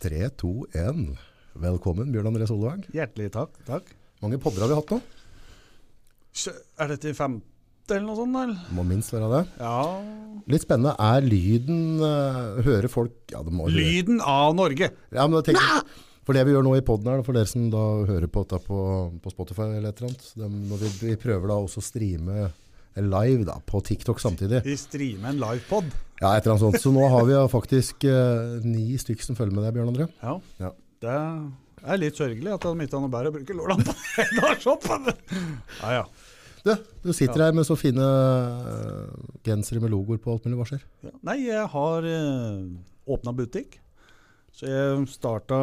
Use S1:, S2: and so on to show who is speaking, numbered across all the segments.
S1: 3, 2, 1. Velkommen, Bjørn André Solvang.
S2: Hjertelig takk. takk.
S1: Mange podder har vi hatt nå?
S2: Sjø- Er dette i femte eller noe sånt? Eller?
S1: Må minst være det.
S2: Ja
S1: Litt spennende er lyden eh, Hører folk Ja, det må høre.
S2: Lyden av Norge.
S1: Ja, men da tenker jeg, for det vi gjør nå i podden her, da, for dere som da hører på dette på, på Spotify eller et eller annet, dem- når vi, vi prøver da også å streame live da, på TikTok samtidig.
S2: Vi streamer en livepod.
S1: Ja, et eller annet sånt. Så nå har vi ja faktisk eh, ni stykk som følger med deg, Bjørn André.
S2: Ja.
S1: Ja.
S2: Det er litt sørgelig at de ikke har noe bedre å bruke lårlampa enn å ha shop. Ja, ja.
S1: Du, du sitter her med så fine eh, gensere med logoer på alt mulig. Hva skjer?
S2: Ja. Nei, jeg har eh, åpna butikk. Så jeg starta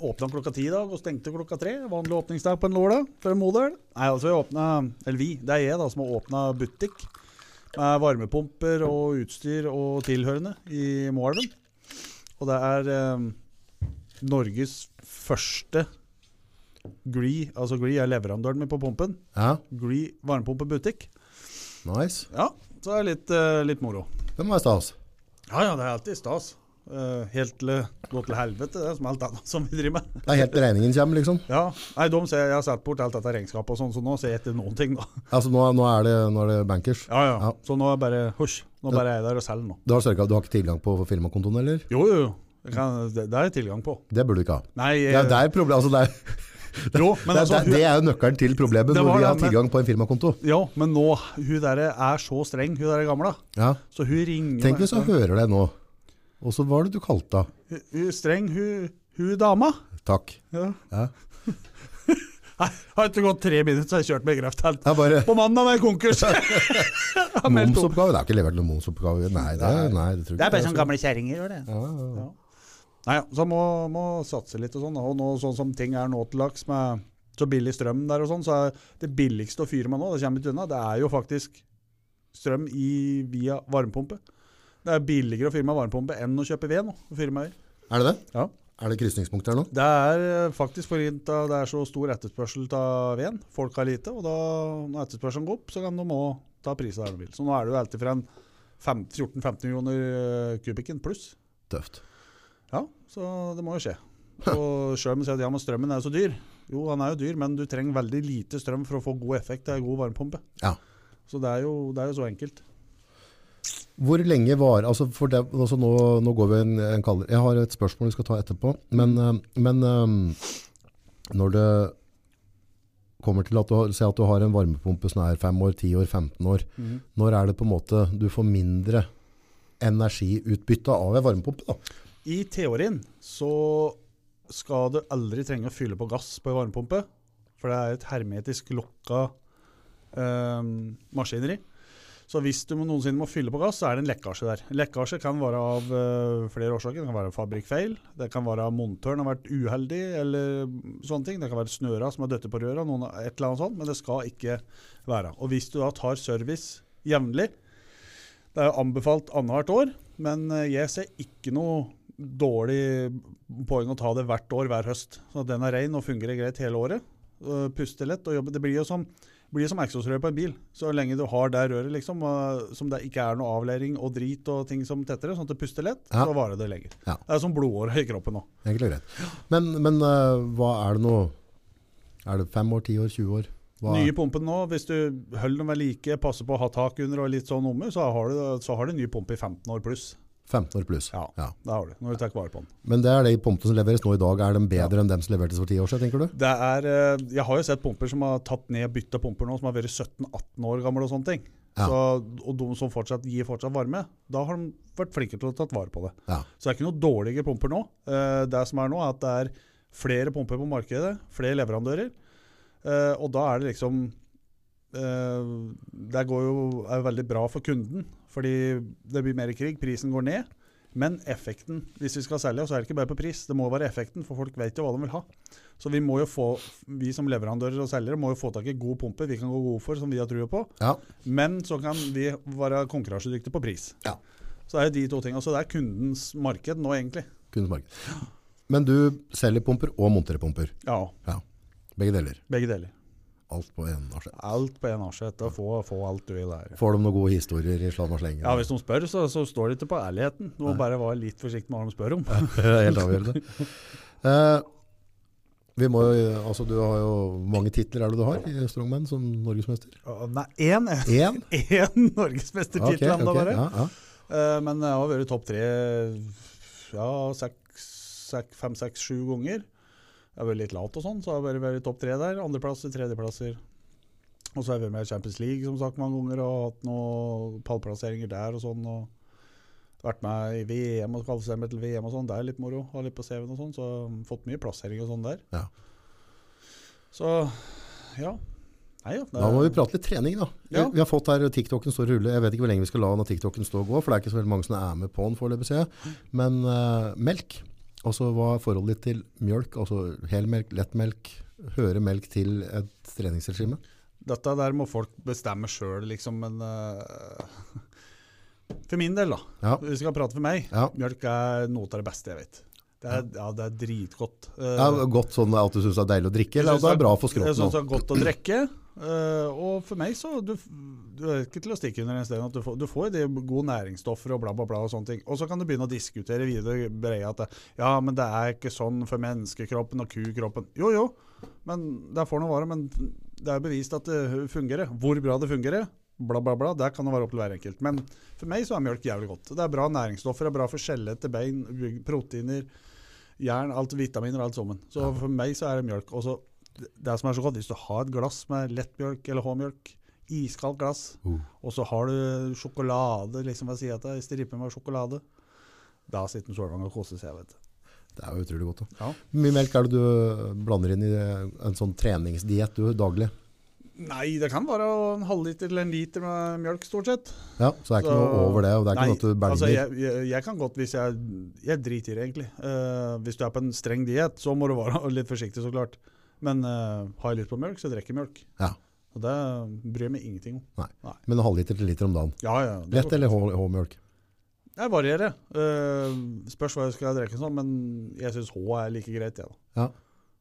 S2: Åpna klokka ti i dag og stengte klokka tre. Vanlig åpningsdag på en lørdag for en modell. Nei, altså jeg åpna, eller vi, det er jeg da som har åpna butikk med varmepumper og utstyr og tilhørende i Moelven. Og det er eh, Norges første Gree, altså Gree er leverandøren min på pumpen.
S1: Ja,
S2: Gree varmepumpebutikk.
S1: nice.
S2: Ja, så det er litt, eh, litt moro.
S1: Den var stas.
S2: Ja, ja, det er alltid stas. Eh, helt til det går til helvete, det er som alt annet som vi driver med.
S1: Det er helt regningen kommer, liksom.
S2: Ja, nei, de ser, Jeg har satt bort alt dette regnskapet, og sånn, så nå ser jeg etter noen ting. da.
S1: Altså, nå, nå, er, det, nå er det bankers.
S2: Ja, ja.
S1: Ja.
S2: Så nå er jeg bare husj, nå bare er jeg der og selger nå.
S1: Du har, sørget, du har ikke tilgang på firmakontoen, eller?
S2: Jo, jo, jo. Jeg kan, det, det er jeg tilgang på.
S1: Det burde du ikke ha.
S2: Nei, eh,
S1: Det er, det er problem, altså det er,
S2: jo, men
S1: det,
S2: altså,
S1: er,
S2: hun,
S1: det er jo nøkkelen til problemet
S2: Det
S1: når
S2: var
S1: vi
S2: det,
S1: har
S2: men-
S1: tilgang på en firmakonto.
S2: ja, men nå, hun der er så streng, hun der gamle.
S1: Ja.
S2: Så hun ringer
S1: Tenk
S2: meg-
S1: hvis hun hører deg nå. Og så var det du kalte henne.
S2: Hun- Hun streng, hun, hun dama.
S1: Takk.
S2: Ja.
S1: Ja.
S2: Nei, har ikke gått tre minutter, så har jeg kjørt meg i grøft helt.
S1: Det er bare
S2: På mandag var jeg konkurs! Ja, meldt opp.
S1: momsoppgave. Det er ikke levert noen momsoppgave. Nei, det, er- nei, det tror jeg ikke.
S2: sånn gamle kjerringer gjør det.
S1: Ja, ja, ja.
S2: Nei, ja, så må, må satse litt og sånn. da. Og nå, sånn som ting er nå til dags med så billig strøm der og sånn, så er det billigste å fyre med nå, det kommer ikke unna, det er jo faktisk strøm i, via varmepumpe. Det er billigere å fyre med varmepumpe enn å kjøpe ved nå. å fyre med i.
S1: Er det det?
S2: Ja.
S1: Er det krysningspunkt der nå?
S2: Det er eh, faktisk fordi da det er så stor etterspørsel av veden. Folk har lite, og da når etterspørselen går opp, så kan de òg ta priser der de vil. Så nå er det jo alltid fra en fem- 14-15 millioner eh, kubikken pluss.
S1: Tøft.
S2: Ja, så det må jo skje. Og sjøl om jeg sier at ja, men strømmen er jo så dyr. Jo, han er jo dyr, men du trenger veldig lite strøm for å få god effekt av en god varmepumpe.
S1: Ja.
S2: Så det er jo, det er jo så enkelt.
S1: Hvor lenge var altså for det, altså nå, nå går vi en, en kaller. Jeg har et spørsmål vi skal ta etterpå. Men, eh, men eh, når det kommer til at du, har- si at du har en varmepumpe som er 5 år, 10 år, 15 år,
S2: Mhm.
S1: når er det på en måte du får mindre energiutbytte av en varmepumpe? da?
S2: I teorien så skal du aldri trenge å fylle på gass på en varmepumpe, for det er et hermetisk lukka eh, maskineri. Så hvis du må- noensinne må fylle på gass, så er det en lekkasje der. Lekkasje kan være av eh, flere årsaker. Det kan være fabrikkfeil, det kan være montøren har vært uheldig, eller sånne ting. Det kan være snøra som har døttet på røra, noen, et eller annet sånt, men det skal ikke være. Og hvis du da tar service jevnlig, det er jo anbefalt annethvert år, men eh, jeg ser ikke noe dårlig poeng å ta det hvert år, hver høst. Så den er rein og fungerer greit hele året. Eh, Puster lett og jobber. Det blir jo som, blir som eksosrør på en bil. Så lenge du har det røret liksom, eh, som det ikke er noe avleiring og drit og ting som tetter det, sånn at det puster lett,
S1: Ja.
S2: så varer det lenger.
S1: Ja.
S2: Det er som blodåret i kroppen nå.
S1: Egentlig greit. Men, men eh, hva er det nå? Er det 5 år, 10 år, 20 år? Hva er-
S2: Nye pumpen nå, hvis du holder dem ved like, passer på å ha tak under og litt sånn omme, så har du, så har du ny pumpe i 15 år pluss.
S1: 15 år pluss.
S2: Ja. Det har du, når du tar vare på den.
S1: Men det er de pumpene som leveres nå i dag, er de bedre enn dem som levertes for 10 år siden, tenker du?
S2: Det er, eh, jeg har jo sett pumper som har tatt ned og bytta pumper nå, som har vært 17-18 år gamle og sånne ting.
S1: Ja.
S2: Så, og de som fortsatt gir fortsatt varme, da har de vært flinke til å ta vare på det.
S1: Ja.
S2: Så det er ikke noe dårligere pumper nå. Eh, Det som er nå, er at det er flere pumper på markedet, flere leverandører. Eh, Og da er det liksom eh, Det går jo, er jo veldig bra for kunden, fordi det blir mer krig, prisen går ned. Men effekten, hvis vi skal selge, så er det ikke bare på pris. Det må være effekten, for folk vet jo hva de vil ha. Så vi må jo få, vi som leverandører og selgere må jo få tak i gode pumper vi kan gå gode for, som vi har trua på.
S1: ja.
S2: Men så kan vi være konkurransedyktige på pris.
S1: Ja.
S2: Så det er jo de to tingene. Så det er kundens marked nå, egentlig.
S1: Kundens marked. Men du selger pumper og monterer pumper.
S2: Ja,
S1: Ja, begge deler.
S2: begge deler.
S1: Alt på en asje.
S2: Alt på en asjett. Få, få alt du vil her.
S1: Får de noen gode historier i slam og slenge?
S2: Ja, Hvis noen spør, så, så står det ikke på ærligheten. Du må
S1: Nei.
S2: bare være litt forsiktig med hva de spør om.
S1: Det er Helt avgjørende. Eh, vi må jo, altså du har jo mange titler er det du har i Strongman som norgesmester?
S2: Å, Nei, én
S1: Én?
S2: én norgesmestertittel
S1: Ja, ok,
S2: ennå,
S1: ok,
S2: bare.
S1: ja, ja.
S2: Eh, Men jeg har vært topp tre ja, seks, seks, fem, seks, sju ganger. Jeg har vært litt lat og sånn, så jeg har bare vært topp tre der. Andreplasser, tredjeplasser. Og så har jeg vært med i Champions League som sagt mange ganger og hatt noen pallplasseringer der og sånn. og vært med i VM og kvalifisert meg til VM og sånn. Det er litt moro. Har litt på CV-en og sånn, så jeg har fått mye plassering og sånn der.
S1: Ja.
S2: Så ja. Nei, ja. det
S1: Da
S2: er-
S1: må vi prate litt trening, da. Vi-
S2: Ja.
S1: Vi har fått her TikToken står og ruller. Jeg vet ikke hvor lenge vi skal la den og TikToken stå og gå, for det er ikke så veldig mange som er med på den foreløpig, ser jeg. Men eh, melk. Altså hva er forholdet ditt til mjølk? Altså helmelk, lettmelk? Hører melk til et treningsregime?
S2: Dette der må folk bestemme sjøl, liksom, men eh, For min del, da.
S1: Ja.
S2: Hvis vi skal prate for meg.
S1: Ja.
S2: Mjølk er noe av det beste jeg vet. Det er, ja, det er dritgodt. Eh,
S1: Det er godt sånn at du syns det er deilig å drikke, eller
S2: jeg
S1: at
S2: synes
S1: det er bra for
S2: Jeg
S1: skrotten?
S2: syns
S1: også?
S2: det er godt å drikke. eh, og for meg så du, du er ikke til å stikke under en sten at du får, du får jo de gode næringsstoffer og bla, bla, bla. Og sånne ting. Og så kan du begynne å diskutere videre breie at det, ja, men det er ikke sånn for menneskekroppen og kukroppen. Jo, jo, men det får nå være. Men det er bevist at det fungerer. Hvor bra det fungerer, bla, bla, bla. Det kan jo være opp til hver enkelt. Men for meg så er mjølk jævlig godt. Det er bra næringsstoffer, det er bra for skjelett, bein, proteiner, jern, alt vitaminer, alt sammen. Så for meg så er det mjølk. Og så det det som er så godt, hvis du har et glass med lettmjølk eller H-mjølk, iskaldt glass,
S1: Uh.
S2: og så har du sjokolade, liksom hva sier jeg til deg, striper med sjokolade, da sitter en Solvang og koser seg, vet du.
S1: Det er jo utrolig godt. da.
S2: Ja.
S1: Hvor mye melk er det du eh, blander inn i en sånn treningsdiett du daglig?
S2: Nei, det kan være en halvliter eller en liter med mjølk, stort sett.
S1: Ja, Så det er ikke
S2: Så-
S1: noe over det, og det er ikke noe at du
S2: altså
S1: belger?
S2: jeg, jeg, jeg kan godt hvis jeg Jeg driter i det, egentlig. Eh, hvis du er på en streng diett, så må du være litt forsiktig, så klart. Men eh, har jeg lyst på mjølk, så drikker jeg mjølk.
S1: Ja.
S2: Og det bryr jeg meg ingenting om.
S1: Men en halvliter til en liter om dagen.
S2: Ja, ja, det går
S1: Lett eller hå- H-mjølk?
S2: Jeg varierer. Uh, spørs hva jeg skal drikke, sånn, men jeg syns H er like greit. jeg, da.
S1: Ja.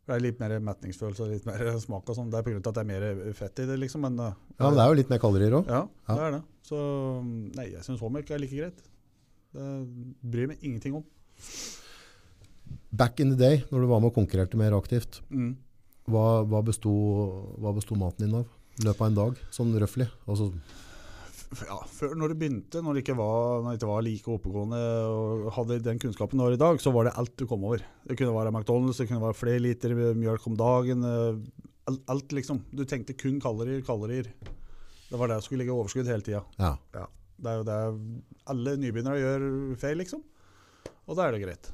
S2: Det er litt mer metningsfølelse og litt mer smak. og sånn. Det er pga. at det er mer fett i det, liksom. Men, eh,
S1: Ja, men det er jo litt mer kalorier òg.
S2: ja,
S1: Ja.
S2: det er det. Så mm, nei, jeg syns H-melk er like greit. Det bryr meg ingenting om.
S1: Back in the day, når du var med og konkurrerte mer aktivt,
S2: Mm.
S1: hva, hva, besto, hva besto maten din av? I løpet av en dag, sånn røffelig. Altså,
S2: F- Ja, før når det begynte, når det ikke var, når det ikke var like oppegående og hadde den kunnskapen du har i dag, så var det alt du kom over. Det kunne være McDonald's, det kunne være flere liter mjølk om dagen. eh, Alt, alt liksom. Du tenkte kun kalorier, kalorier. Det var det som skulle ligge i overskudd hele tida.
S1: ja.
S2: Det er jo det alle nybegynnere gjør feil, liksom. Og da er det greit.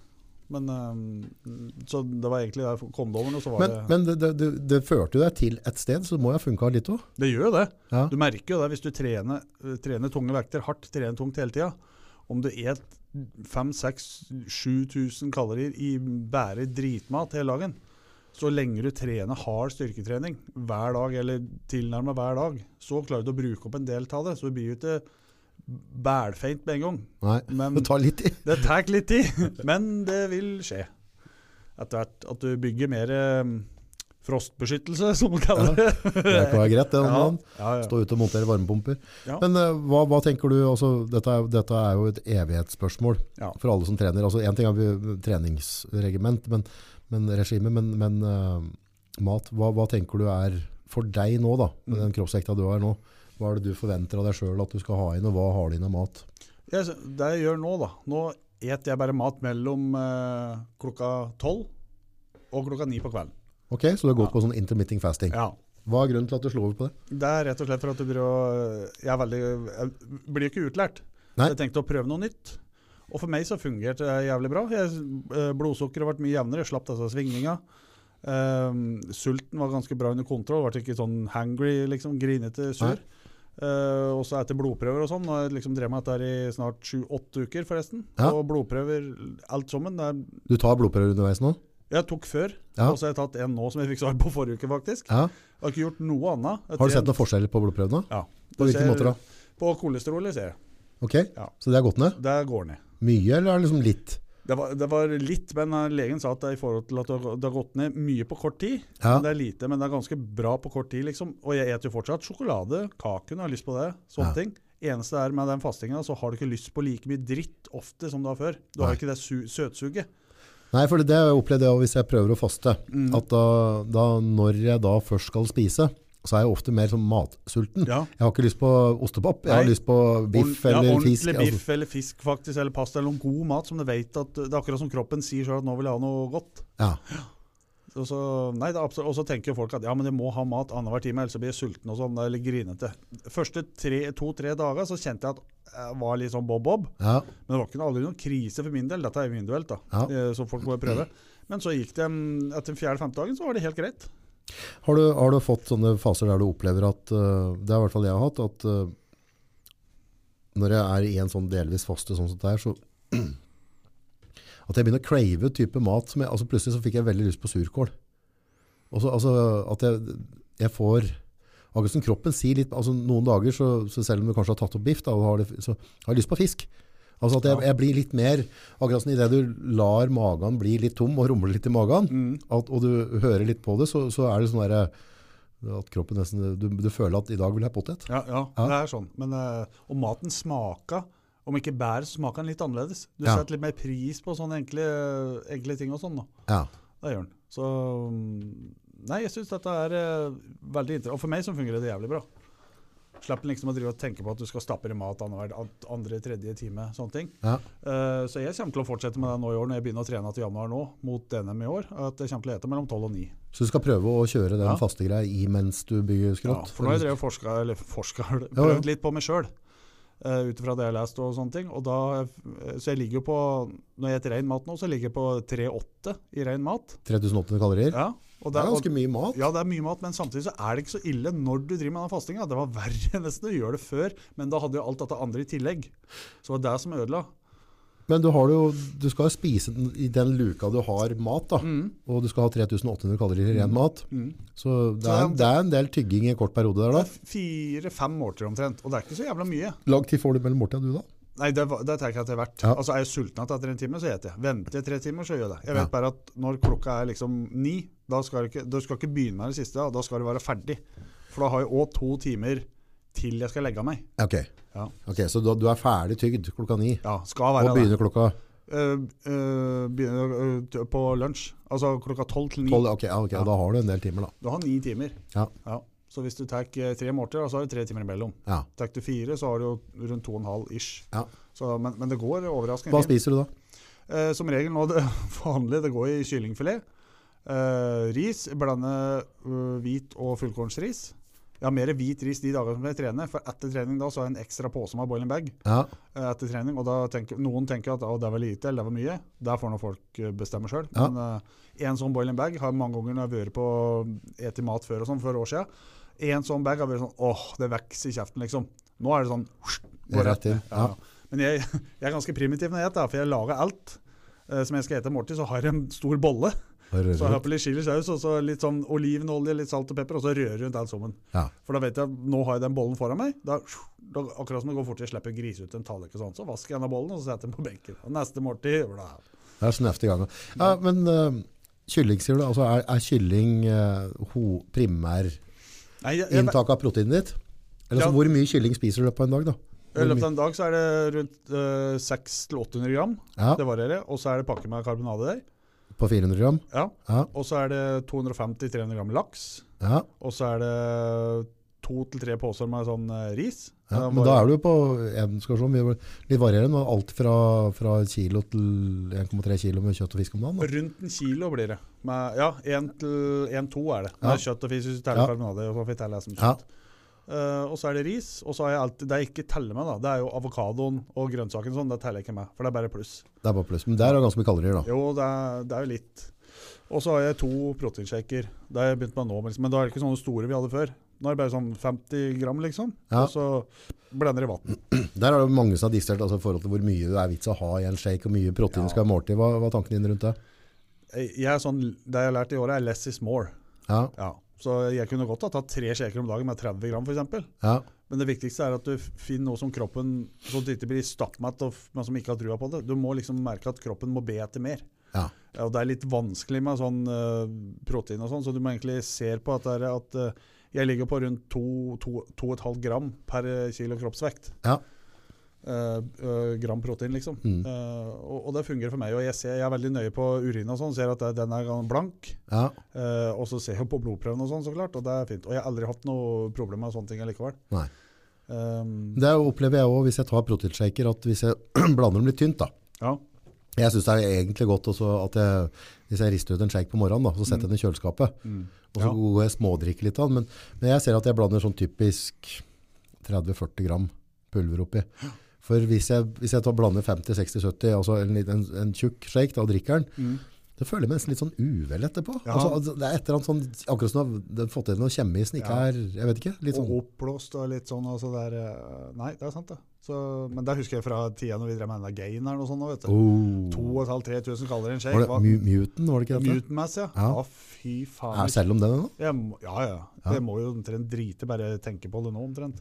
S2: Men eh, Så det var egentlig der kom det over, og så var
S1: Men,
S2: det
S1: men det, det, det, det førte jo deg til et sted, så det må jo ha funka litt òg.
S2: Det gjør jo det.
S1: Ja.
S2: Du merker jo det hvis du trener, trener tunge vekter hardt, trener tungt hele tida. Om du et 5000-7000 kalorier i bare dritmat hele dagen, så lenge du trener hard styrketrening hver dag, eller tilnærma hver dag, så klarer du å bruke opp en del av det. Så det blir jo ikke bælfeint med en gang.
S1: Nei,
S2: Men
S1: det tar litt tid.
S2: det tar litt tid, men det vil skje. Etter hvert at du bygger mer eh, frostbeskyttelse, som man kaller det.
S1: Det kan være greit, det. om dagen.
S2: ja, ja.
S1: Stå ute og montere varmepumper.
S2: Ja.
S1: Men eh, hva, hva tenker du, altså, dette, er, dette er jo et evighetsspørsmål
S2: Ja.
S1: for alle som trener. Altså, en ting er vi- treningsregiment, men, men regime, men, men eh, mat. Hva, hva tenker du er for deg nå, da, med
S2: Mm.
S1: den kroppsvekta du har nå? Hva er det du forventer av deg sjøl at du skal ha inn, og hva har du inn av mat?
S2: Jeg, sy- det jeg gjør nå, da Nå et jeg bare mat mellom eh, klokka tolv og klokka ni på kvelden.
S1: Ok, Så du har gått på sånn intermitting fasting.
S2: Ja.
S1: Hva er grunnen til at du slo over på det?
S2: Det er rett og slett for at du blir å- Jeg, er veldig, jeg blir ikke utlært.
S1: Nei.
S2: Så jeg tenkte å prøve noe nytt. Og for meg så fungerte det jævlig bra. Jeg, eh, blodsukkeret ble mye jevnere, jeg slapp disse svingningene. Ehm, sulten var ganske bra under kontroll, ble ikke sånn hangry, liksom, grinete sur.
S1: Nei.
S2: Eh, og så etter blodprøver og sånn, og jeg liksom drev med dette her i snart sju-åtte uker forresten.
S1: Ja.
S2: Og blodprøver, alt sammen. det er-
S1: Du tar blodprøver underveis nå?
S2: Jeg tok før,
S1: Ja.
S2: og så har jeg tatt en nå som jeg fikk svar på forrige uke, faktisk.
S1: ja.
S2: Jeg har ikke gjort noe annet. Jeg
S1: Har du sett
S2: trent-
S1: noen forskjeller på blodprøvene?
S2: Ja.
S1: På hvilken måte da?
S2: På kolesterolet, ser jeg.
S1: Ok,
S2: Ja.
S1: Så det har gått ned?
S2: Det går ned.
S1: Mye, eller er det liksom litt?
S2: Det var, det var litt, men eh, legen sa at det er i forhold til at det har- det har gått ned mye på kort tid.
S1: Ja.
S2: Det er lite, men det er ganske bra på kort tid. liksom. Og jeg eter jo fortsatt sjokolade, kaken, jeg har lyst på det.
S1: Ja.
S2: sånne ting. Eneste er med den fastinga, så har du ikke lyst på like mye dritt ofte som du har før. Du har
S1: Nei.
S2: ikke det su søtsuget.
S1: Nei, for det har jeg opplevd det også hvis jeg prøver å faste.
S2: Mm.
S1: At da, da, når jeg da først skal spise, så er jeg ofte mer sånn matsulten.
S2: Ja.
S1: Jeg har ikke lyst på ostepopp, jeg har
S2: Nei.
S1: lyst på biff
S2: Ordent- ja,
S1: eller
S2: ordentlig
S1: fisk. altså.
S2: biff eller fisk faktisk, eller pasta, eller noen god mat som du vet at Det er akkurat som kroppen sier sjøl at 'nå vil jeg ha noe godt'.
S1: Altså, ja.
S2: Og så, nei, det er absolutt, og så tenker jo folk at ja, men de må ha mat annenhver time, ellers så blir jeg sulten og sånn, eller grinete. første to-tre dager så kjente jeg at jeg var litt sånn bob-bob,
S1: Ja,
S2: men det var ikke noe, aldri noen krise for min del. Dette er jo individuelt, da,
S1: Ja.
S2: eh, så folk må jo prøve. Men så gikk det mm, etter den fjerde-femte dagen, så var det helt greit.
S1: Har, du, har du fått sånne faser der du opplever at øh, Det er i hvert fall jeg har hatt. At øh, når jeg er i en sånn delvis faste sånn som det er, så At jeg begynner å crave type mat som jeg altså Plutselig så fikk jeg veldig lyst på surkål. Og så, altså, at jeg, jeg får Akkurat som kroppen sier litt altså Noen dager, så, så selv om du kanskje har tatt opp biff, da, og har det, så har jeg lyst på fisk. Altså at jeg, jeg blir litt mer Akkurat som idet du lar magen bli litt tom og rumle litt i magen,
S2: Mm,
S1: at, og du hører litt på det, så, så er det sånn derre at kroppen nesten du, du føler at i dag vil jeg ha potet.
S2: Ja, ja,
S1: Ja.
S2: det er sånn. Men, eh, og maten smaka, om ikke bedre, så smaka den litt annerledes. Du
S1: Ja.
S2: setter litt mer pris på sånne enkle, enkle ting og sånn, da.
S1: Ja.
S2: Det gjør den. Så mm, Nei, jeg syns dette er eh, veldig interessant. Og for meg så fungerer det jævlig bra. Slipper liksom å drive og tenke på at du skal stappe i mat annenhver an- andre, tredje time. sånne ting.
S1: Ja.
S2: Eh, så jeg kommer til å fortsette med det nå i år når jeg begynner å trene til januar nå, mot NM i år. At jeg kommer til å ete mellom 12 og 9.
S1: Så du skal prøve å kjøre den
S2: Ja.
S1: faste greia i mens du bygger
S2: Ja,
S1: skrått?
S2: for nå har jeg drevet og forska, eller forska,
S1: Ja, ja.
S2: prøvd litt på meg sjøl. Ut ifra det jeg har lest og sånne ting. Og da, eh, så jeg ligger jo på, når jeg spiser ren mat nå, så ligger jeg på 3,8 i ren mat.
S1: 3800 kalorier?
S2: Ja, og
S1: Det er
S2: og-
S1: ganske mye mat.
S2: Ja, det er mye mat, men samtidig så er det ikke så ille når du driver med den fastinga. Det var verre nesten å gjøre det før, men da hadde jo alt dette andre i tillegg. Så det var det som ødela.
S1: Men du, har det jo, du skal jo spise den, i den luka du har mat, da.
S2: Mm.
S1: og du skal ha 3800 kalorier i ren mat. Så det er, det er en del tygging i en kort periode der.
S2: Det
S1: da.
S2: er fire-fem måltider omtrent, og det er ikke så jævla mye.
S1: lang tid får du mellom måltida, du da?
S2: Nei, det, var- det tenker jeg at det er verdt.
S1: Ja.
S2: Altså, Er jeg sulten at etter en time, så eter jeg. Venter jeg tre timer, så gjør jeg det. Jeg
S1: Ja.
S2: vet bare at når klokka er liksom ni, da skal du ikke, du skal ikke begynne med det siste, da, da skal du være ferdig. For da har jeg òg to timer til jeg skal legge meg.
S1: Ok,
S2: Ja,
S1: Ok, så da, du er ferdig tygd klokka ni,
S2: ja skal
S1: og
S2: være det.
S1: begynner klokka
S2: Eh, eh, begynner eh, t- på lunsj. Altså klokka tolv til ni.
S1: tolv? Ok, ja, ok,
S2: Ja.
S1: da har du en del timer, da.
S2: Du har ni timer.
S1: Ja.
S2: Så hvis du tar eh, tre måltider, da, så har du tre timer imellom.
S1: Ja.
S2: Tar du fire, så har du jo rundt to og en halv ish.
S1: Ja.
S2: Så, men, men det går overraskende
S1: Hva
S2: fint.
S1: spiser du da?
S2: Eh, som regel nå det vanlige, det går i kyllingfilet. Eh, ris, blande eh, hvit og fullkornsris. Jeg har mer hvit ris de dagene som jeg trener, for etter trening da så har jeg en ekstra pose med boiling bag.
S1: Ja,
S2: eh, etter trening, og da tenker, Noen tenker at å, det var lite eller det var mye. Der får nå folk eh, bestemme sjøl.
S1: Ja.
S2: Men eh, en sånn boiling bag har mange ganger når jeg har vært på et i mat før og sånn, for år siden. En sånn bag har vært sånn åh, det vokser i kjeften, liksom. Nå er det sånn
S1: det er rett inn.
S2: ja.
S1: Ja.
S2: Men jeg, jeg er ganske primitiv når jeg spiser, for jeg lager alt. eh, Som jeg skal ete måltid, så har jeg en stor bolle. Så har jeg på litt chilisaus og så litt sånn olivenolje, litt salt og pepper, og så rører jeg rundt alt sammen.
S1: Ja.
S2: For da vet jeg nå har jeg den bollen foran meg. Da, da, akkurat som det går fort, jeg slipper å grise ut en tallrik og sånn. Så vasker jeg denne bollen og så setter jeg den på benken. Og neste måltid bla.
S1: Det er snøft i gangen. Ja, men eh, kylling, sier du? Altså, er, er kylling eh, ho, primær
S2: Nei, jeg, jeg,
S1: inntak av proteinet ditt? Eller
S2: Ja.
S1: altså, hvor mye kylling spiser du på en dag, da?
S2: I løpet av en dag så er det rundt eh, 600-800 gram.
S1: Ja,
S2: Det varierer. Og så er det pakke med karbonade der.
S1: på 400 gram?
S2: Ja.
S1: Ja,
S2: Og så er det 250-300 gram laks.
S1: ja.
S2: Og så er det to til tre poser med sånn eh, ris.
S1: ja. Men da er du jo på en, skal vi se, om vi- litt varierende, men alt fra, fra kilo til 1,3 kilo med kjøtt og fisk om dagen. Da.
S2: Rundt en kilo blir det. Med, ja, én til én to er det. Med
S1: Ja.
S2: kjøtt og fisk, hvis du teller
S1: Ja.
S2: karbonade. Og så får jeg telle det som
S1: Ja,
S2: kjøtt. Eh, og så er det ris. Og så har jeg alltid Det jeg ikke teller med, da, det er jo avokadoen og grønnsaken og sånn. Det teller jeg ikke med, for det er bare pluss.
S1: det er bare pluss. Men der er det ganske mye kalorier, da.
S2: Jo, det er, det er jo litt. Og så har jeg to proteinshaker. Det har jeg begynt med nå, men liksom, men da er det ikke sånne store vi hadde før. Nå er det bare sånn 50 gram, liksom.
S1: Ja.
S2: Og så blender jeg vann.
S1: Der er det jo mange som har diskutert altså, i forhold til hvor mye det er vits å ha i en shake, og mye protein
S2: Ja.
S1: skal være måltid. Hva, hva er tankene dine rundt det?
S2: Jeg jeg er sånn, det jeg har lært i året, er less is more.
S1: Ja,
S2: Ja. Så jeg kunne godt ha tatt tre skjeer om dagen med 30 gram f.eks.
S1: Ja.
S2: Men det viktigste er at du finner noe som kroppen som du ikke blir stappmett av, men som ikke har trua på det. Du må liksom merke at kroppen må be etter mer.
S1: Ja.
S2: Ja, Og det er litt vanskelig med sånn eh, protein og sånn, så du må egentlig se på at, det er at eh, jeg ligger på rundt 2,5 gram per eh, kilo kroppsvekt.
S1: Ja.
S2: Eh, eh, gram protein, liksom.
S1: Mm.
S2: Eh, og, og det fungerer for meg. Og jeg, ser, jeg er veldig nøye på urin og sånn, ser at det- den er gan- blank.
S1: ja.
S2: Eh, og så ser jeg på blodprøven og sånn, så klart, og det er fint. Og jeg har aldri hatt noe problem med sånne ting allikevel.
S1: Nei.
S2: Um,
S1: Det opplever jeg også hvis jeg tar proteinshaker, at hvis jeg blander dem litt tynt da.
S2: ja.
S1: Jeg synes det er egentlig godt også at jeg, hvis jeg rister ut en shake på morgenen da, så setter jeg den i kjøleskapet. Og så
S2: Ja.
S1: går jeg smådrikker litt av den, men, men jeg ser at jeg blander sånn typisk 30-40 gram pulver oppi. For hvis jeg, hvis jeg tar, blander 50-60-70, altså en, liten- en, en tjukk shake da, og drikker den,
S2: Mm.
S1: det føler jeg meg nesten litt sånn uvel etterpå.
S2: Ja.
S1: Altså, altså, det er et eller annet sånn, akkurat som sånn, den har fått inn noe kjemme i ikke
S2: Ja.
S1: er, jeg vet ikke, litt sånn.
S2: Og oppblåst og litt sånn. Altså det er, eh, nei, det er sant, det. Så, men det husker jeg fra tida når vi drev med denne gaineren og sånn. nå, vet du.
S1: Oh.
S2: 2500-3000 kaller det en shake.
S1: Var det
S2: Hva-
S1: Mu- Muten, var det ikke dette?
S2: Mutant-mess, ja.
S1: Ja.
S2: Ja, fy
S1: Er
S2: faen.
S1: selv om den ennå?
S2: Jeg må, ja, ja.
S1: Ja.
S2: Jeg må jo omtrent drite, bare tenke på det nå, omtrent.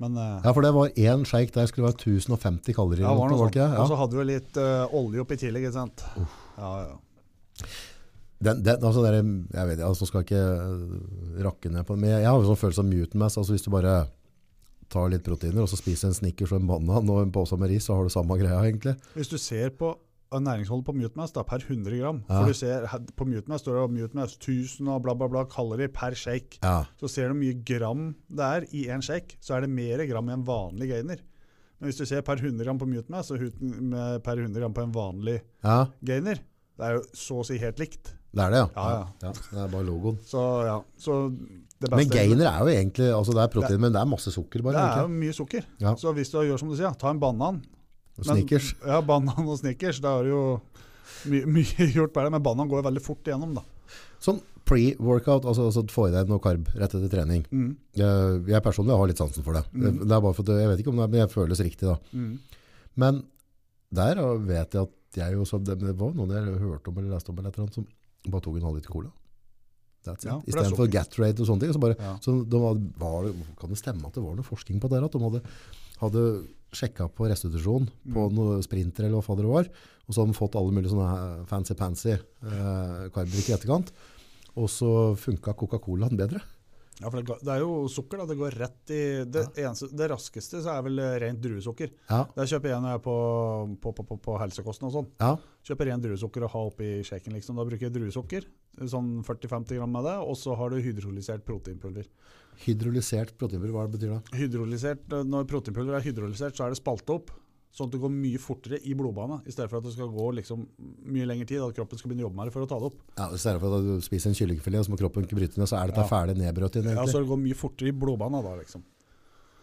S2: Men eh,
S1: Ja, for det var én shake der skulle være 1050 kalorier.
S2: ja, var det noe
S1: det
S2: sånt. Og
S1: ja.
S2: så hadde du litt eh, olje oppi tillegg, ikke sant. Ja, ja.
S1: den, den, altså, dere, jeg vet ikke, altså, skal jeg ikke øh, rakke ned på det, men jeg, jeg har jo sånn følelse av mutant mass. Altså, hvis du bare tar litt proteiner, og så spiser en Snickers og en banan og en pose med ris, så har du samme greia, egentlig.
S2: Hvis du ser på næringsholdet på Mutmass da, per 100 gram
S1: Ja.
S2: For du ser, her- På Mutmass står det Mutmass 1000 og bla, bla, bla kalori per shake.
S1: Ja.
S2: Så ser du hvor mye gram det er i en shake, så er det mer gram i en vanlig gainer. Men hvis du ser per 100 gram på Mutmass og huten- med per 100 gram på en vanlig
S1: ja,
S2: gainer, det er jo så å si helt likt.
S1: det er det, ja.
S2: Ja, ja.
S1: Det er bare logoen.
S2: Så ja, så det beste
S1: Men gainer er jo egentlig altså Det er protein, men det er masse sukker,
S2: Det
S1: bare.
S2: er jo
S1: egentlig.
S2: mye sukker.
S1: Ja.
S2: Så hvis du gjør som du sier, ta en banan.
S1: Og
S2: men-
S1: Snickers.
S2: Ja, banan og snickers, da er det jo mye, mye gjort bare, men banan går jo veldig fort igjennom, da.
S1: Sånn pre-workout, altså, altså få i deg noe karb rett etter trening.
S2: Mm.
S1: Jeg, jeg personlig har litt sansen for det.
S2: Mm.
S1: Det er bare for at jeg vet ikke om det er, men jeg føles riktig da.
S2: Mm.
S1: Men der eh, vet jeg at jeg jo som det, det var noen jeg hørte om eller leste om eller et eller annet som bare tok en halv liter cola. That's it.
S2: Ja, for
S1: I
S2: det er
S1: stedet for
S2: sukker.
S1: Gatorade og sånne ting. Så bare,
S2: Ja.
S1: så de hadde, var, det- kan det stemme at det var noe forskning på det her? At de hadde, hadde sjekket på restitusjon på
S2: Mm.
S1: noen sprinter eller hva fader det var, og så hadde de fått alle mulige sånne eh, fancy-pansy eh, karbdrikker i etterkant. Og så funket Coca-Colaen bedre.
S2: Ja, for det, ga- det er jo sukker, da. Det går rett i Det, eneste, det raskeste så er vel eh, rent druesukker.
S1: Ja,
S2: Det kjøper jeg når jeg er på, på, på, på, på helsekosten og sånn.
S1: ja.
S2: Kjøper ren druesukker og ha oppi shaken, liksom. Da bruker jeg druesukker, sånn 40-50 gram av det, og så har du hydrolysert proteinpulver.
S1: Hydrolysert proteinpulver, hva betyr det?
S2: Hydrolysert, eh, Når proteinpulver er hydrolysert, så er det spalta opp. Sånn at det går mye fortere i blodbanen, i stedet for at det skal gå liksom mye lengre tid. At kroppen skal begynne å jobbe med det for å ta det opp.
S1: Ja, I stedet for at du spiser en kyllingfilet, og så må kroppen ikke bryte ned, så er dette
S2: Ja.
S1: ferdig nedbrøt inn,
S2: Ja,
S1: egentlig.
S2: så det går mye fortere i blodbanen da, liksom.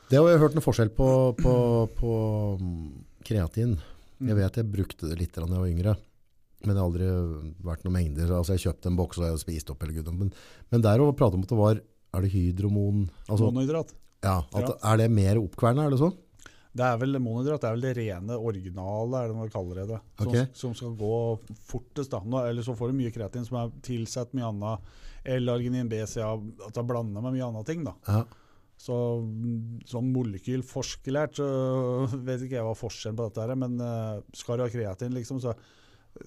S1: Det har jeg hørt noe forskjell på, på, på mm, kreatin. Jeg vet jeg brukte det litt da jeg var yngre, men det har aldri vært noen mengder. Altså jeg kjøpte en boks og jeg spiste opp hele guddommen. Men, men der å prate om at det var, er det hydromon? Altså,
S2: Monohydrat.
S1: ja, at, er det mer oppkvernet, er det sånn?
S2: Det er vel monohydrat, det er vel det rene originale, er det man kaller det. Som,
S1: Ok.
S2: som skal gå fortest. da. Nå, eller så får du mye kreatin som er tilsatt mye annet. L-arginin, BCA, at det er blanda med mye annet ting. da.
S1: Ja.
S2: Så mm, sånn molekylforskerlært, så vet ikke jeg hva forskjellen på dette her, er, men eh, skal du ha kreatin, liksom, så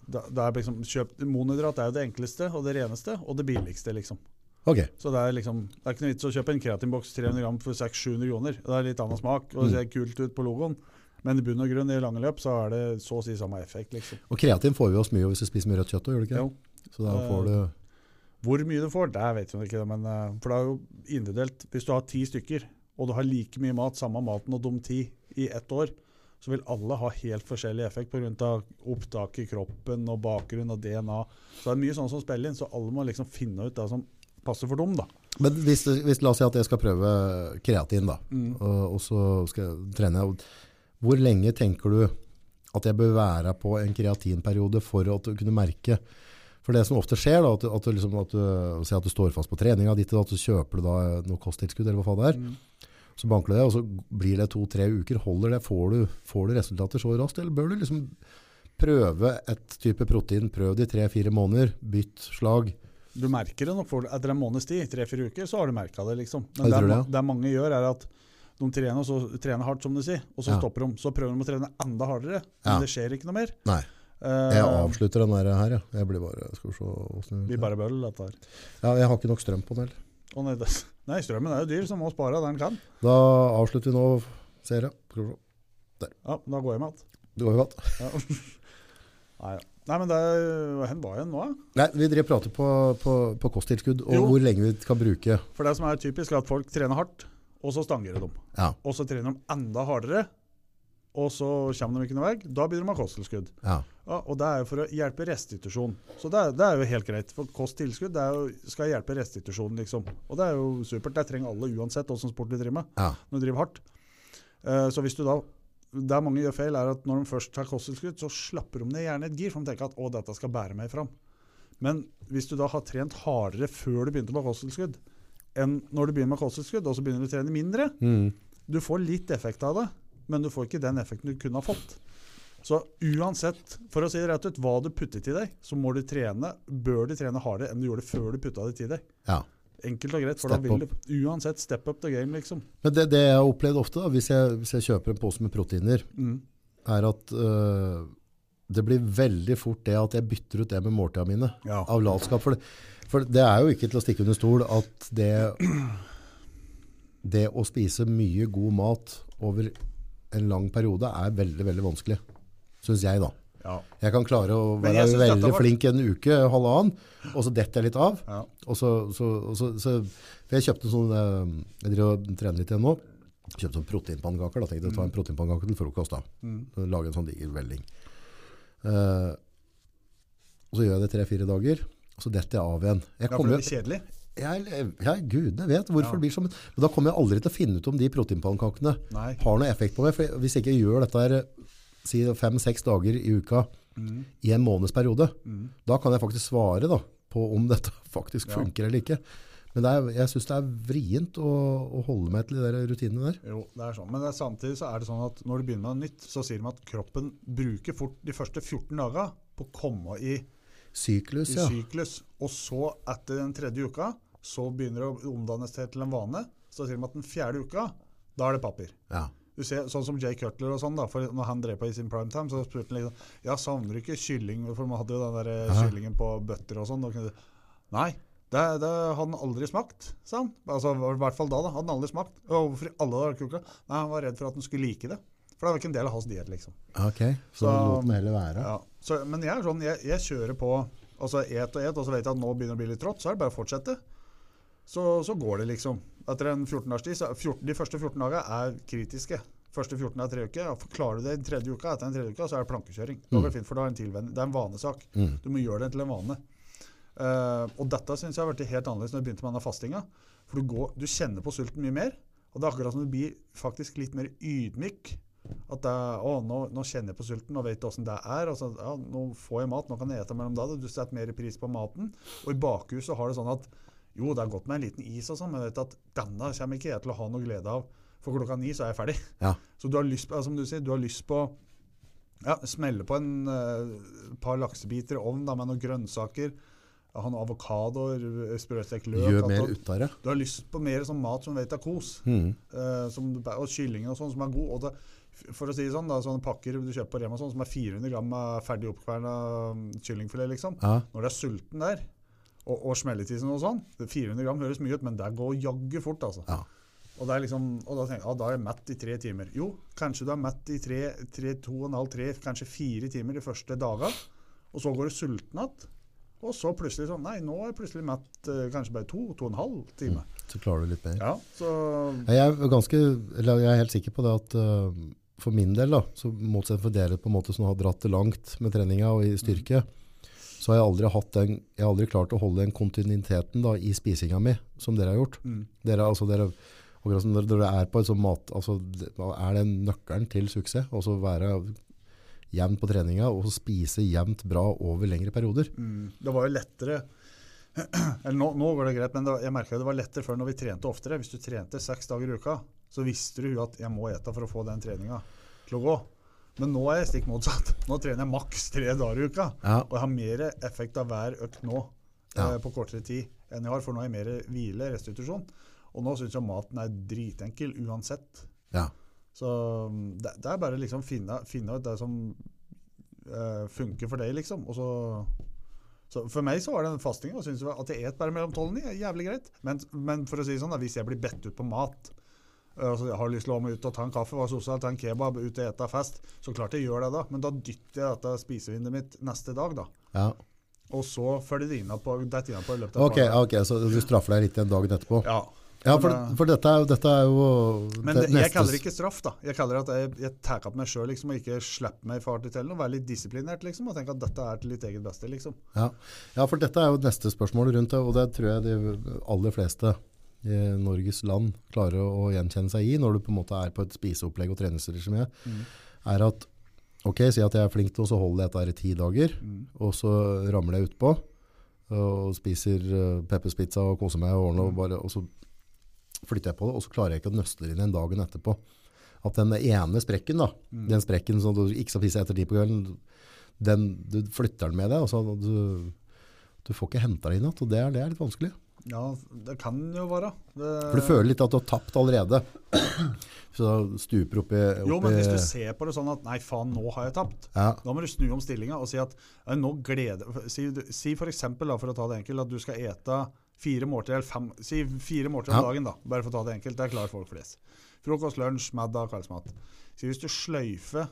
S2: da, da er liksom, kjøp, Monohydrat er jo det enkleste og det reneste og det billigste, liksom.
S1: Ok,
S2: Så det er liksom, det er ikke noe vits å kjøpe en kreatinboks 300 gram for 600-700 kroner. Det er litt annen smak, og det ser kult ut på logoen. Men i bunn og grunn i lange løp så er det så å si samme effekt. liksom.
S1: og kreatin får vi oss mye av hvis vi spiser mye rødt kjøtt, også, gjør det ikke?
S2: Jo.
S1: det? Så da får du...
S2: Hvor mye du får, det vet vi ikke, men, eh, for det er jo individuelt. Hvis du har ti stykker, og du har like mye mat, samme maten og de ti i ett år, så vil alle ha helt forskjellig effekt pga. opptak i kroppen og bakgrunn og DNA. Så det er mye sånn som spiller inn, så alle må liksom finne ut det som passer for dem. da.
S1: Men hvis, hvis la oss si at jeg skal prøve kreatin da, og, og så skal jeg trene, og hvor lenge tenker du at jeg bør være på en kreatinperiode for å at du kunne merke? For det som ofte skjer da, at, du- at, du, liksom, at, du, si at du står fast på treninga ditt, og at du kjøper du da øh, noe kosttilskudd, eller hva faen det er, så banker du det, og så blir det to-tre uker, holder det, får du, får du resultater så raskt, eller bør du liksom prøve et type protein, prøv det i tre-fire måneder, bytt slag,
S2: Du merker det nok for etter en måneds tid, tre-fire uker, så har du merka det. liksom.
S1: Jeg
S2: Men det,
S1: tror
S2: er
S1: det,
S2: ma-
S1: ja.
S2: det mange gjør, er at de trener, og så, trener hardt, som du sier, og så
S1: Ja.
S2: stopper de. Så prøver de å trene enda hardere, men
S1: Ja.
S2: det skjer ikke noe mer.
S1: Nei,
S2: Eh,
S1: jeg avslutter den der her, ja. Jeg blir bare, skal vi se hvordan
S2: blir bare bøll, dette her.
S1: Ja, jeg har ikke nok strøm på den. heller.
S2: Å, nei, det, nei, strømmen er jo dyr, så må spare der den kan.
S1: Da avslutter vi nå, ser jeg. Skal vi se.
S2: Ja, da går jeg med igjen.
S1: Det går jo galt.
S2: Ja. Nei, ja. nei, men det er- Hvor var jeg nå, da?
S1: Nei, vi driver og prater på, på, på kosttilskudd, og
S2: Jo.
S1: hvor lenge vi kan bruke.
S2: For det som er typisk, er at folk trener hardt, og så stanger de.
S1: Ja,
S2: Og så trener de enda hardere, og så kommer de ikke noen vei. Da begynner de med kosttilskudd.
S1: ja.
S2: Ja, og det er jo for å hjelpe restitusjon. Så det er, det er jo helt greit. For kosttilskudd det er jo, skal hjelpe restitusjon, liksom. Og det er jo supert. Det trenger alle uansett åssen sport du driver med.
S1: Ja.
S2: Når du driver hardt. Eh, så hvis du da Det er mange gjør feil, er at når de først tar kosttilskudd, så slapper de ned gjerne et gir, for de tenker at 'å, dette skal bære meg fram'. Men hvis du da har trent hardere før du begynte med kosttilskudd, enn når du begynner med kosttilskudd, og så begynner du å trene mindre,
S1: Mm.
S2: du får litt effekt av det, men du får ikke den effekten du kunne ha fått. Så uansett, for å si det rett ut, hva du putter til deg, så må du trene, bør du trene hardere enn du gjorde før du putta det til deg.
S1: ja.
S2: Enkelt og greit. for
S1: Step
S2: da vil du uansett step up the game, liksom.
S1: Men det, det jeg har opplevd ofte, da, hvis, jeg, hvis jeg kjøper en pose med proteiner,
S2: Mm.
S1: er at øh, det blir veldig fort det at jeg bytter ut det med måltida mine
S2: Ja.
S1: av latskap. For det, for det er jo ikke til å stikke under stol at det, det å spise mye god mat over en lang periode er veldig, veldig vanskelig. Syns jeg, da.
S2: Ja.
S1: Jeg kan klare å
S2: Men
S1: være
S2: jeg synes dette
S1: veldig
S2: var-
S1: flink en uke, halvannen, og så detter jeg litt av.
S2: ja.
S1: Og så, så, og så, så for jeg kjøpte sånn, eh, jeg driver og trener litt igjen nå, kjøpte sånn proteinpannkaker, da tenkte jeg å ta en proteinpannkake til frokost da.
S2: Mm.
S1: Så Lage en sånn diger velling. Eh, og så gjør jeg det tre-fire dager, og så detter jeg av igjen. Jeg
S2: ja for det
S1: kommer,
S2: blir kjedelig.
S1: jeg, jeg, jeg, gudene vet hvorfor
S2: Ja.
S1: det blir sånn, men da kommer jeg aldri til å finne ut om de proteinpannkakene
S2: Nei.
S1: har noe effekt på meg, for hvis jeg ikke gjør dette her, si fem-seks dager i uka,
S2: Mm.
S1: i en månedsperiode,
S2: Mm.
S1: da kan jeg faktisk svare da, på om dette faktisk
S2: Ja.
S1: funker eller ikke. Men det er, jeg synes det er vrient å, å holde meg til de der rutinene der.
S2: Jo, det er sånn. Men det er samtidig så er det sånn at når du begynner med noe nytt, så sier de at kroppen bruker fort de første 14 dagene på å komme i
S1: Syklus,
S2: i
S1: ja.
S2: syklus. Og så, etter den tredje uka, så begynner det å omdannes til- til en vane. Så sier de at den fjerde uka, da er det papir.
S1: ja.
S2: Du ser, sånn som Jay Cutler og sånn, da, for når han drev på i sin primetime, så spurte han liksom Ja, savner du ikke kylling? For man hadde jo den der eh,
S1: Ja.
S2: kyllingen på bøtter og sånn. og kunne- Nei. Det, det har han aldri smakt, sa han. Altså, I hvert fall da, da. Hadde han aldri smakt. Og hvorfor i alle dager kunne han ikke? Nei, han var redd for at han skulle like det. For det var ikke en del av hans diett, liksom.
S1: Ok, så,
S2: Så-
S1: låt den heller være.
S2: Ja. Så, men jeg er sånn, jeg, jeg kjører på altså et og et, og så vet jeg at nå begynner det å bli litt trått, så er det bare å fortsette. Så, så går det liksom. Etter en 14-dagstid, så er 14, de første 14 dagene er kritiske. Første 14 er tre uker. og Klarer du det i tredje uka, etter den tredje uka, så er det plankekjøring. Da går det fint, for da er det en tilvenning. Det er en vanesak.
S1: Mm.
S2: Du må gjøre det til en vane. Eh, og dette syns jeg har vært helt annerledes når jeg begynte med denne fastinga. For du, går, du kjenner på sulten mye mer, og det er akkurat som du blir faktisk litt mer ydmyk. At det er, å, nå, nå kjenner jeg på sulten og vet åssen det er. Og så, ja, nå får jeg mat, nå kan jeg ete mellom da. Du setter mer pris på maten. Og i bakhuset så har det sånn at jo, det er godt med en liten is og sånn, men jeg vet at denne kommer ikke jeg til å ha noe glede av. For klokka ni så er jeg ferdig.
S1: Ja.
S2: Så du har lyst på, ja, som du sier, du har lyst på ja, smelle på en eh, par laksebiter i ovnen da, med noen grønnsaker. Ja, ha noen avokadoer, sprøstekt løk.
S1: Gjør
S2: alt
S1: mer
S2: sånt.
S1: ut av det.
S2: Du har lyst på mer sånn mat som du vet er kos.
S1: Mm.
S2: eh, som, du- og kylling og sånn som er god. Og det, for å si det sånn, da, sånne pakker du kjøper på Rema og sånn, som er 400 gram med ferdig oppkverna kyllingfilet, liksom.
S1: Ja.
S2: Når du er sulten der, og, og smelletisen og sånn det- 400 gram høres mye ut, men det går jaggu fort, altså.
S1: Ja.
S2: Og, det er liksom, og da tenker jeg ja, da er jeg mett i tre timer. Jo, kanskje du er mett i tre, tre, to og en halv, tre, kanskje fire timer de første dagene. Og så går du sulten igjen. Og så plutselig sånn Nei, nå er jeg plutselig mett eh, kanskje bare to, to og en halv time.
S1: Så klarer du litt mer.
S2: Ja, så
S1: Nei, Jeg er, ganske, eller jeg er helt sikker på det at øh, for min del, da, så motsatt for dere på en måte som har dratt det langt med treninga og i styrke, så har jeg aldri, hatt den, jeg har aldri klart å holde den kontinuiteten da, i spisinga mi som dere har gjort.
S2: Mm.
S1: Dere, altså, dere, akkurat som dere, dere er på et sånt mat, altså, det- er det nøkkelen til suksess? Altså være jevn på treninga og spise jevnt bra over lengre perioder.
S2: mm, Det var jo lettere Eller nå, nå går det greit, men det, var- jeg merka det var lettere før når vi trente oftere. Hvis du trente seks dager i uka, så visste du jo at jeg må ete for å få den treninga til å gå. Men nå er jeg stikk motsatt. Nå trener jeg maks tre dager i uka.
S1: Ja,
S2: Og jeg har mer effekt av hver økt nå
S1: Ja.
S2: eh, på kortere tid enn jeg har, for nå er jeg mer hvile, restitusjon. Og nå syns jeg maten er dritenkel uansett.
S1: Ja.
S2: Så mm, det, det er bare liksom finne, finne ut det som eh, funker for deg, liksom. Og så, så for meg så var den fastinga. og synes jeg At jeg et bare mellom tolv og ni, er jævlig greit. Men, men for å si det sånn, da, hvis jeg blir bedt ut på mat eh, altså Jeg har lyst til å ha meg ut og ta en kaffe, hva sosa, ta en kebab, ut og ete fest. Så klart jeg gjør det, da. Men da dytter jeg dette spisevinduet mitt neste dag, da.
S1: ja.
S2: Og så følger det innapå detter innapå i løpet av et
S1: Ok,
S2: par dager.
S1: ok, så du straffer deg litt igjen dagen etterpå.
S2: Ja.
S1: Ja, for, for dette, er, jo- dette er jo
S2: Men
S1: det
S2: det, jeg
S1: neste-
S2: kaller det ikke straff, da. Jeg kaller det at jeg, jeg tar opp meg sjøl liksom, og ikke slipper meg i farten til noe. Være litt disiplinert liksom, og tenke at dette er til ditt eget beste. liksom.
S1: Ja. ja, for dette er jo neste spørsmål rundt det, og det tror jeg de aller fleste i Norges land klarer å gjenkjenne seg i når du på en måte er på et spiseopplegg og treningsregime, er at ok, si at jeg er flink til å holde dette her i ti dager, og så ramler jeg utpå og spiser eh, pepperspizza og koser meg og ordner, og, bare, og så flytter jeg på det, og så klarer jeg ikke å nøsle det inn den dagen etterpå. At den ene sprekken da, den sprekken som du ikke skal spise etter ti på kvelden, den, du flytter den med deg, og så du, du får ikke henta deg inn igjen, og det er, det er litt vanskelig.
S2: Ja, det kan jo være. Det,
S1: For du føler litt at du har tapt allerede. Så da stuper oppi, oppi
S2: jo, men hvis du ser på det sånn at nei, faen, nå har jeg tapt.
S1: ja,
S2: Da må du snu om stillinga og si at ja, nå gleder Si, du- si for eksempel, da, for å ta det enkelt, at du skal ete fire måltider eller fem, si fire måltider om
S1: Ja.
S2: dagen, da, bare for å ta det enkelt. Det er klart folk flest. Frokost, lunsj, middag, kveldsmat. Si hvis du sløyfer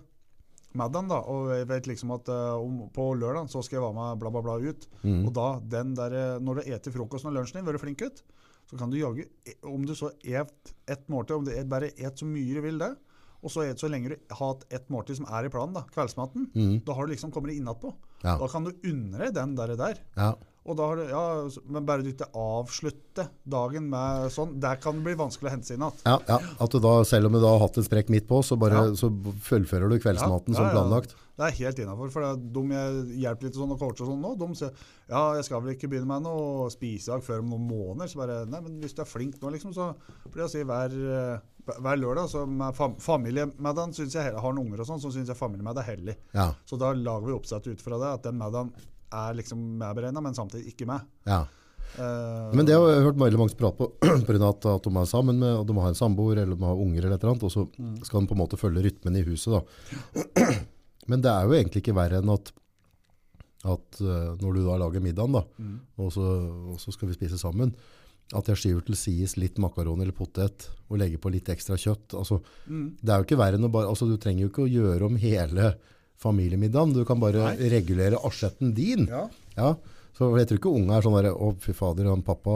S2: middagen, da, og jeg vet liksom at eh, om, på lørdag så skal jeg være med bla, bla, bla ut, og da den der, eh, når du eter frokosten og lunsjen din, være flink ut, så kan du jaggu e- Om du så et ett måltid, om du et, bare et så mye du vil det, og så et så lenge du har hatt ett måltid som er i planen, da, kveldsmaten, da har du liksom kommet deg innatpå.
S1: Ja.
S2: Da kan du unne deg den der. der.
S1: ja.
S2: Og da har du, ja, så- men bare du ikke avslutter dagen med sånn, der kan det bli vanskelig å hente seg inn igjen.
S1: Ja, ja, at du da, selv om du da har hatt en sprekk midt på, så, bare,
S2: Ja.
S1: så fullfører du kveldsmaten som planlagt.
S2: Det er helt innafor. For det er de jeg hjelper litt sånn og coacher og sånn nå, de sier ja, jeg skal vel ikke begynne med noe spisedag før om noen måneder. Så bare Nei, men hvis du er flink nå, liksom, så blir det å si hver, eh, hver lørdag så med fam familiemiddagen synes jeg heller- Har han unger og sånn, så syns jeg familiemiddag er hellig.
S1: Ja,
S2: Så da lager vi oppsett ut fra det, at den middagen er liksom medberegna, men samtidig ikke med.
S1: ja.
S2: Eh,
S1: Men det har jeg hørt veldig mange prate på, på grunn av at, at de er sammen med, og de har en samboer, eller de har unger eller et eller annet, og så skal de på en måte følge rytmen i huset da. Men det er jo egentlig ikke verre enn at, at eh, når du da lager middagen da, og, så, og så skal vi spise sammen, at jeg skyver til sies litt makaron eller potet, og legger på litt ekstra kjøtt. Altså, Det er jo ikke verre enn å bare, altså du trenger jo ikke å gjøre om hele familiemiddagen, du kan bare regulere asjetten din.
S2: ja.
S1: Ja, så jeg tror ikke unge er sånn der, å fy fader, han pappa,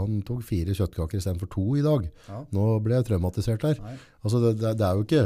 S1: han tok fire kjøttkaker i stedet for to i dag.
S2: Ja.
S1: Nå ble jeg traumatisert her.
S2: Nei.
S1: Altså, det, det, det er jo ikke,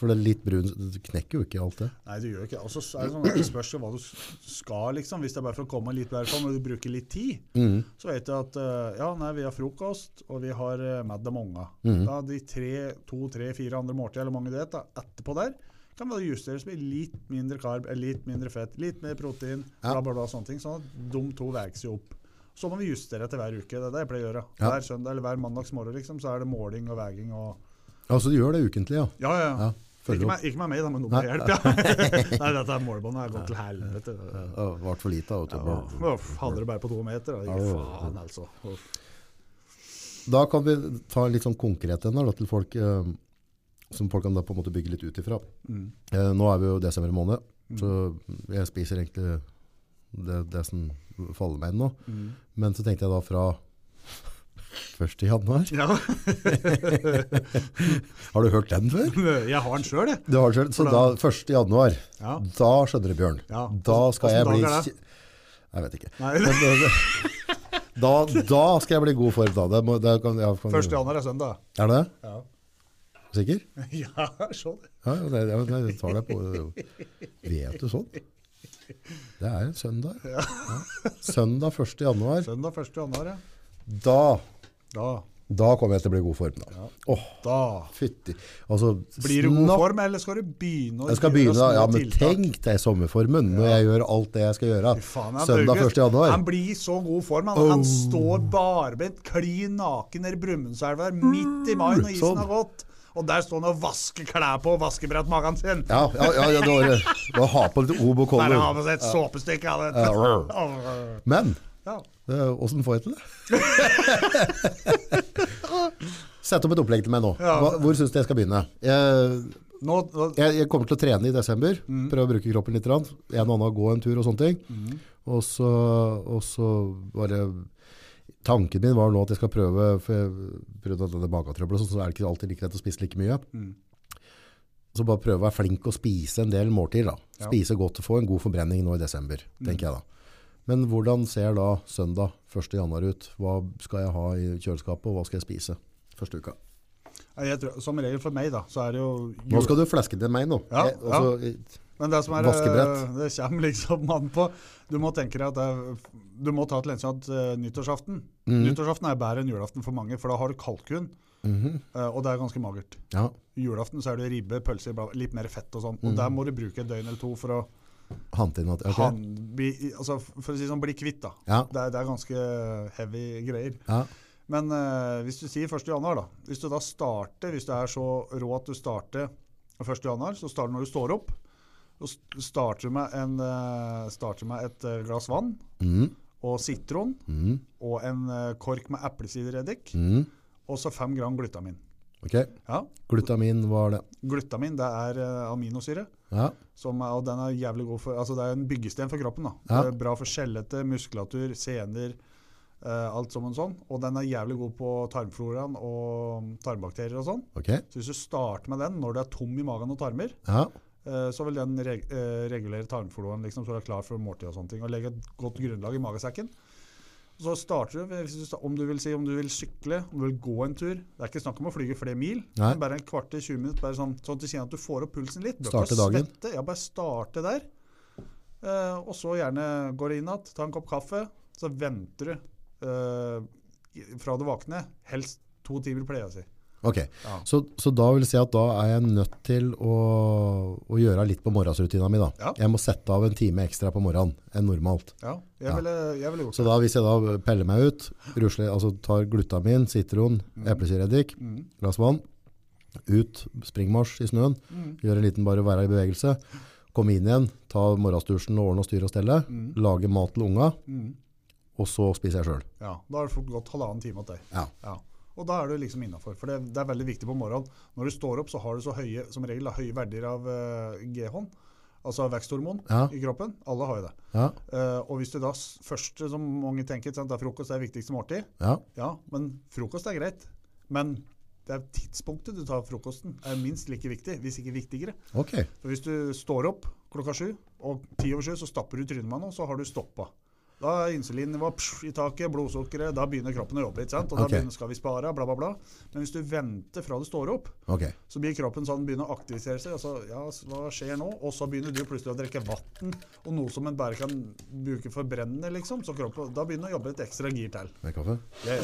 S1: for det er litt brun, det knekker jo ikke alt det.
S2: Nei, du gjør ikke det. Og så er det sånn at det spørs jo hva du s- skal, liksom. Hvis det er bare for å komme litt bedre fram, og du bruker litt tid,
S1: Mm.
S2: så vet du at eh, ja, nei, vi har frokost, og vi har uh, middag med unga.
S1: Mhm.
S2: Da de tre, to, tre, fire andre måltider, eller mange du vet, da, etterpå der, kan det justeres med litt mindre karb, eller litt mindre fett, litt mer protein,
S1: Ja.
S2: bla, bla, bla, sånne ting. Sånn at de to veier jo opp. Så må vi justere etter hver uke. Det er det jeg pleier å gjøre.
S1: Ja.
S2: Hver søndag eller hver mandagsmorgen liksom, så er det måling og veiing og
S1: Altså, du gjør det ukentlig, ja.
S2: ja, ja.
S1: Ja,
S2: ja
S1: følger
S2: ikke,
S1: opp.
S2: meg, ikke meg, meg, da, men noen må hjelpe. Ja. Nei, dette er målbåndet. Jeg går til helvete.
S1: Det vært for lite. vet du.
S2: Uff, hadde det bare på to meter. Da. Ikke faen, altså. Uff.
S1: Da kan vi ta litt sånn konkret den her da, til folk, eh, som folk kan da på en måte bygge litt ut ifra.
S2: Mm.
S1: Eh, nå er vi jo desember måned, så jeg spiser egentlig det, det som faller meg inn nå.
S2: Mm.
S1: Men så tenkte jeg da fra 1. januar.
S2: Ja,
S1: Har du hørt den før?
S2: jeg har den sjøl, jeg.
S1: Du har det selv. Så da, 1. januar,
S2: Ja.
S1: da skjønner du, Bjørn.
S2: Ja.
S1: Da
S2: Hvordan-
S1: skal jeg bli
S2: hvordan dag er det?
S1: kje- Jeg vet ikke.
S2: Nei,
S1: Da, da skal jeg bli i god form, da. Det må, det kan, ja, kan,
S2: 1. januar er søndag.
S1: Er det?
S2: Ja,
S1: Sikker?
S2: ja sånn.
S1: Ja, ja, det, ja, men jeg tar deg på Vet du sånn? Det er en søndag. Ja. Søndag 1. januar.
S2: Søndag 1. januar, ja.
S1: Da,
S2: Da,
S1: da kommer jeg til å bli i god form, da. Åh,
S2: da
S1: fytti. Altså,
S2: Blir du i god
S1: snakk-
S2: form, eller skal du begynne å
S1: Jeg skal
S2: gjøre
S1: begynne,
S2: små
S1: ja, men
S2: tiltak?
S1: tenk deg sommerformen når jeg gjør alt det jeg skal gjøre.
S2: Fy faen, han
S1: Søndag
S2: Børge,
S1: 1. januar.
S2: Han blir i så god form. Han, han står barbeint, klin naken nede i Brumunddal der, midt i mai når isen
S1: Sånn.
S2: har gått. Og der står han og vasker klær på og vaskebrett magen sin.
S1: Ja, ja, ja, ja det var det. Bare ha på litt obo
S2: Bare
S1: kollo.
S2: ha med seg et såpestykke. Ja.
S1: Ja.
S2: det-
S1: Men eh,
S2: Ja.
S1: Åssen får jeg til det? Sett opp et opplegg til meg nå.
S2: Ja.
S1: Hva, hvor syns du jeg skal begynne? Jeg,
S2: Nå, nå,
S1: jeg, jeg kommer til å trene i desember.
S2: Mm.
S1: Prøve å bruke kroppen litt. grann. En og annen gå en tur og sånne ting.
S2: Mhm.
S1: Og så, og så bare Tanken min var nå at jeg skal prøve For jeg prøvde denne magetrøbbelet, og sånn, så er det ikke alltid like lett å spise like mye.
S2: Mhm.
S1: Så bare prøve å være flink og spise en del måltider. da.
S2: Ja. Mm.
S1: Spise godt og få en god forbrenning nå i desember, tenker jeg da. Men hvordan ser da søndag 1. januar ut? Hva skal jeg ha i kjøleskapet, og hva skal jeg spise første uka?
S2: Nei, jeg tror, som regel for meg, da, så er det jo
S1: Nå skal du fleske til meg nå.
S2: Ja,
S1: jeg, altså,
S2: Men det som er,
S1: vaskebrett.
S2: det kommer liksom an på Du må tenke deg at det er, du må ta et lenskjent nyttårsaften.
S1: Mhm.
S2: Nyttårsaften er bedre enn julaften for mange, for da har du kalkun,
S1: Mhm.
S2: eh, og det er ganske magert.
S1: ja.
S2: Julaften så er det ribbe, pølser, bla, bla, litt mer fett og sånn. Og der må du bruke et døgn eller to for å
S1: Hante inn at Mhm. ok.
S2: han, bli, altså, for å si sånn, bli kvitt. da.
S1: Ja.
S2: Det, er, det er ganske heavy greier.
S1: ja.
S2: Men eh, hvis du sier 1. januar, da. Hvis du da starter, hvis du er så rå at du starter 1. januar, så starter du når du står opp. Så st- starter du med, en, eh, starter med et eh, glass vann
S1: Mhm.
S2: og sitron
S1: Mhm.
S2: og en eh, kork med eplesidereddik.
S1: Mhm.
S2: Og så 5 gram glutamin.
S1: Ok.
S2: Ja,
S1: Glutamin, hva er det?
S2: Glutamin det er eh, aminosyre.
S1: Ja.
S2: Som er, og den er jævlig god for, altså Det er en byggesten for kroppen. da.
S1: Ja.
S2: Det er bra for skjelette, muskulatur, sener, eh, alt som en sånn. Og den er jævlig god på tarmfloraen og tarmbakterier og sånn.
S1: Ok.
S2: Så hvis du starter med den når du er tom i magen og tarmer,
S1: Ja.
S2: eh, så vil den reg eh, regulere tarmfloraen liksom, så du er klar for måltid og sånne ting, og legge et godt grunnlag i magesekken. Så starter du, ved- hvis du sta- om du vil si om du vil sykle, om du vil gå en tur. Det er ikke snakk om å flyge flere mil,
S1: Nei.
S2: men bare en kvart til 20 minutter, bare sånn, sånn at du kjenner at du får opp pulsen litt. Du bør
S1: Starte
S2: ikke
S1: dagen.
S2: Svette. Ja, bare starte der. Eh, og så gjerne går du inn igjen, ta en kopp kaffe, så venter du eh, i- fra du våkner, helst to timer pleier jeg å si.
S1: Ok,
S2: Ja.
S1: så, så da vil jeg si at da er jeg nødt til å, å gjøre litt på morgensrutina mi da.
S2: Ja.
S1: Jeg må sette av en time ekstra på morgenen enn normalt.
S2: Ja, jeg,
S1: Ja.
S2: Ville, jeg ville gjort
S1: Så da hvis jeg da peller meg ut, rusler, altså tar glutamin, sitron, eplesyreddik,
S2: Mm.
S1: glass vann, ut, springmarsj i snøen,
S2: Mm.
S1: gjøre en liten bare være i bevegelse, komme inn igjen, ta morgensdusjen og ordne og styre og stelle, lage mat til unga,
S2: Mm.
S1: og så spiser jeg selv.
S2: Ja, Da har det fort gått halvannen time til.
S1: Ja.
S2: Ja. Og da er du liksom innafor. For det, det er veldig viktig på morgenen. Når du står opp, så har du så høye, som regel da, høye verdier av eh, G-hånd, altså veksthormon,
S1: Ja.
S2: i kroppen. Alle har jo det.
S1: Ja,
S2: Eh, og hvis du da s- første, som mange tenker, ikke sant, det er frokost det er viktigste måltid.
S1: ja,
S2: Ja, men frokost er greit. Men det er tidspunktet du tar frokosten, er minst like viktig, hvis ikke viktigere.
S1: ok.
S2: For hvis du står opp klokka sju, og ti over sju, så stapper du trynet med noe, så har du stoppa. Da er insulinnivået psh, i taket, blodsukkeret, da begynner kroppen å jobbe. ikke sant? Og da
S1: Ok.
S2: begynner, skal vi spare, bla, bla, bla. Men hvis du venter fra du står opp,
S1: Ok,
S2: så blir kroppen sånn, begynner å aktivisere seg. Altså, ja, s- hva skjer nå? Og så begynner du plutselig å drikke vann, og noe som en bare kan bruke for brennende, liksom. Så kroppen, da begynner å jobbe et ekstra gir til.
S1: med kaffe.
S2: Ja, ja.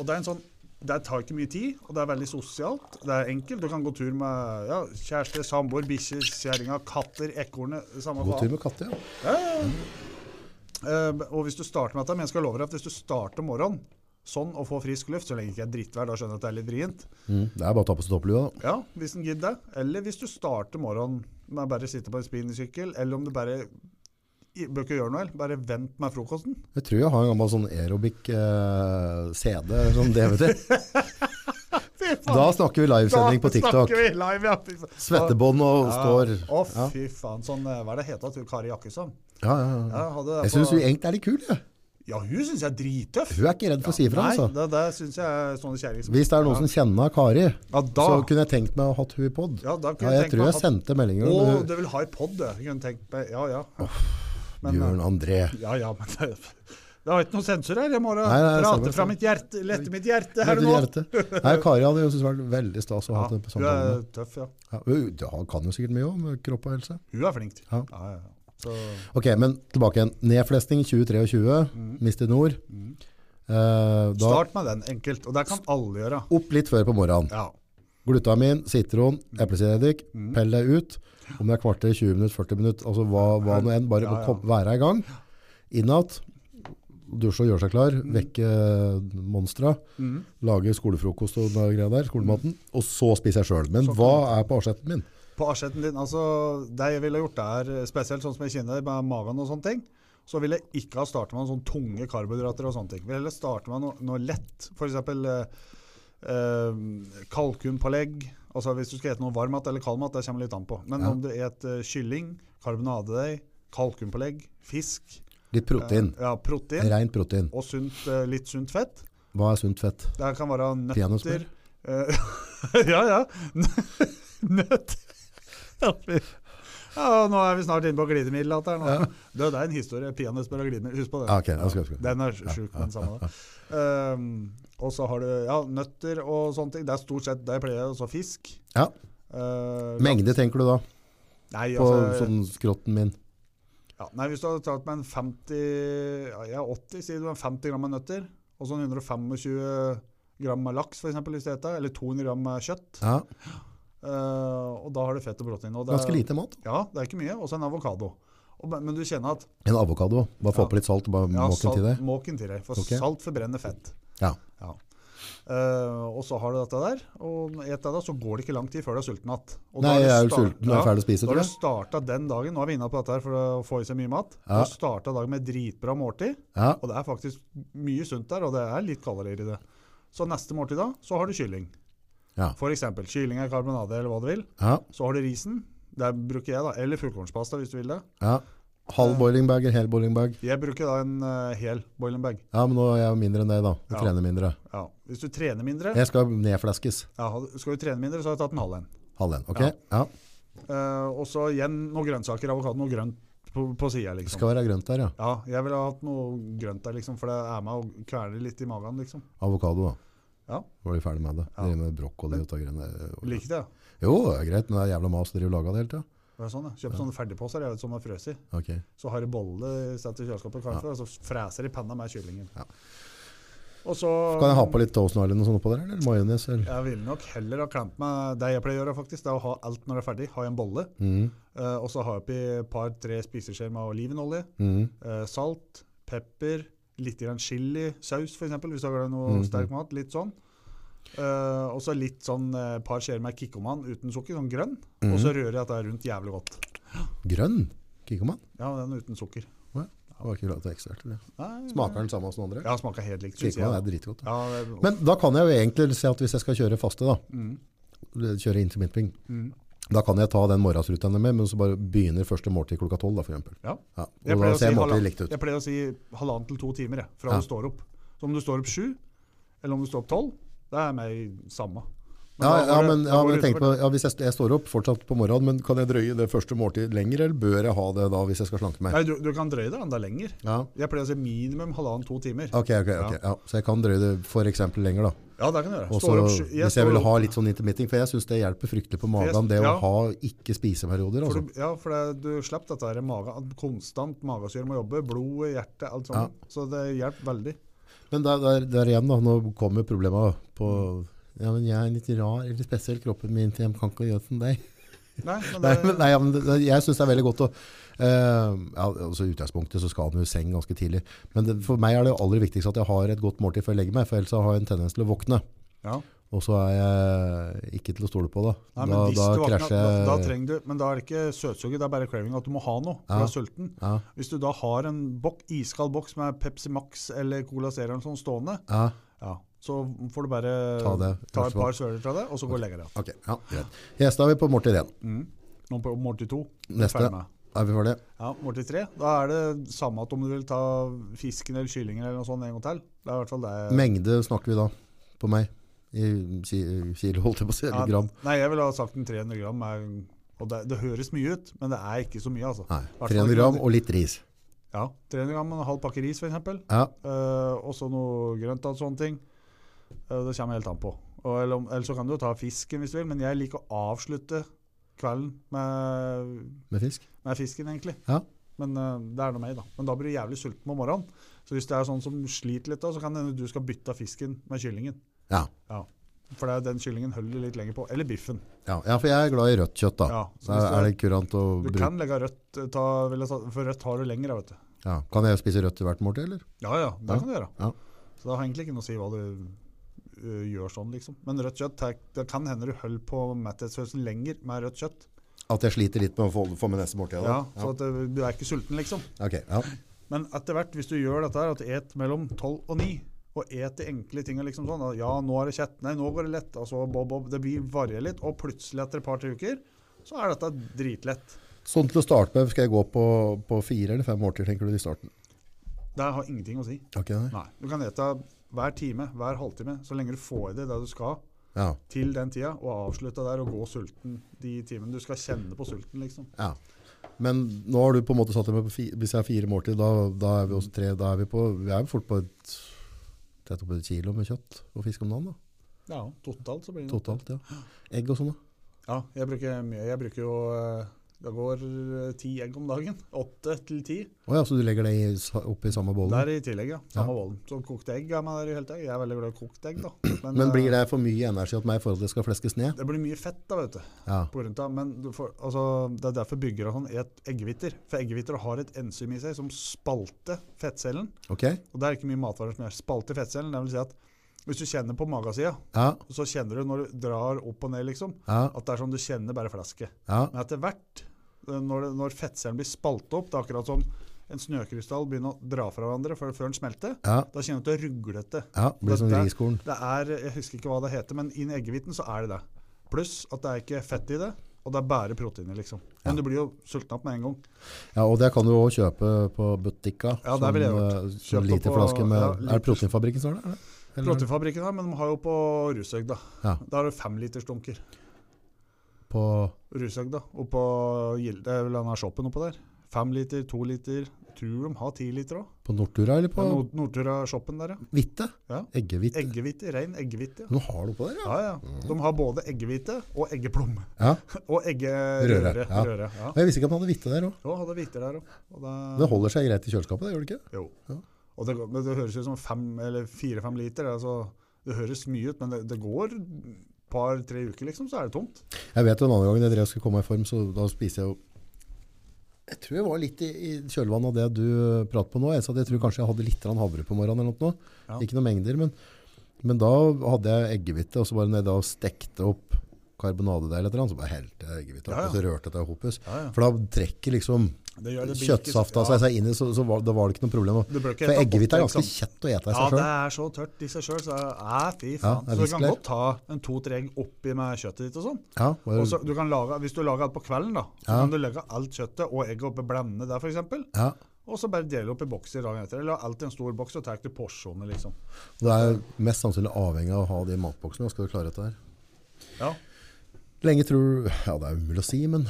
S2: Og det er en sånn det tar ikke mye tid, og det er veldig sosialt. Det er enkelt. Du kan gå tur med ja, kjæreste, samboer, bikkjer, kjerringa, katter, ekornet Samme
S1: God tur
S2: faen.
S1: med katte, ja.
S2: Ja, ja, ja. Eh, og hvis du starter med dette, men jeg skal love deg at hvis du starter om morgenen sånn og får frisk luft, så lenge det ikke er drittvær, da skjønner jeg at det er litt vrient.
S1: Mm, det er bare å ta på seg topplua da.
S2: Ja, hvis den gidder det. Eller hvis du starter morgenen med å bare sitte på en spinnesykkel, eller om du bare i- bør ikke gjøre noe, eller bare vent med frokosten.
S1: Jeg tror jeg har en gammel sånn aerobic-CD, sånn DVD.
S2: Fy faen,
S1: Da snakker vi livesending på
S2: da
S1: TikTok.
S2: snakker vi live, ja. fy faen.
S1: Svettebånd og står
S2: Å,
S1: Ja,
S2: fy faen. Sånn, eh, hva er det heta til Kari Jakkesson?
S1: ja, ja, ja.
S2: Jeg, hadde det
S1: Mm. Jeg
S2: på-
S1: syns hun egentlig er litt kul. jeg.
S2: Ja, hun syns jeg er drittøff.
S1: Hun er ikke redd for å si ifra.
S2: Nei,
S1: Altså.
S2: det, det syns jeg er sånne kjerringer som
S1: Hvis det er noen som kjenner Kari,
S2: Ja, da,
S1: så kunne jeg tenkt meg å ha hatt hun i pod.
S2: ja, da
S1: Ja,
S2: kunne
S1: jeg
S2: tenkt
S1: tror
S2: meg
S1: jeg sendte meldinger
S2: Å,
S1: om
S2: du vil ha i pod, du. Jeg Kunne tenkt meg Ja, ja. Men, eh,
S1: Bjørn André.
S2: ja, ja, men det, det har ikke noe sensor her. Jeg må da
S1: Nei, nei,
S2: prate
S1: stemmer.
S2: fra mitt hjerte. Lette mitt hjerte her
S1: Lille
S2: og nå.
S1: hjerte. Nei, Kari hadde jo syntes det vært veldig stas å ha
S2: Ja,
S1: hatt henne på
S2: hun er
S1: samtalen.
S2: tøff, ja.
S1: Ja, hun hun kan jo sikkert mye om kropp og helse.
S2: Hun er flink.
S1: Ja.
S2: Ja, ja, ja. Så,
S1: Ok, men tilbake igjen. Nedflesting 2023, Mister Nord. Eh, da
S2: Mm. start med den, enkelt. Og det kan alle gjøre.
S1: opp litt før på morgenen.
S2: Ja.
S1: Glutamin, sitron,
S2: Mm.
S1: eplesidereddik, pell deg ut. Om det er kvarter, 20 minutter, 40 minutter, altså hva, hva nå enn, bare
S2: Ja, ja.
S1: Kom, være i gang. Innatt, dusje og gjøre seg
S2: Mm.
S1: klar, vekke monstra,
S2: Mhm.
S1: lage skolefrokost og noe greier der,
S2: Mm.
S1: skolematen, og så spiser jeg sjøl. Men hva er på asjetten min?
S2: På asjetten din, altså Det jeg ville gjort, er eh, spesielt sånn som jeg kjenner deg, med magen og sånne ting. så ville jeg ikke ha startet med noen sånne tunge karbohydrater og sånne ting. Jeg ville heller starte med noe, noe lett, f.eks. Eh, eh, kalkunpålegg. Altså Hvis du skal ete noe varmmat eller kaldmat, det kommer litt an på. Men
S1: Ja.
S2: om du et eh, kylling, karbonadedeig, kalkunpålegg, fisk
S1: Litt protein.
S2: eh, ja, protein
S1: Rent protein.
S2: og sunt, eh, litt sunt fett.
S1: Hva er sunt fett?
S2: Det her kan være nøtter
S1: Peanøttsmør?
S2: eh, Ja, ja. Nøtt. Ja, nå er vi snart inne på glidemiddel. alt her nå.
S1: Ja.
S2: Du, det er en historie. Peanøttsmør og glidemiddel. Husk på det.
S1: Ja, ok, jeg skal huske det.
S2: Den er sjuk, den samme. da. Ehm, og så har du ja, nøtter og sånne ting. Det er stort sett det jeg pleier, og så fisk.
S1: Ja.
S2: Eh,
S1: Mengde tenker du da,
S2: Nei,
S1: på
S2: altså,
S1: sånn skrotten min?
S2: ja, nei, hvis du hadde tatt med en 50 ja, jeg er 80, sier du, en 50 gram med nøtter, og sånn 125 gram med laks, for eksempel, hvis du heter, eller 200 gram med kjøtt,
S1: Ja,
S2: Eh, og da har du fett og protein. Og det er-
S1: ganske lite mat.
S2: Ja, det er ikke mye. Og så en avokado. Og, men- men du kjenner at
S1: En avokado, bare få
S2: Ja.
S1: på litt salt og bare
S2: Ja,
S1: måken
S2: salt,
S1: til det.
S2: Måken til deg, for
S1: Ok.
S2: salt forbrenner fett.
S1: Ja.
S2: Eh, og så har du dette der, og et av det, så går det ikke lang tid før du er sulten igjen. Og da
S1: Nei,
S2: har du
S1: jeg er jo
S2: start-
S1: sulten og er ferdig å spise,
S2: Da har
S1: tror
S2: du
S1: jeg.
S2: starta den dagen, nå er vi inne på dette her for å få i seg mye mat,
S1: Ja.
S2: du har starta dagen med dritbra måltid,
S1: Ja,
S2: og det er faktisk mye sunt der, og det er litt kalorier i det. Så neste måltid da, så har du kylling.
S1: Ja.
S2: For eksempel, kylling er karbonade eller hva du vil.
S1: ja,
S2: Så har du risen, der bruker jeg da, eller fullkornspasta hvis du vil det.
S1: ja. Halv
S2: Eh.
S1: boiling bag, hel boiling bag.
S2: Jeg bruker da en eh, hel boiling bag.
S1: Ja, men nå er jeg jo mindre enn deg da. Jeg
S2: Ja.
S1: trener mindre.
S2: Ja. Hvis du trener mindre,
S1: Jeg skal nedfleskes.
S2: ja, skal du trene mindre, så har jeg tatt en halv en.
S1: Halv en, ok?
S2: Ja.
S1: Ja,
S2: Eh, og så igjen noen grønnsaker, avokado, noe grønt på, på sida,
S1: det
S2: liksom.
S1: skal være grønt der, ja.
S2: Ja, jeg ville ha hatt noe grønt der, liksom, for det er med og kveler litt i magen, liksom.
S1: Avokado da.
S2: Ja.
S1: Da var de ferdig med det.
S2: Ja.
S1: Driver med brokkoli og grønne.
S2: Liker det, ja.
S1: Jo, det er greit, men det er jævla mas dere lager det hele tiden.
S2: Det er sånn, ja. Kjøp sånne ferdigposer, jeg vet, som er frøs i.
S1: Ok.
S2: Så har du bolle satt i kjøleskapet, kaffe, og så freser i panna med kyllingen.
S1: Ja.
S2: Og så
S1: Kan jeg ha på litt toast eller noe sånt oppå der, eller majones? Eller?
S2: Jeg ville nok heller ha klemt meg Det jeg pleier å gjøre, faktisk, det er å ha alt når det er ferdig. Ha i en bolle,
S1: Mm,
S2: eh, og så ha oppi et par-tre spiseskjeer med olivenolje.
S1: mm.
S2: eh, salt, pepper, litt grann chili, saus for eksempel, hvis du har glad i noe
S1: Mhm.
S2: sterk mat, litt sånn. Eh, og så litt sånn eh, par skjeer med kikkoman uten sukker, sånn grønn, og så
S1: Mhm.
S2: rører jeg dette rundt jævlig godt.
S1: Grønn? Kikkoman?
S2: Ja, den uten sukker.
S1: Det var ikke lov til å ekstra, tror jeg.
S2: Nei,
S1: Smaker den samme som den andre?
S2: Ja, smaker helt likt, synes jeg.
S1: Kikkoman
S2: da.
S1: er dritgodt. da.
S2: Ja, det-
S1: Men da kan jeg jo egentlig si at hvis jeg skal kjøre faste da,
S2: Mhm,
S1: kjøre intermitting,
S2: mhm.
S1: da kan jeg ta den morgensrutene med, men så bare begynner første måltid klokka 12 da, for eksempel.
S2: Ja.
S1: ja.
S2: Jeg
S1: Og
S2: pleier
S1: da
S2: å si
S1: ser
S2: halvannen-
S1: måltidet likt ut.
S2: Jeg pleier å si halvannen til to timer, jeg, fra
S1: Ja.
S2: du står opp. Så om du står opp sju, eller om du står opp tolv, det er meg samme.
S1: Ja,
S2: da
S1: ja,
S2: går det-
S1: men,
S2: da
S1: ja,
S2: går
S1: men
S2: det
S1: jeg tenker på,
S2: utover.
S1: ja, hvis jeg, st- jeg står opp fortsatt på morgenen, men kan jeg drøye det første måltid lenger, eller bør jeg ha det da hvis jeg skal slanke meg?
S2: Nei, du, du kan drøye det enda lenger.
S1: Ja.
S2: Jeg pleier å si minimum halvannen, to timer.
S1: Ok, ok, ok. Ja. Så jeg kan drøye det for eksempel lenger da.
S2: Ja, det kan du gjøre.
S1: Og
S2: Står
S1: så
S2: opp sju- jeg
S1: hvis
S2: står
S1: jeg vil
S2: opp-
S1: ha litt sånn intermitting, for jeg synes det hjelper fryktelig på
S2: jeg-
S1: magen, det å
S2: ja.
S1: ha ikke spiseperioder,
S2: for
S1: altså.
S2: du, Ja, for det, du slapp dette her mage, at konstant magesyre må jobbe, blodet, hjertet, alt sånt. Så det hjelper veldig.
S1: Men der, der, der igjen da, nå kommer problemet på Ja, men jeg er litt rar, eller spesiell kroppen min til jeg kan ikke gjøre som deg.
S2: Nei, men
S1: Nei,
S2: det,
S1: men, nei, ja, men det- jeg syns det er veldig godt å eh, ja, altså I utgangspunktet så skal han jo i seng ganske tidlig. Men det, for meg er det aller viktigste at jeg har et godt måltid før jeg legger meg, for ellers så har jeg en tendens til å våkne.
S2: ja.
S1: Og så er jeg ikke til å stole på, da.
S2: Nei, men
S1: da
S2: hvis
S1: da
S2: du våkner,
S1: krasjer
S2: da,
S1: jeg
S2: da trenger du, men da er det ikke søtsuget, det er bare craving at du må ha noe, for
S1: Ja.
S2: du er sulten.
S1: ja,
S2: Hvis du da har en bok, iskald boks med Pepsi Max eller Cola Zero eller sånn stående,
S1: ja,
S2: ja, så får du bare
S1: ta det.
S2: Eh, ta et par søler fra det, og så gå og legge deg.
S1: Ok, ja, greit. Yes, da er vi på måltid igjen.
S2: Mm. Nå på måltid to.
S1: Neste.
S2: Ferdig med.
S1: Er vi ferdige?
S2: Ja, måltid tre. Da er det samme at om du vil ta fisken eller kyllingen eller noe sånt en gang til. Det er i hvert fall det.
S1: Mengde snakker vi da, på meg. I ki kilo, holdt jeg på å si.
S2: Ja,
S1: Eller gram.
S2: Nei, jeg ville ha sagt en 300 gram. Er, og det, det høres mye ut, men det er ikke så mye, altså.
S1: Nei,
S2: fall
S1: 300
S2: ikke
S1: gram
S2: noe-
S1: og litt ris.
S2: Ja, 300 gram og en halv pakke ris, for eksempel.
S1: Ja,
S2: Eh, også noe grønt og sånne ting. Eh, det kommer helt an på. Og, eller, om- eller så kan du jo ta fisken hvis du vil, men jeg liker å avslutte kvelden med,
S1: med fisk.
S2: med fisken, egentlig.
S1: Ja.
S2: Men eh, det er noe meg, da. Men da blir du jævlig sulten om morgenen. Så hvis det er sånn som sliter litt, da, så kan det hende du skal bytte av fisken med kyllingen.
S1: Ja.
S2: For det er den kyllingen holder litt lenger på. Eller biffen.
S1: Ja, ja, for jeg er glad i rødt kjøtt da.
S2: Ja, så
S1: Så
S2: hvis
S1: er,
S2: du-
S1: er det kurant å
S2: Du
S1: bruke?
S2: kan legge rødt, eh, ta, vil jeg, sa- for rødt har du lenger, vet du.
S1: Ja. Kan jeg spise rødt i hvert måltid, eller?
S2: Ja, ja, det
S1: Ja,
S2: kan du gjøre.
S1: ja.
S2: Så det har egentlig ikke noe å si hva du ø, gjør sånn, liksom. Men rødt kjøtt, tek- det kan hende du holder på metthetsfølelsen lenger med rødt kjøtt.
S1: At jeg sliter litt med å få, få med neste måltid
S2: Ja, eh,
S1: da?
S2: Så at ø, du er ikke sulten, liksom.
S1: Ok, ja.
S2: Men etter hvert, hvis du gjør dette her, at du et mellom 12 og 9, og et de enkle tingene liksom sånn, at ja, nå er det kjett, nei, nå går det lett, og så bob, bob, det blir varje litt, og plutselig etter et par-tre uker, så er dette dritlett.
S1: Sånn til å starte med, skal jeg gå på, på fire eller fem måltider, tenker du, i starten?
S2: Det har ingenting å si.
S1: Har ikke det?
S2: Nei. Du kan ete hver time, hver halvtime, så lenge du får i deg det du skal
S1: Ja.
S2: til den tida, og avslutte der og gå sulten de timene du skal kjenne på sulten, liksom.
S1: ja. Men nå har du på en måte satt deg med på fi, hvis jeg har fire måltider, da, da er vi også tre, da er vi på, vi er jo fort på et, tett opp på et kilo med kjøtt og fisk om dagen da,
S2: Ja, totalt så blir det noe.
S1: totalt, ja. Egg og sånn da.
S2: Ja, jeg bruker mye. Jeg bruker jo eh, Det går eh, ti egg om dagen. Åtte til ti.
S1: Åja, så du legger det i, sa- oppi samme bollen?
S2: Der i tillegg, ja. Samme bollen. Så kokte egg er med der i hele tatt. Jeg er veldig glad i kokt egg, da. Men,
S1: Men blir
S2: eh,
S1: det for mye energi at meg i forhold til det skal fleskes ned?
S2: det blir mye fett, da, vet du.
S1: Ja,
S2: På grunn av, men du får, altså, det er derfor byggere og sånn et eggehviter. For eggehviter har et enzym i seg som spalter fettcellen.
S1: ok.
S2: Og det er ikke mye matvarer som gjør. Spalter fettcellen. Det vil si at hvis du kjenner på magasida,
S1: Ja,
S2: så kjenner du når du drar opp og ned, liksom,
S1: ja,
S2: at det er som du kjenner bare flasket.
S1: ja,
S2: Men etter hvert, eh, når, det- når fettcellen blir spalt opp, det er akkurat som en snøkrystall begynner å dra fra hverandre før, før den smelter,
S1: ja,
S2: da kjenner du at det er ruglete.
S1: ja, blir som
S2: Dette-
S1: riskorn.
S2: Det er, jeg husker ikke hva det heter, men i eggehviten så er det det. Pluss at det er ikke fett i det, og det er bare proteiner, liksom. Men
S1: Ja.
S2: du blir jo sulten opp med en gang.
S1: Ja, og det kan du også kjøpe på butikka.
S2: Ja, der ville jeg gjort.
S1: Som, eh, som
S2: Kjøpt det
S1: liter
S2: på-
S1: flaske med,
S2: ja,
S1: er
S2: liter-
S1: det proteinfabrikken som har det? Eller-
S2: Proteinfabrikken her, men de har jo på Rusøgda.
S1: Ja.
S2: Da har du femlitersdunker.
S1: På,
S2: Rusøgda. Og på Gilde, det er vel denne shoppen oppå der. Fem liter, to liter. Tror de har ti liter òg.
S1: på Nordtura eller på
S2: Nordtura-shoppen der, ja.
S1: Hvitte?
S2: Ja.
S1: Eggehvitte.
S2: Eggehvite, rein eggehvite.
S1: Nå har du på det, ja.
S2: Ja, ja.
S1: Mm.
S2: De har både eggehvite og eggeplom.
S1: ja.
S2: Og
S1: Røre,
S2: eggerøre.
S1: ja.
S2: Røre, ja.
S1: Og jeg visste ikke at man hadde hvitte der òg.
S2: Jo, hadde hviter der òg. Og
S1: Det holder seg greit i kjøleskapet, det gjør det ikke?
S2: Jo.
S1: Ja.
S2: Og det, går- men det høres ut som fem eller fire-fem liter. Altså, det høres mye ut, men det, det går par-tre uker, liksom, så er det tomt.
S1: Jeg vet jo en annen gang jeg drev og skulle komme meg i form, så da spiste jeg jo Jeg tror jeg var litt i, i kjølvannet av det du prater på nå. Jeg, sa at jeg tror kanskje jeg hadde litt grann havre på morgenen eller noe.
S2: Ja.
S1: Ikke noen mengder, men, men da hadde jeg eggehvite, og så bare når jeg da stekte opp karbonadedeig eller et eller annet, så bare helte jeg eggehvite opp,
S2: Ja, ja.
S1: og så rørte jeg det i hopus.
S2: Ja, ja.
S1: For da trekker liksom
S2: Det gjør det blir ikke så-
S1: kjøttsafta seg seg inn i, så, så var, da var det ikke noe problem. å-
S2: Du bør ikke
S1: For
S2: ete opp,
S1: eggehvite er ganske
S2: liksom.
S1: kjett å ete i
S2: Ja,
S1: seg
S2: det
S1: sjøl.
S2: er så tørt i seg sjøl, så æ, fy
S1: Ja, det er
S2: faen. så du kan
S1: viskelær.
S2: godt ta en to-tre egg oppi med kjøttet ditt og sånn.
S1: Ja, bare-
S2: Og så du kan lage, Hvis du lager alt på kvelden, da, så
S1: Ja.
S2: kan du legge alt kjøttet og egget oppi blendene der, f.eks.
S1: ja.
S2: Og så bare dele opp i bokser dagen etter. Eller alt i en stor boks, og tar du porsjoner, liksom.
S1: Du er mest sannsynlig avhengig av å ha de matboksene. Skal du klare dette her?
S2: Ja.
S1: Lenge tror Ja, det er umulig å si, men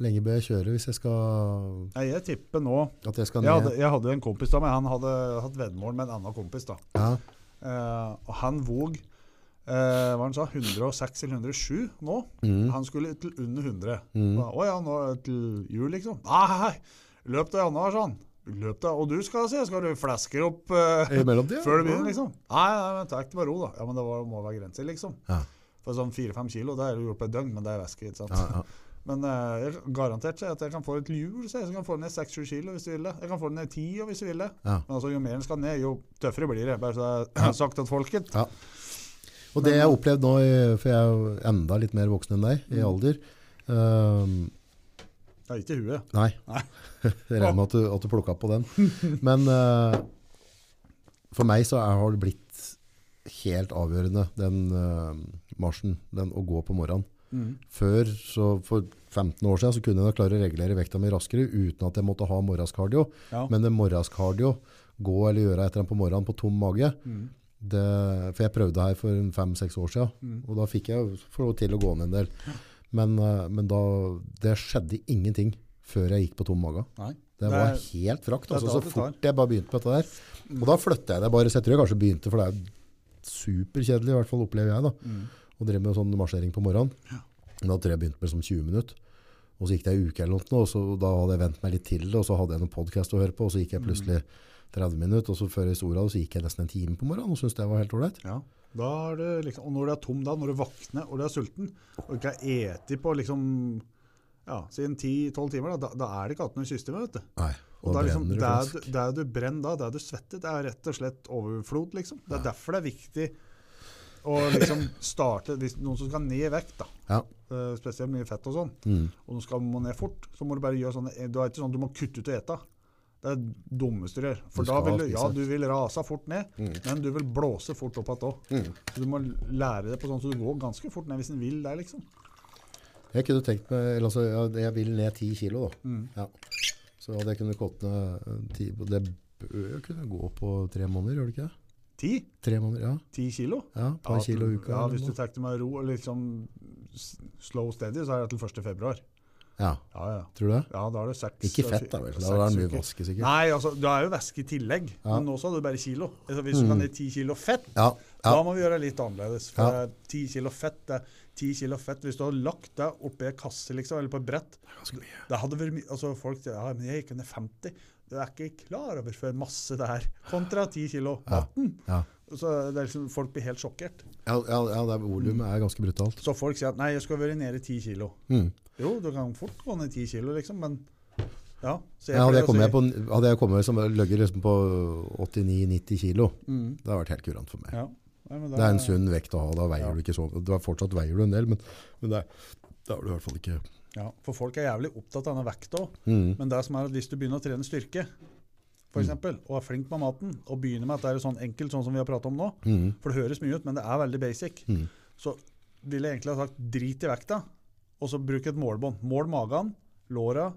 S1: lenge bør jeg kjøre hvis jeg skal
S2: Nei, jeg tipper nå
S1: At jeg skal
S2: jeg hadde,
S1: ned?
S2: jeg hadde en kompis da, men han hadde hatt veddemål med en annen kompis. da.
S1: Ja,
S2: Eh, og han vog eh, hva han sa, 106 eller 107 nå.
S1: Mm.
S2: Han skulle til under 100. Og, Å ja, nå til jul, liksom. Nei, løp til januar, sa han. Løp til, Og du skal se, skal du flaske opp eh,
S1: I mellomtida?
S2: før du begynner, liksom? Nei, nei, men ta det med ro, da. Ja, men Det var, må være grenser, liksom.
S1: Ja.
S2: For sånn 4-5 kilo, det er jo gjort på et døgn, men det er væske. ikke sant?
S1: ja, ja.
S2: Men eh, jeg garantert seg at jeg kan få et hjul, så jeg kan få ned 6-7 kilo hvis du vil det. Jeg kan få ned 10 jo, hvis du vil det.
S1: Ja.
S2: Men altså, jo mer den skal ned, jo tøffere blir det. Bare så jeg har sagt til folket.
S1: Ja. Og det jeg har opplevd nå, i- for jeg er jo enda litt mer voksen enn deg i alder ehm,
S2: Ja, ikke i huet.
S1: Nei.
S2: Nei.
S1: Jeg regner med at du, at du plukka på den. Men eh, for meg så er, har det blitt helt avgjørende, den eh, marsjen, den å gå på morgenen. Før, så for 15 år siden, så kunne jeg da klare å regulere vekta mi raskere uten at jeg måtte ha morgenskardio.
S2: Ja.
S1: Men det morgenskardio, gå eller gjøre et eller annet på morgenen på tom mage,
S2: Mm.
S1: det, for jeg prøvde her for en fem-seks år siden, og da fikk jeg jo- få lov til å gå ned en del. Men, eh, men da, det skjedde ingenting før jeg gikk på tom mage.
S2: Nei.
S1: Det var helt frakt.
S2: det er
S1: Altså,
S2: da
S1: så
S2: det tar.
S1: fort jeg bare begynte på dette der.
S2: Mm.
S1: Og da flytta jeg det bare. Så jeg tror jeg kanskje begynte, for det er jo superkjedelig, i hvert fall opplever jeg, da.
S2: Mm.
S1: Og drev med sånn marsjering på morgenen. Men Da tror jeg jeg begynte med som 20 minutter. Og så gikk det ei uke eller noe, og så, da hadde jeg vent meg litt til det, og så hadde jeg noen podkast å høre på, og så gikk
S2: Mm.
S1: jeg plutselig 30 minutter, og så før jeg store av det, så gikk jeg nesten en time på morgenen, og syntes det var helt ålreit.
S2: Ja. Da er det liksom, og når du er tom da, når du våkner og du er sulten, og ikke har eti på liksom, ja, siden 10-12 timer, da, da er det ikke annet enn å kysse med, vet du.
S1: Nei,
S2: Og
S1: og
S2: det
S1: da
S2: er liksom,
S1: brenner det
S2: der,
S1: faktisk.
S2: du- der du brenner da, der du svetter, det er rett og slett overflod, liksom. Det er derfor det er viktig å liksom starte, hvis noen som skal ned i vekt da,
S1: Ja.
S2: eh, spesielt mye fett og sånn,
S1: Mm.
S2: og du skal må ned fort, så må du bare gjøre sånne, du er ikke sånn, at du må kutte ut å ete. Det er det dummeste du gjør. For
S1: Du
S2: da
S1: skal
S2: vil du,
S1: spise.
S2: ja, du vil rase fort ned, men du vil blåse fort opp igjen òg. Så du må lære det på sånn så du går ganske fort ned hvis en vil det, liksom.
S1: Jeg kunne tenkt meg, eller altså, ja, jeg vil ned 10 kilo da.
S2: Mm.
S1: Ja. Så hadde jeg kunnet gått ned eh, 10, og det bør jo kunne gå på tre måneder, gjør det ikke det?
S2: Ti?
S1: Tre måneder, ja.
S2: Ti kilo?
S1: Ja, et par
S2: Ja,
S1: kilo i uka.
S2: Ja,
S1: eller
S2: hvis du
S1: noe.
S2: tar det med ro og liksom s- slow steady, så er det til 1. februar.
S1: Ja,
S2: Ja, ja.
S1: tror du det?
S2: Ja, da er det seks.
S1: Ikke fett da vel, da er det mye vaske sikkert.
S2: Nei, altså, du er jo væske i tillegg,
S1: Ja. Mm.
S2: men nå så hadde du bare kilo. Altså, hvis du kan gi ti kilo fett,
S1: Ja, ja,
S2: da må vi gjøre det litt annerledes. For
S1: Ja.
S2: det er ti kilo fett, det er ti kilo fett. Hvis du hadde lagt det oppi en kasse, liksom, eller på et brett,
S1: ganske mye.
S2: det hadde vært mye Altså, folk sier ja, men jeg gikk ned 50. Du er ikke klar over for masse det er, kontra ti kilo maten.
S1: Ja,
S2: Så det er liksom, folk blir helt sjokkert.
S1: ja, ja, ja det er, volumet er ganske brutalt.
S2: Så folk sier at nei, jeg skal være nede i 10 kilo.
S1: Mm.
S2: Jo, du kan fort gå ned 10 kilo, liksom, men ja. Så
S1: Ja, hadde, jeg
S2: pleier å
S1: kommet,
S2: si-
S1: på, hadde jeg kommet som løgger liksom på 89-90 kilo,
S2: Mm,
S1: det hadde vært helt kurant for meg.
S2: ja. Nei, men da-
S1: Det er en sunn vekt å ha, da veier
S2: Ja.
S1: du ikke så Du er fortsatt veier du en del, men, men det, er- da er du i hvert fall ikke
S2: Ja, for folk er jævlig opptatt av denne vekta òg.
S1: mm.
S2: Men det som er at hvis du begynner å trene styrke, for eksempel, og er flink med maten, og begynner med at det er sånn enkelt sånn som vi har pratet om nå,
S1: Mm.
S2: for det høres mye ut, men det er veldig basic,
S1: Mm.
S2: så ville jeg egentlig ha sagt drit i vekta, og så bruk et målbånd. Mål magen, låra,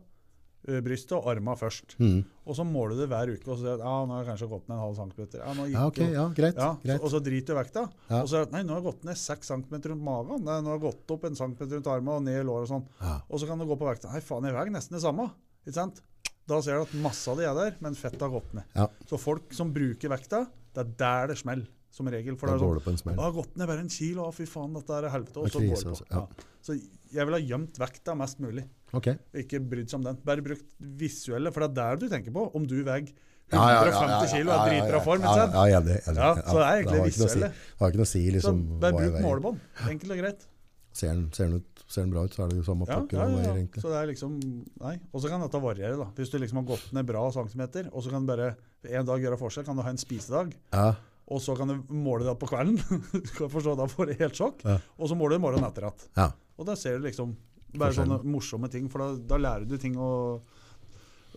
S2: ø, brystet og armene først.
S1: Mm.
S2: Og så måler du det hver uke og så sier du at ja, nå har jeg kanskje gått ned en halv centimeter. Ja, nå gikk
S1: Ja, ok,
S2: jo.
S1: ja, greit.
S2: Ja, så,
S1: greit.
S2: og så driter du i vekta.
S1: Ja.
S2: Og så er det, nei, nå har jeg gått ned seks centimeter rundt magen. Nei, nå har jeg gått opp en centimeter rundt armen og ned i låret og sånn.
S1: Ja.
S2: Og så kan du gå på vekta. Nei, faen, jeg veier nesten det samme. Ikke sant? Da ser du at massa di er der, men fettet har gått ned.
S1: Ja.
S2: Så folk som bruker vekta, det er der det smeller, som regel. For
S1: Da
S2: det er
S1: går
S2: sånn,
S1: det på en smell.
S2: jeg har gått ned bare en kilo, å, fy faen, dette er helvete. Og
S1: Det er
S2: så går
S1: krise,
S2: det på.
S1: altså. Ja.
S2: Ja. Så jeg vil ha gjemt vekta mest mulig.
S1: Ok.
S2: Ikke brydd seg om den. Bare bruk visuelle, for det er der du tenker på. Om du veier 150
S1: Ja, ja, ja, ja, ja,
S2: kilo og er
S1: ja, ja,
S2: dritbra form,
S1: ja,
S2: ikke
S1: ja,
S2: sant?
S1: ja, enig, enig.
S2: Ja, så det er egentlig
S1: har ikke noe å si-
S2: visuelle.
S1: Har ikke noe å si
S2: Så
S1: liksom,
S2: bare
S1: hva jeg
S2: bruk
S1: veier.
S2: målebånd. Enkelt og greit.
S1: Ser den, ser den ut, ser den bra ut, så er det jo samme
S2: Ja,
S1: pakken
S2: ja,
S1: han
S2: ja,
S1: veier,
S2: ja.
S1: egentlig.
S2: Så det er liksom Nei. Og så kan dette variere, da. Hvis du liksom har gått ned bra centimeter, og så kan du bare en dag gjøre forskjell, kan du ha en spisedag.
S1: Ja,
S2: Og så kan du måle det på kvelden. du skal forstå, Da får du helt sjokk.
S1: Ja.
S2: Og så måler du morgenen etter igjen.
S1: ja.
S2: Og da ser du liksom bare sånne
S1: Forskjellen.
S2: morsomme ting, for da, da lærer du ting å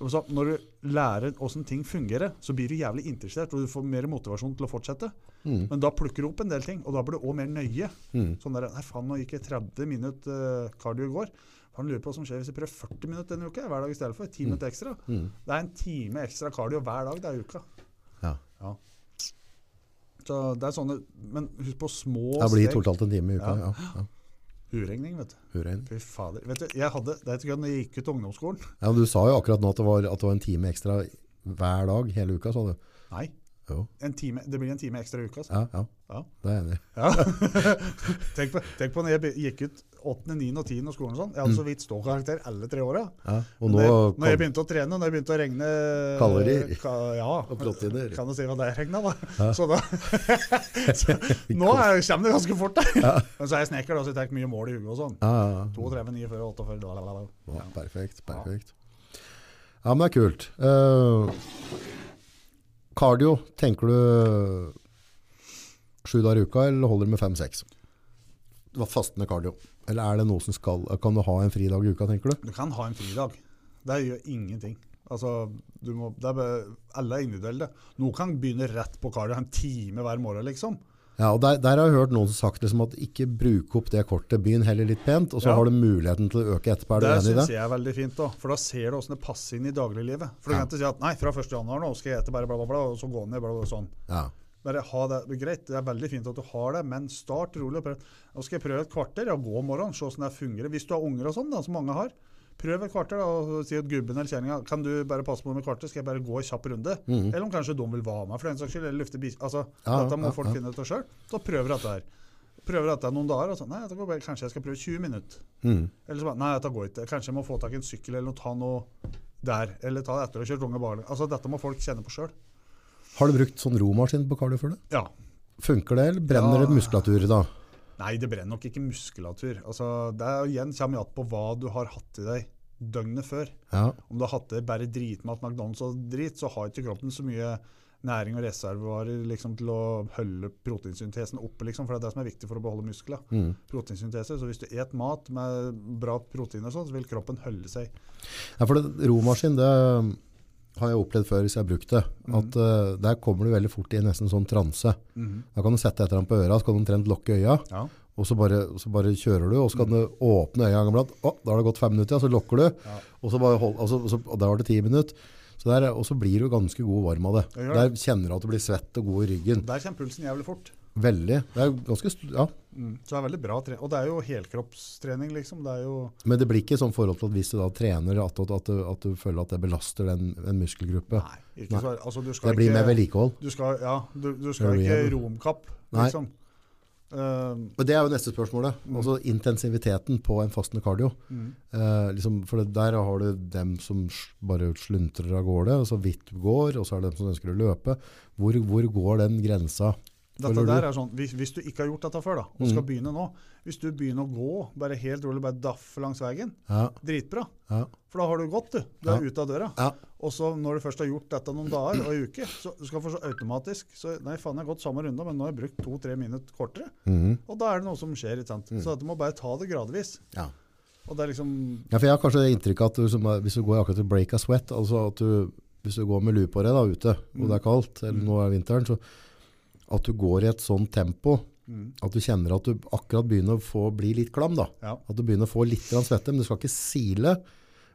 S2: og så Når du lærer åssen ting fungerer, så blir du jævlig interessert, og du får mer motivasjon til å fortsette.
S1: Mm.
S2: Men da plukker du opp en del ting, og da blir du òg mer nøye.
S1: Mm.
S2: Sånn der, Nei, faen, nå gikk jeg 30 minutter eh, cardio i går. Han lurer på hva som skjer hvis jeg prøver 40 minutter denne uka hver dag i stedet for. 10 minutter ekstra.
S1: Mm.
S2: Det er en time ekstra cardio hver dag det er i uka.
S1: Ja.
S2: Så det er sånne Men husk på små
S1: Det blir totalt en time i uka,
S2: Ja.
S1: ja. ja.
S2: Uregning, vet du.
S1: Hurra inn.
S2: Fy fader. Vet du, jeg hadde Det er ikke gøy når jeg gikk ut av ungdomsskolen.
S1: Ja, men du sa jo akkurat nå at det var, at det var en time ekstra hver dag, hele uka, sa du.
S2: Nei.
S1: Jo,
S2: En time, det blir en time ekstra i uka. Altså.
S1: ja, ja.
S2: Ja.
S1: Det er jeg enig. i.
S2: Ja. tenk, på, tenk på når jeg be- gikk ut 8., 9. og 10. av skolen og sånn. Jeg hadde så vidt ståkarakter alle tre åra.
S1: Ja. Mm. Og nå,
S2: når, jeg- når jeg
S1: kan,
S2: begynte å trene, når jeg begynte å regne
S1: Kalorier.
S2: Ka, ja.
S1: Og proteiner.
S2: Kan du si hva det er regna, da?
S1: Ja.
S2: Så da så, Nå er, kommer det ganske fort, da. Men så er jeg snekker, da, så jeg tar mye mål i huet og sånn.
S1: ja, ja, ja.
S2: 32, 49, 48 bla, bla, bla.
S1: Ja,
S2: Ja.
S1: perfekt, perfekt. Ja, men det er kult. Eh, cardio, tenker du sju dager i uka, eller holder du med fem-seks? Det var fastende cardio. Eller er det noe som skal, kan du ha en fridag i uka, tenker du?
S2: Du kan ha en fridag. Det gjør ingenting. Altså, du må, det er, bare- alle er individuelle. Noen kan begynne rett på kardio en time hver morgen, liksom.
S1: Ja, og der, der har jeg hørt noen som sagt liksom at ikke bruke opp det kortet, begynn heller litt pent, og så
S2: Ja.
S1: har du muligheten til å øke etterpå. Er du
S2: det
S1: enig i
S2: syns
S1: det?
S2: jeg er veldig fint, da. For da ser du åssen det passer inn i dagliglivet. For du
S1: Ja.
S2: kan ikke si at nei, fra 1. januar nå skal jeg ete bare bla, bla, bla, og så gå ned, bla, bla, sånn.
S1: Ja.
S2: Bare ha det, det er Greit, det er veldig fint at du har det, men start rolig. og prøv. Nå skal jeg prøve et kvarter ja, gå om morgenen, se hvordan det fungerer. Hvis du har unger og sånn, da, som mange har, prøv et kvarter da, og si at gubben eller kjerringa kan du bare passe på med kvarter, skal jeg bare gå en kjapp runde? Eller om kanskje de vil være med for den saks skyld, eller lufte bis... Altså,
S1: Mhm. Ja,
S2: dette må
S1: ja,
S2: folk
S1: ja.
S2: finne ut av sjøl. Så prøver dette her. Prøver dette noen dager, og så nei, dette går bare, kanskje jeg skal prøve 20 minutter.
S1: Mm.
S2: Eller så bare Nei, dette går ikke. Kanskje jeg må få tak i en sykkel eller noe, ta noe der. Eller ta det etter å ha kjørt unge barn. Altså, dette må folk kjenne på sjøl.
S1: Har du brukt sånn romaskin på cardio før? du?
S2: Ja.
S1: Funker det, eller brenner
S2: Ja.
S1: det muskulatur da?
S2: Nei, det brenner nok ikke muskulatur. Altså, det er, igjen kommer jeg att på hva du har hatt i deg døgnet før.
S1: Ja,
S2: Om du har hatt i deg bare dritmat, McDonald's og drit, så har ikke kroppen så mye næring og reservevarer liksom, til å holde proteinsyntesen oppe, liksom, for det er det som er viktig for å beholde muskler.
S1: Mm.
S2: Proteinsyntese, så hvis du et mat med bra protein og sånn, så vil kroppen holde seg.
S1: Ja, for det, romaskin, det, eh, har jeg opplevd før hvis jeg har brukt det,
S2: Mm.
S1: at eh, der kommer du veldig fort i en nesten sånn transe. Da kan du sette et eller annet på øra, så kan du omtrent lukke øya,
S2: Mm-hmm. Ja.
S1: og så bare, så bare kjører du, og
S2: Mm.
S1: så kan du åpne øya en gang iblant. Å, da har det gått fem minutter, ja, så lukker du,
S2: Ja.
S1: og så bare hold, og så- og så- og da var det ti minutter. Så der, og så blir du ganske god og varm av det.
S2: Ja, gjør
S1: Der kjenner du at du blir svett og god i ryggen.
S2: Der kommer pulsen jævlig fort.
S1: Veldig. Det er ganske, st- ja.
S2: Så det er veldig bra trening. Og det er jo helkroppstrening, liksom. Det er jo
S1: Men det blir ikke sånn forhold til at hvis du da trener, at, at, at, du, at du føler at det belaster den, en muskelgruppe.
S2: Nei. Ikke så, altså, du skal
S1: det blir
S2: ikke,
S1: mer vedlikehold.
S2: Du skal, ja, du, du skal
S1: Rehab.
S2: ikke romkapp,
S1: Nei.
S2: liksom. Eh,
S1: Og Det er jo neste spørsmålet. Altså intensiviteten på en fastende kardio.
S2: mm.
S1: Eh, liksom, for det, der har du dem som s- bare sluntrer av gårde, og så vidt går, og så er det dem som ønsker å løpe. Hvor, hvor går den grensa?
S2: Dette
S1: Føler du?
S2: der er sånn, hvis, hvis du ikke har gjort dette før, da, og skal
S1: Mm.
S2: begynne nå Hvis du begynner å gå, bare helt rolig, bare daffe langs veien,
S1: Ja,
S2: dritbra.
S1: ja,
S2: For da har du gått, du. Du
S1: Ja.
S2: er ute av døra.
S1: ja.
S2: Og så når du først har gjort dette noen dager og en uke, så du skal få så automatisk så, Nei, faen, jeg har gått samme runde, men nå har jeg brukt to-tre minutter kortere.
S1: Mhm.
S2: Og da er det noe som skjer.
S1: Mm.
S2: ikke sant? Så du må bare ta det gradvis.
S1: ja.
S2: Og det er liksom
S1: Ja, for jeg har kanskje det inntrykket at du, som, er- hvis du går akkurat til break a sweat, altså at du, hvis du går med lue på deg da, ute, og det er kaldt, eller nå er vinteren, så at du går i et sånt tempo,
S2: Mm.
S1: at du kjenner at du akkurat begynner å få, bli litt klam da.
S2: Ja.
S1: At du begynner å få litt grann svette, men du skal ikke sile,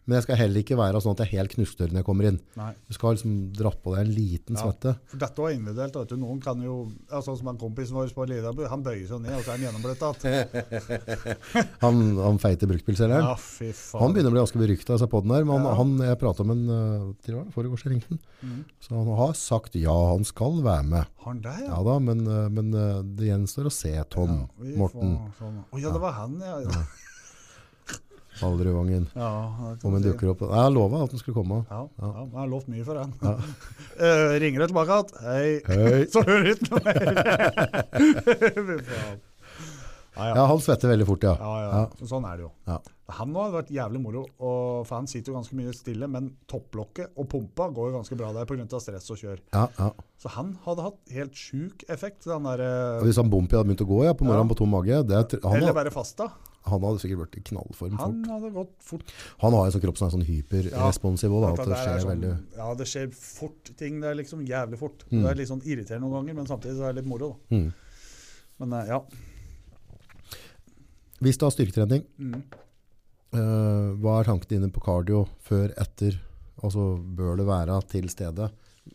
S1: men jeg skal heller ikke være sånn at jeg er helt knustør når jeg kommer inn.
S2: Nei.
S1: Du skal liksom dra på deg en liten
S2: Ja.
S1: svette.
S2: For dette var individuelt. Vet du. Noen kan jo altså, Som han kompisen vår på Lidabu, han bøyer seg ned, og så er han gjennombløtta igjen.
S1: Han, han feite bruktbilselgeren.
S2: Ja, fy
S1: Han
S2: faen.
S1: begynner å bli ganske berykta i seg på den her, men han,
S2: Ja.
S1: han, jeg pratet om en øh, til hva var det, foregårs jeg ringte han.
S2: Mhm.
S1: Så han har sagt ja, han skal være med.
S2: Han der, ja.
S1: Ja da, men, øh, men øh, det gjenstår å se Tom
S2: Ja, vi
S1: Morten
S2: får Sånn. Å ja, det var han, ja. ja.
S1: Alderudvangen.
S2: det kan
S1: Om
S2: man
S1: han
S2: si.
S1: dukker opp. Jeg har lova at han skulle komme.
S2: Ja, ja.
S1: Ja.
S2: Jeg har lovt mye for han.
S1: Ja.
S2: Eh, ringer det tilbake igjen. Hei.
S1: Hei.
S2: Så hører du ikke noe mer. Fy faen. Ja, ja.
S1: Ja, han svetter veldig fort, ja.
S2: Ja, ja.
S1: Ja.
S2: Sånn er det jo.
S1: Ja.
S2: Han nå hadde vært jævlig moro, og, for han sitter jo ganske mye stille, men topplokket og pumpa går jo ganske bra der pga. stress og kjør.
S1: Ja, ja.
S2: Så han hadde hatt helt sjuk effekt. Den der,
S1: Og
S2: eh,
S1: Hvis han Bompi hadde begynt å gå ja, på morgenen
S2: Ja.
S1: på tom mage det er, tr- han,
S2: eller
S1: hadde,
S2: være fasta.
S1: han hadde sikkert vært i knallform
S2: Han
S1: fort.
S2: hadde gått fort.
S1: Han har en sånn kropp som er sånn hyperresponsiv òg,
S2: Dette
S1: at det
S2: der er
S1: skjer
S2: sånn,
S1: veldig
S2: Ja, det skjer fort ting. Det er liksom jævlig fort.
S1: Mm.
S2: Det er litt sånn irriterende noen ganger, men samtidig så er det litt moro, da.
S1: Mm.
S2: Men eh, ja.
S1: Hvis du har styrketrening,
S2: Mm.
S1: eh, hva er tankene dine på cardio før, etter? Altså, bør det være til stedet?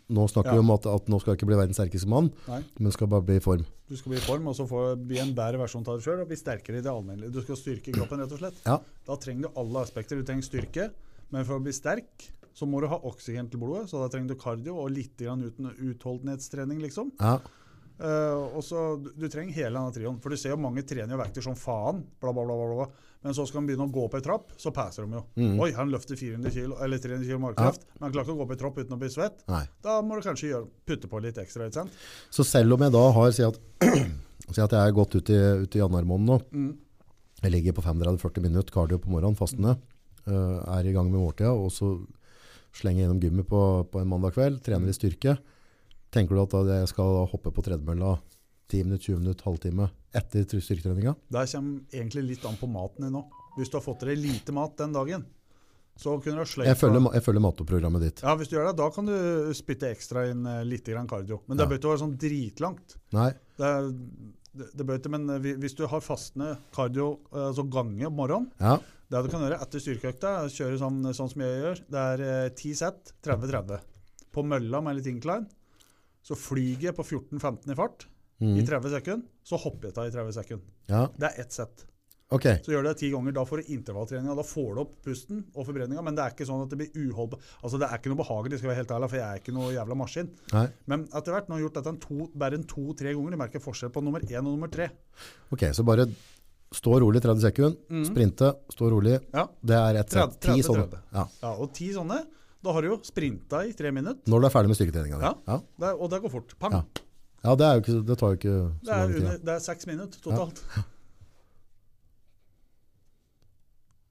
S1: Nå snakker
S2: Ja.
S1: vi om at, at nå skal jeg ikke bli verdens sterkeste mann,
S2: Nei.
S1: men skal bare bli i form.
S2: Du skal bli i form, og så få- bli en bedre versjon av deg sjøl og bli sterkere i det allmennlige. Du skal styrke kroppen, rett og slett.
S1: Ja.
S2: Da trenger du alle aspekter. Du trenger styrke, men for å bli sterk så må du ha oksygen til blodet, så da trenger du kardio og litt grann uten utholdenhetstrening, liksom.
S1: Ja,
S2: Eh, og så, du, du trenger hele denne trioen, for du ser jo mange trener jo vekter som faen, bla, bla, bla, bla, bla. Men så skal han begynne å gå på ei trapp, så passer de jo.
S1: Mhm.
S2: Oi, han løfter 400 kilo, eller 300 kilo markkraft, men han klarte å gå på ei trapp uten å bli svett.
S1: nei.
S2: Da må du kanskje gjøre, putte på litt ekstra, ikke sant?
S1: Så selv om jeg da har si at, si at jeg er godt ute i, ut i januar måned nå,
S2: Mm.
S1: jeg ligger på 35-40 minutter kardio på morgenen, fastende, eh, er i gang med måltida, og så slenger jeg gjennom gymmet på, på en mandag kveld, trener i styrke, tenker du at da jeg skal hoppe på tredemølla 10 minutter, 20 minutter, halvtime etter tr- styrketreninga?
S2: Der kommer egentlig litt an på maten din nå. Hvis du har fått i deg lite mat den dagen, så kunne du ha sløyfa
S1: Jeg følger, ma- jeg følger matoprogrammet ditt.
S2: Ja, hvis du gjør det, da kan du spytte ekstra inn eh, litt grann kardio. Men det
S1: Ja.
S2: bør ikke være sånn dritlangt.
S1: Nei,
S2: Det, er, det, det bør ikke, men eh, hvi- hvis du har fastende kardio, eh, altså gange om morgenen
S1: ja,
S2: Det du kan gjøre etter styrkeøkta, er å kjøre sånn, sånn som jeg gjør. Det er eh, 10 sett, 30-30. På mølla med litt incline. Så flyger jeg på 14-15 i fart
S1: Mhm.
S2: i 30 sekunder. Så hopper jeg av i 30 sekunder.
S1: ja,
S2: Det er ett sett.
S1: ok.
S2: Så gjør du det ti ganger, da får du intervalltreninga. Da får du opp pusten og forbrenninga, men det er ikke sånn at det blir uholdbar. Altså, det er ikke noe behagelig, skal jeg være helt ærlig, for jeg er ikke noe jævla maskin.
S1: Nei.
S2: Men etter hvert, når jeg har gjort dette en to, bare en to-tre ganger, du merker forskjell på nummer én og nummer tre.
S1: Ok, så bare stå rolig 30 sekunder, sprinte, stå rolig.
S2: Ja.
S1: Det er ett sett.
S2: 30,
S1: Ti sånne.
S2: 30.
S1: Ja.
S2: ja og ti sånne, da har du jo sprinta i tre minutter,
S1: Når du er ferdig med styrketreninga. di.
S2: Ja.
S1: Ja.
S2: det, er- og det går fort. Pang!
S1: Ja, Ja, det, er jo ikke, det tar jo ikke så
S2: det, er
S1: lang tid.
S2: under,
S1: da.
S2: det er seks minutter totalt.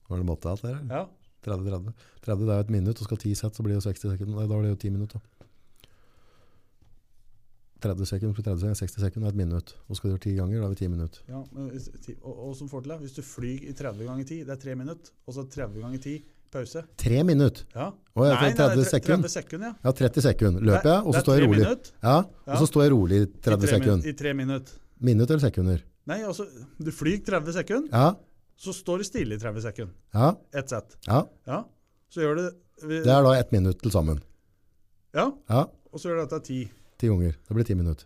S1: Var det måte alt der? eller?
S2: Ja.
S1: 30-30. 30 det er jo et minutt, og skal 10 sett, så blir det jo 60 sekunder. Nei, da er det jo 10 minutter. da. 30 sekunder pluss 30 sekunder, 60 sekunder er et minutt. Og skal du gjøre 10 ganger, da er vi 10 minutter.
S2: ja. men hvis- ti- Og, og som får til det, hvis du flyr i 30 ganger 10, det er tre minutter, og så 30 ganger 10 Pause.
S1: Tre minutter.
S2: Ja.
S1: Å, jeg tar 30
S2: tre-
S1: sekunder.
S2: 30 sekunder, ja.
S1: Ja, 30 sekunder løper jeg, og
S2: Det
S1: så
S2: er
S1: står jeg
S2: tre
S1: rolig.
S2: minutt.
S1: Ja,
S2: Ja.
S1: og så står jeg rolig i
S2: I
S1: 30
S2: tre min-
S1: sekunder.
S2: I tre minutter.
S1: Minutt eller sekunder?
S2: Nei, altså, du flyr 30 sekunder,
S1: Ja,
S2: så står du stille i 30 sekunder.
S1: ja,
S2: Ett sett.
S1: ja.
S2: Ja. Så gjør du vi-
S1: Det er da ett minutt til sammen.
S2: Ja,
S1: Ja,
S2: og så gjør du dette ti.
S1: ti ganger. Det blir ti minutter.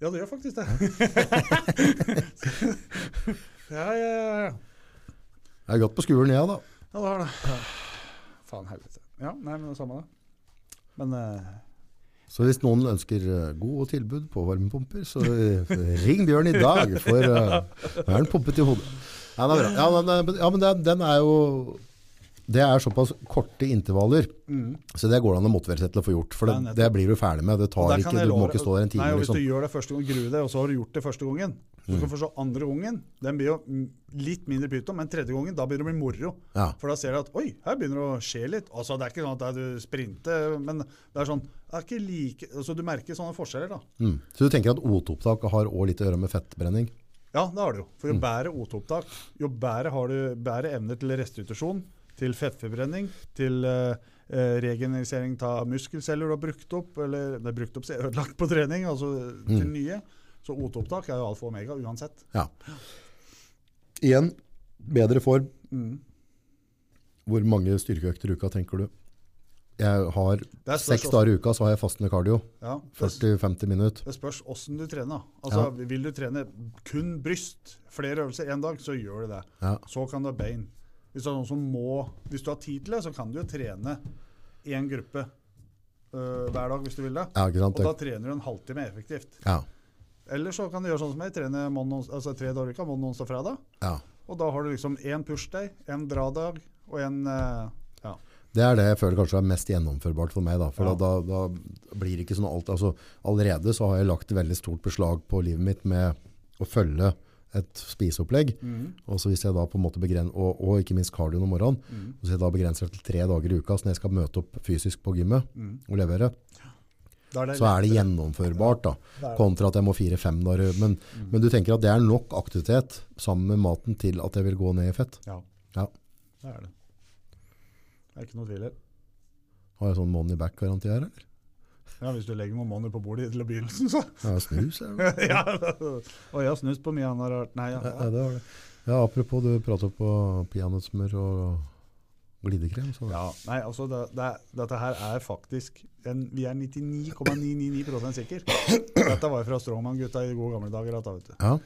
S2: Ja, det gjør faktisk det. ja, ja, ja, ja.
S1: Jeg har gått på skolen, jeg, da.
S2: Ja, det har det. Faen helvete. Ja, nei, men det er samme det. Men eh,
S1: Så hvis noen ønsker eh, gode tilbud på varmepumper, så eh, ring Bjørn i dag, for eh, nå er den pumpet i hodet. Nei, det er bra. Ja, men, eh, men- ja, men den, den er jo Det er såpass korte intervaller, så det går det an å motivere seg til å få gjort. For
S2: Ja,
S1: det,
S2: Mm. nettopp.
S1: det blir du ferdig med. Det
S2: og
S1: tar
S2: der kan
S1: ikke,
S2: jeg
S1: Du må
S2: love-
S1: ikke stå der en time.
S2: Nei, og Hvis
S1: Liksom. Mm.
S2: du gjør det første gang, gruer deg, og så har du gjort det første gangen. Så kan du forstå andre gangen. Den blir jo mm, litt mindre pyton, men tredje gangen da begynner det å bli moro.
S1: Ja.
S2: For da ser du at oi, her begynner det å skje litt. Altså, Det er ikke sånn at det er du sprinter, men det er sånn det er ikke like, altså, Du merker sånne forskjeller, da.
S1: Mm. Så du tenker at O2-opptak har òg litt å gjøre med fettbrenning?
S2: Ja, det har det jo. For jo
S1: Mm.
S2: bedre O2-opptak, jo bedre har du bedre evne til restitusjon, til fettforbrenning, til eh, eh, regenerisering av muskelceller du har brukt opp, eller det er brukt opp, sier jeg, ødelagt på trening, altså
S1: Mm.
S2: til nye. Så O2-opptak er jo alfa og omega uansett.
S1: Ja. Igjen, bedre form.
S2: Mm.
S1: Hvor mange styrkeøkter i uka tenker du? Jeg har
S2: Det er spørs
S1: Seks
S2: også-
S1: dager i uka så har jeg fastende kardio.
S2: Ja, det,
S1: 40-50 minutter.
S2: det spørs åssen du trener. da. Altså, Vil du trene kun bryst, flere øvelser én dag, så gjør du det.
S1: Ja.
S2: Så kan du ha bein. Hvis, det er noen som må, hvis du har tid til det, så kan du jo trene én gruppe øh, hver dag hvis du vil det.
S1: ja, ikke sant?
S2: Og da trener du en halvtime effektivt.
S1: Ja,
S2: Eller så kan du gjøre sånn som jeg, trene mandag, ons- altså tre dager i uka, mandag, onsdag, fredag.
S1: ja.
S2: Og da har du liksom én pushday, én dradag og én eh, ja.
S1: Det er det jeg føler kanskje er mest gjennomførbart for meg. Da, for
S2: Ja.
S1: da, da, da blir det ikke sånn alt. Altså, allerede så har jeg lagt veldig stort beslag på livet mitt med å følge et spiseopplegg. Og så hvis jeg da på en måte begren- og, og ikke minst kardioen om morgenen,
S2: mm,
S1: og så jeg da begrenser det til tre dager i uka, så når jeg skal møte opp fysisk på gymmet og levere,
S2: mm. Da er det
S1: så er det gjennomførbart da,
S2: Det er mm, det.
S1: kontra at jeg må fire-fem dager. Men, men du tenker at det er nok aktivitet sammen med maten til at jeg vil gå ned i fett?
S2: Ja,
S1: Ja,
S2: det er det. Det er ikke noe tvil her.
S1: har jeg sånn money back-garanti her, eller?
S2: Ja, hvis du legger noen måneder på bordet til begynnelsen, så
S1: Ja, snus, eller?
S2: ja. Og jeg har snust på mye annet rart. Nei, ja.
S1: Ja, det var det. Ja, apropos, du prater på peanøttsmør og glidekrem. Så.
S2: Ja, nei, altså det, det, Dette her er faktisk en, Vi er 99,999 sikre. Dette var jo fra Strongman-gutta i gode gamle dager. Dette, vet du.
S1: Ja.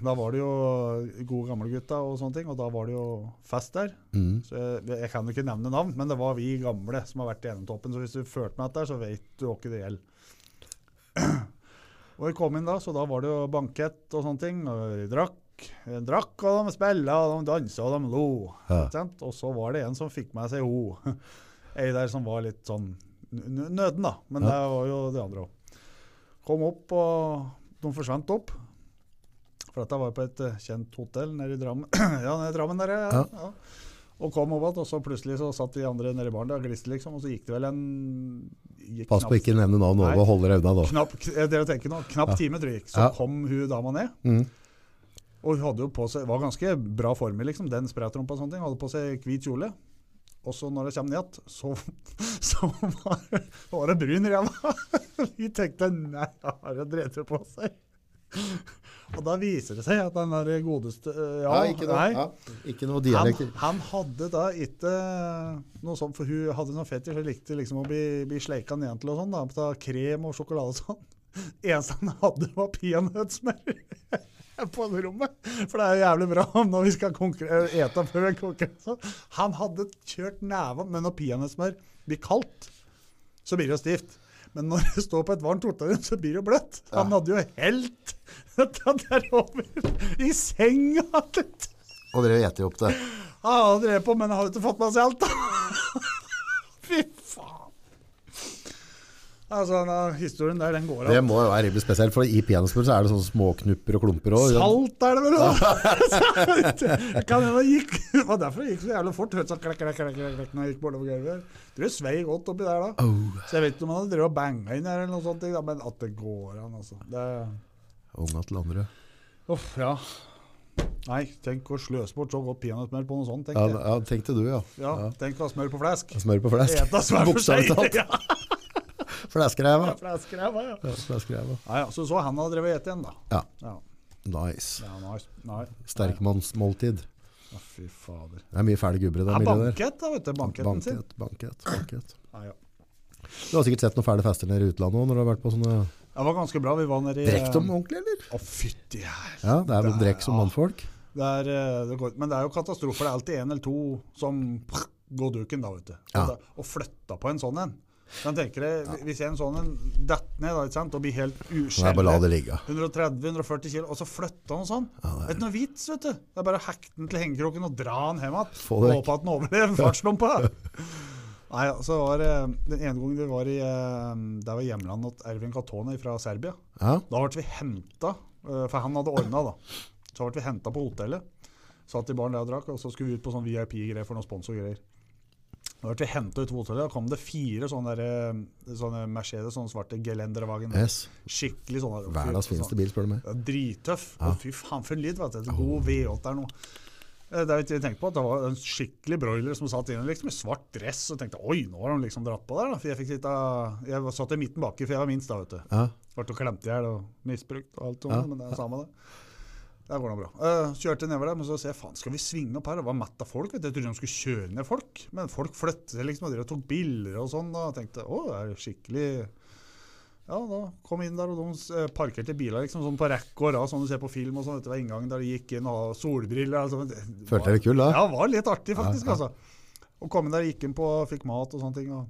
S2: Da var det jo gode gamle gutta og sånne ting, og da var det jo fest der.
S1: Mm.
S2: Så jeg, jeg kan jo ikke nevne navn, men det var vi gamle som har vært i enetoppen. Så hvis du førte meg etter, så vet du hva ikke det gjelder. Og vi kom inn da, så da var det jo bankett og sånne ting. Og vi drakk, vi drakk, og de spilla, og de dansa, og de lo.
S1: Ja.
S2: Ikke sant? Og så var det en som fikk med seg ho. Ei der som var litt sånn n- n- nøden, da. Men
S1: Ja.
S2: det var jo de andre òg. Kom opp, og de forsvant opp. For dette var jo på et eh, kjent hotell nede i Drammen. ja, nede i Drammen der, ja.
S1: Ja.
S2: ja. Og kom opp igjen, og så plutselig så satt de andre nede i baren der og gliste, liksom. Og så gikk det vel en gikk
S1: Pass på å ikke nevne navn
S2: Nei.
S1: over og holde deg unna da.
S2: Knapp, kn- eh, dere tenker nå, knapp time, tror jeg. gikk. Så
S1: Ja.
S2: kom hun dama ned.
S1: Mm.
S2: Og hun hadde jo på seg, var ganske bra form i, liksom. Den spraytrompa og sånne ting. Hadde på seg hvit kjole. Og så når jeg kommer ned igjen, så, så var, det- var det brun i ræva. Vi tenkte nei, har hun drept på seg? Og da viser det seg at den der godeste eh, Ja,
S1: Nei, ikke, noe,
S2: nei.
S1: Ja, ikke noe
S2: Han,
S1: dialekter.
S2: han hadde da ikke noe sånt, for hun hadde noe fetisj. Hun likte liksom å bli, bli sleika ned til og sånn, da, ta krem og sjokolade og sånn. Eneste han hadde, var peanøttsmør på rommet. For det er jo jævlig bra om når vi skal konkurre- ete før en konkurranse. Han hadde kjørt neva, men når peanøttsmør blir kaldt, så blir det jo stivt. Men når det står på et varmt tortarium, så blir det jo bløtt. Han hadde jo helt dette der over i senga. til
S1: Og dere gjetter opp det.
S2: han har drevet på, men han har jo ikke fått med seg alt, da. Fy faen. Altså, den historien der, den går
S1: Det
S2: av.
S1: må jo være rimelig spesielt, for i peanøttsmør så er det sånne småknupper og klumper også.
S2: Salt er det vel, da! Det kan hende det gikk Det var derfor det gikk så jævlig fort. Hørte sånn klekk, klekk, klekk, klekk, klekk når jeg gikk bortover gulvet. Tror jeg svei godt oppi der, da. Så jeg vet ikke om han hadde drevet og banga inn her, eller noe sånt, da, men at det går an, altså. Det,
S1: Unga til andre.
S2: uff, ja. Nei, tenk å sløse bort så godt peanøttmel på noe sånt,
S1: Ja,
S2: tenker jeg.
S1: ja, tenkte du, ja.
S2: Ja,
S1: ja.
S2: tenk å ha smør på flesk.
S1: Smør på flesk.
S2: Eta smør for seg.
S1: Bokstavelig talt.
S2: Ja,
S1: Fleskræva.
S2: fleskræva, ja.
S1: Ja, fleskræva.
S2: Nei, ja, så så han hadde drevet gjett igjen, da.
S1: Ja.
S2: Ja,
S1: Nice.
S2: ja nice. Nei.
S1: Sterkmannsmåltid.
S2: Å, fy fader.
S1: Det er mye fæle gubber i det
S2: Ja,
S1: miljøet der.
S2: bankett, da, vet du. Banketten sin.
S1: Bankett, bankett, bankett.
S2: Nei, ja.
S1: Du har sikkert sett noen fæle fester nede i utlandet òg, når du har vært på sånne
S2: Det var ganske bra. Vi var nede i
S1: Drekk dem
S2: eh,
S1: ordentlig, eller?
S2: Å, fytti her.
S1: Ja, det er vel drekk som
S2: Ja.
S1: mannfolk.
S2: Det er, eh, det går, men det er jo katastrofer. Det er alltid en eller to som prr, går duken, da, vet du. Og
S1: Ja.
S2: da- Og flytta på en sånn en. Men tenker jeg, Hvis en sånn en detter ned da, ikke sant, og blir helt
S1: Nei, bare la
S2: uskjelvet
S1: det ligge.
S2: 130-140 kilo, og så flytta han sånn.
S1: Ja,
S2: Det
S1: det
S2: er ikke noe vits, vet du. Det er bare å hekte den til hengekroken og dra den hjem igjen.
S1: Få det
S2: Og
S1: vekk.
S2: håpe at den overlever fartslumpa. Nei, ja, så var det Den ene gangen vi var i eh, Det var hjemlandet til Ervin Katone fra Serbia.
S1: Ja,
S2: Da ble vi henta, for han hadde ordna, da. Så ble vi henta på hotellet. Satt i baren der og drakk, og så skulle vi ut på sånn VIP-greier for noen sponsorgreier. Da ble vi henta ut på hotellet, da kom det fire sånne, der, eh, sånne Mercedes, sånne svarte Gelenderwagen.
S1: yes.
S2: Skikkelig sånne.
S1: Verdens
S2: Fy-
S1: fineste bil, spør du meg.
S2: ja, drittøff.
S1: Ja.
S2: Og fy faen, for en lyd. Vet du. God V8 der nå. Eh, Det er jo ikke jeg tenkte på at det var en skikkelig broiler som satt inne liksom, i svart dress. Og tenkte oi, nå har de liksom dratt på der. Da. For jeg, fikk sitte, jeg var- satt i midten baki, for jeg var minst da, vet du.
S1: Ja.
S2: Ble jo klemt i hjel og misbrukt og alt sånt,
S1: Ja.
S2: men det er samme det. Der går det bra. Eh, kjørte nedover der, men så ser jeg faen, skal vi svinge opp her? Det var mett av folk. vet du. Jeg trodde de skulle kjøre ned folk, men folk flyttet seg liksom og drev og tok bilder og sånn. Og tenkte å, det er skikkelig Ja, da kom jeg inn der, og de eh, parkerte biler liksom sånn på rekke og rad, sånn du ser på film og sånn. Vet du, hver inngang der de gikk inn og hadde solbriller. Altså, det var-
S1: Følte jeg deg kul da?
S2: ja, det var litt artig faktisk,
S1: Ja, ja.
S2: altså. Og kom inn der, gikk inn på, fikk mat og sånne ting. Og,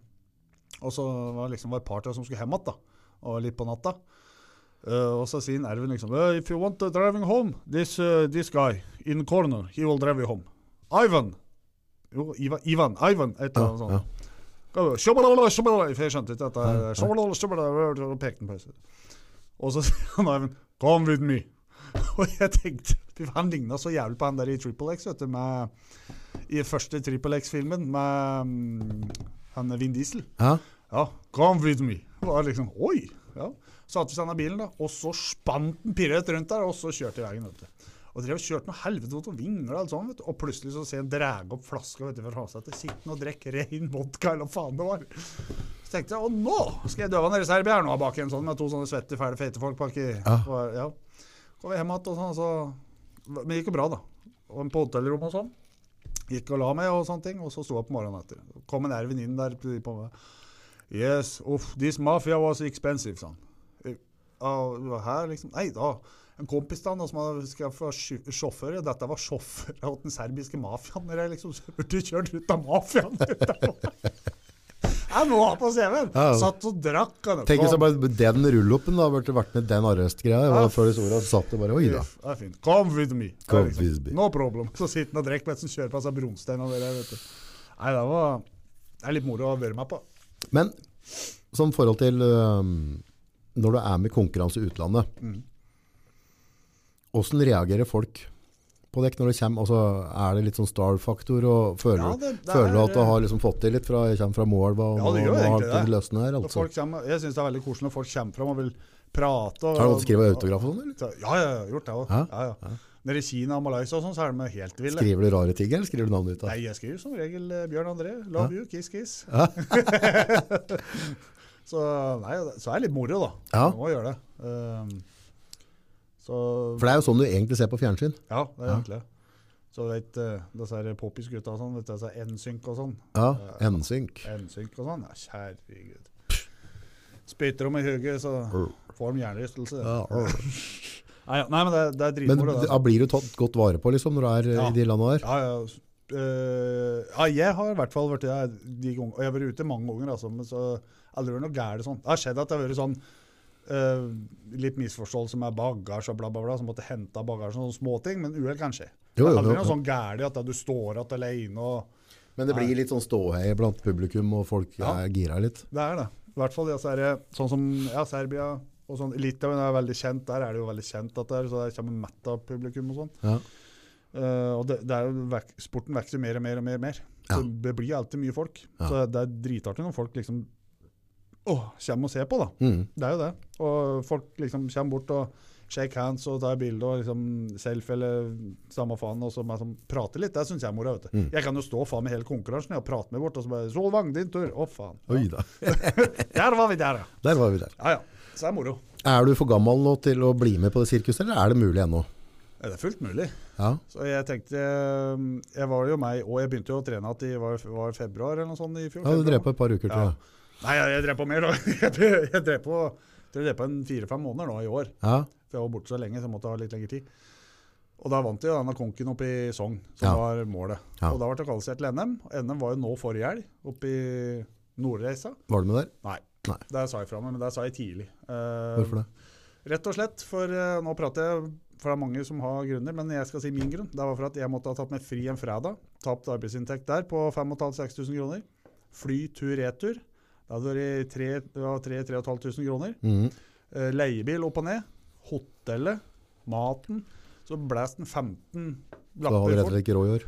S2: og så var det liksom var et par til som skulle hjem igjen, da. Og litt på natta. Eh, og så sier Ervin liksom «Eh, If you want to driving home, this, eh, this guy in corner, he will drive you home. Ivan! Jo, Iva, Ivan, Ivan, et eller annet
S1: Ja,
S2: sånt.
S1: ja.
S2: Sjabalala, sjabalala. For jeg skjønte ikke dette.
S1: Nei, nei.
S2: Sjabalala, sjabalala, Og pekte den på huset. Og så sier han Ivan 'Come with me'. Og jeg tenkte fy faen, Han ligna så jævlig på han der i Triple X, vet du. Med, I første Triple X-filmen med mm, han Vin Diesel.
S1: Ja.
S2: Ja, 'Come with me'. Det var liksom Oi! Ja. Så satte vi seg ned i bilen, da, og så spant den pirret rundt der, og så kjørte i veien. vet du. Og drev og kjørte noe helvete mot noen vinger og alt sånt, vet du. Og plutselig så ser jeg en drage opp flaska vet du, fra Hansa til sitten og drikke rein vodka, eller hva faen det var. Så tenkte jeg å nå skal jeg døve han deres her nå bak en sånn med to sånne svette, fæle, fete folk baki.
S1: Ja.
S2: Og, ja. Kom hjem igjen og sånn, så Men det gikk jo bra, da. Og på hotellrommet og sånn. Gikk og la meg og sånne ting, og så sto jeg opp morgenen etter. Kom en Ervin inn der på meg. Yes, uff, this mafia was expensive, sa han. Eh, Ja, du var her, liksom. Nei da. En kompis da, da, som hadde skaffa sjåfør. Dette var sjåfør åt den serbiske mafiaen. Dere liksom burde kjørt ut av mafiaen. Jeg må ha på CV-en!
S1: Ja, ja.
S2: Satt og drakk. han.
S1: Tenk hvis jeg bare den rulloppen da, burde vært med den arrestgreia. Jeg
S2: Ja.
S1: var før disse ordene, så satt det bare, oi da.
S2: Uff, Det er fint. Come with me.
S1: Come
S2: Ja, liksom.
S1: with me.
S2: No problem. Så sitter han og drikker mens han kjører på seg brumstein og det der, vet du. Nei, det var Det er litt moro å være med på.
S1: Men som forhold til øhm, når du er med i konkurranse i utlandet,
S2: Mm.
S1: hvordan reagerer folk på dekk når det kommer? Altså, er det litt sånn star-faktor, og føler,
S2: Ja, det- det
S1: føler du
S2: er-
S1: at du har liksom fått til litt fra jeg kommer fra Målva, og
S2: Ja,
S1: nå,
S2: det gjør
S1: nå har
S2: egentlig
S1: det
S2: det.
S1: løsnet her,
S2: Når
S1: altså.
S2: folk kommer, jeg syns det er veldig koselig når folk kommer fram og vil prate. Og,
S1: Har du fått skrive autograf og sånn, eller?
S2: Ja, ja, ja, gjort det òg.
S1: Hæ?
S2: Ja, ja. Nede i Kina og Malaysia og sånn, så er de helt ville.
S1: Skriver du rare ting, eller skriver du navnet ditt? da?
S2: Nei, jeg skriver som regel eh, Bjørn André. Love you, kiss, kiss. så nei, så er det litt moro, da.
S1: Ja.
S2: Du må gjøre det. Ehm, så
S1: For det er jo sånn du egentlig ser på fjernsyn.
S2: ja, det er egentlig det. Så du vet eh, disse her poppis-gutta og sånn, vet du, disse NSYNC og sånn.
S1: Ja, N-synk.
S2: NSYNC og sånn, ja, herregud. Spytter dem i hugget, så får de hjernerystelse.
S1: Ja, ja.
S2: Nei, ja, nei, men det, er- det er
S1: Men
S2: dritmoro. det, altså.
S1: da blir du tatt godt vare på liksom, når du er eh,
S2: Ja.
S1: i de landene der?
S2: Ja, ja. Eh, ja, jeg har i hvert fall vært der de gong- og jeg har vært ute mange ganger, altså, men så aldri vært noe gærent sånn. Det har skjedd at det har vært sånn eh, litt misforståelse med bagasje og bla, bla, bla, som måtte hente bagasje og sånne småting, men uhell kan skje. Det
S1: Jo,
S2: er
S1: jo,
S2: aldri
S1: jo,
S2: noe
S1: jo.
S2: sånn gærent at du står igjen alene og
S1: Men det blir litt sånn ståhei blant publikum, og folk
S2: Ja.
S1: er gira litt.
S2: Det er det. I hvert fall i disse her, sånn som ja, Serbia og sånn. Litauen er veldig kjent, der er det jo veldig kjent at det er, så der kommer mett av publikum og sånn.
S1: Ja.
S2: Eh, og det, det er jo, vek, sporten vokser mer og mer og mer. og mer. Så Det blir alltid mye folk.
S1: Ja.
S2: Så det er dritartig når folk liksom åh, kommer og ser på, da.
S1: Mm.
S2: Det er jo det. Og folk liksom kommer bort og shake hands og ta et bilde og liksom selfie eller samme faen, og så bare sånn, prate litt. Det syns jeg er moro. vet du.
S1: Mm.
S2: Jeg kan jo stå faen med hele konkurransen jeg, og prate med bort, og så bare 'Solvang, din tur!' Å, faen.
S1: Oi da,
S2: Der var vi der, ja.
S1: der var vi der.
S2: Ja, ja. Så det er moro.
S1: Er du for gammel nå til å bli med på det sirkuset, eller er det mulig ennå?
S2: Ja, Det er fullt mulig.
S1: Ja.
S2: Så jeg tenkte eh, Jeg var jo meg, og jeg begynte jo å trene at i var, var februar eller noe sånt i fjor.
S1: ja, du
S2: februar.
S1: drev på et par uker til.
S2: Ja.
S1: Ja.
S2: Nei, jeg, jeg drev på mer, da. Jeg, jeg drev på, jeg tror jeg drev på en fire-fem måneder nå i år.
S1: Ja.
S2: For jeg var borte så lenge, så jeg måtte ha litt lengre tid. Og da vant jeg jo denne konken oppe i Sogn, som
S1: Ja.
S2: var målet.
S1: Ja.
S2: Og da ble jeg kvalifisert til NM. Og NM var jo nå forrige helg, oppe i Nordreisa.
S1: Var du med der?
S2: Nei.
S1: Nei.
S2: Der sa jeg fra meg, men der sa jeg tidlig. Eh,
S1: Hvorfor det?
S2: Rett og slett, for eh, nå prater jeg for det er mange som har grunner, men jeg skal si min grunn. Det var for at jeg måtte ha tatt meg fri en fredag. Tapt arbeidsinntekt der på 5500-6000 kroner. Fly tur-retur. Det hadde vært tre- det var 3500 kroner.
S1: Mhm.
S2: Eh, Leiebil opp og ned. Hotellet. Maten. Så blæs den 15
S1: Du hadde
S2: lapper
S1: rett og
S2: bort.
S1: slett ikke råd i år.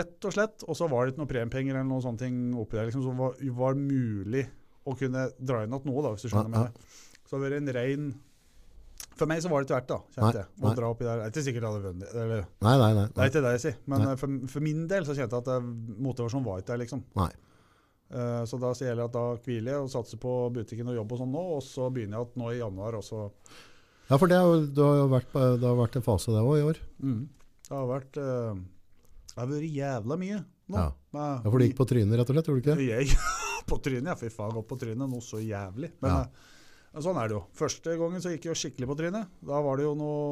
S2: Rett og slett. Og så var det ikke noe premiepenger eller noen sånne ting oppi der liksom, som var, var mulig å kunne dra inn igjen nå, da, hvis du skjønner
S1: Ja,
S2: meg. Så det har vært en rein For meg så var det ikke verdt det, da, kjente
S1: Nei,
S2: jeg. Å
S1: nei.
S2: dra oppi der. Det er ikke sikkert jeg hadde vunnet. Eller,
S1: Nei, nei, nei.
S2: det er ikke det jeg sier. Men
S1: Nei.
S2: eh, for, for min del så kjente jeg at eh, motivasjonen var ikke der, liksom.
S1: Nei.
S2: Eh, så da sier jeg at da hviler jeg og satser på butikken og jobb og sånn nå, og så begynner jeg at nå i januar også
S1: Ja, for det, er jo- du har jo vært, på- det har vært en fase det òg i år.
S2: Det har vært eh, Det har vært jævla mye nå.
S1: Ja.
S2: Med-
S1: Ja, for du gikk på trynet, rett og slett, gjorde du ikke?
S2: Jeg på trynet, ja. Fy faen, gått på trynet noe så jævlig. Men
S1: Ja.
S2: eh, sånn er det jo. Første gangen så gikk jeg jo skikkelig på trynet. Da var det jo noe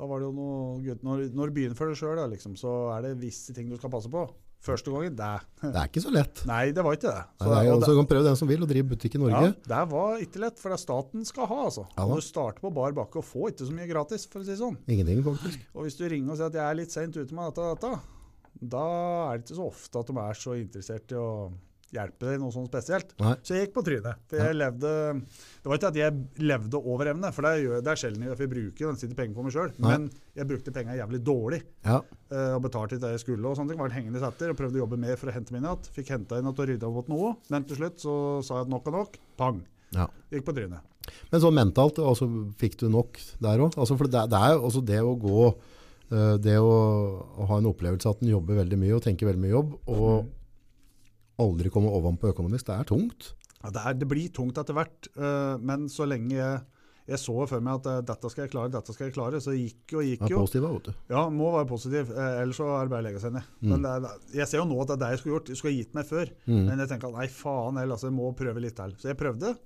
S2: da var det jo noe, gutt, Når, når du begynner for deg sjøl, liksom, så er det visse ting du skal passe på. Første gangen det.
S1: Det er ikke så lett.
S2: Nei, det var ikke det.
S1: Nei, det er jo,
S2: og
S1: så kan prøve den som vil, å drive butikk i Norge.
S2: Ja, det var ikke lett, for det er staten skal ha. altså.
S1: Ja da.
S2: Og du starter på bar bakke og får ikke så mye gratis. for å si det sånn.
S1: Ingenting, faktisk.
S2: Og hvis du ringer og sier at jeg er litt seint ute med dette, og dette, da er det ikke så ofte at de er så interessert i å hjelpe deg i noe sånt spesielt.
S1: Nei.
S2: Så jeg gikk på trynet. For jeg levde, det var ikke at jeg levde over evne, for det er, jo- det er sjelden jeg bruker vanvittige penger på meg sjøl.
S1: Nei.
S2: Men jeg brukte penga jævlig dårlig
S1: Ja.
S2: eh, og betalte ikke det jeg skulle. og sånne ting, var hengende etter, og Prøvde å jobbe mer for å hente mine igjen. Fikk henta inn at og rydda opp noe. Men til slutt så sa jeg at nok er nok. Pang.
S1: ja.
S2: Gikk på trynet.
S1: Men sånn mentalt, altså, fikk du nok der òg? Altså, for det, det er jo altså det å gå eh, Det å, å ha en opplevelse at en jobber veldig mye og tenker veldig mye jobb, og aldri komme ovenpå økonomisk, det er tungt.
S2: Ja, det, er, det blir tungt etter hvert, eh, men så lenge jeg, jeg så for meg at eh, dette skal jeg klare, dette skal jeg klare, så gikk jo,
S1: Det
S2: gikk
S1: er
S2: jo.
S1: positivt, vet du.
S2: Ja, må være positiv, eh, ellers så er det bare å legge seg ned.
S1: Mm.
S2: Men det er, det er- jeg ser jo nå at det er det jeg skulle gjort, jeg skulle gitt meg før. Men jeg tenker at nei, faen heller, altså, jeg må prøve litt til. Så jeg prøvde.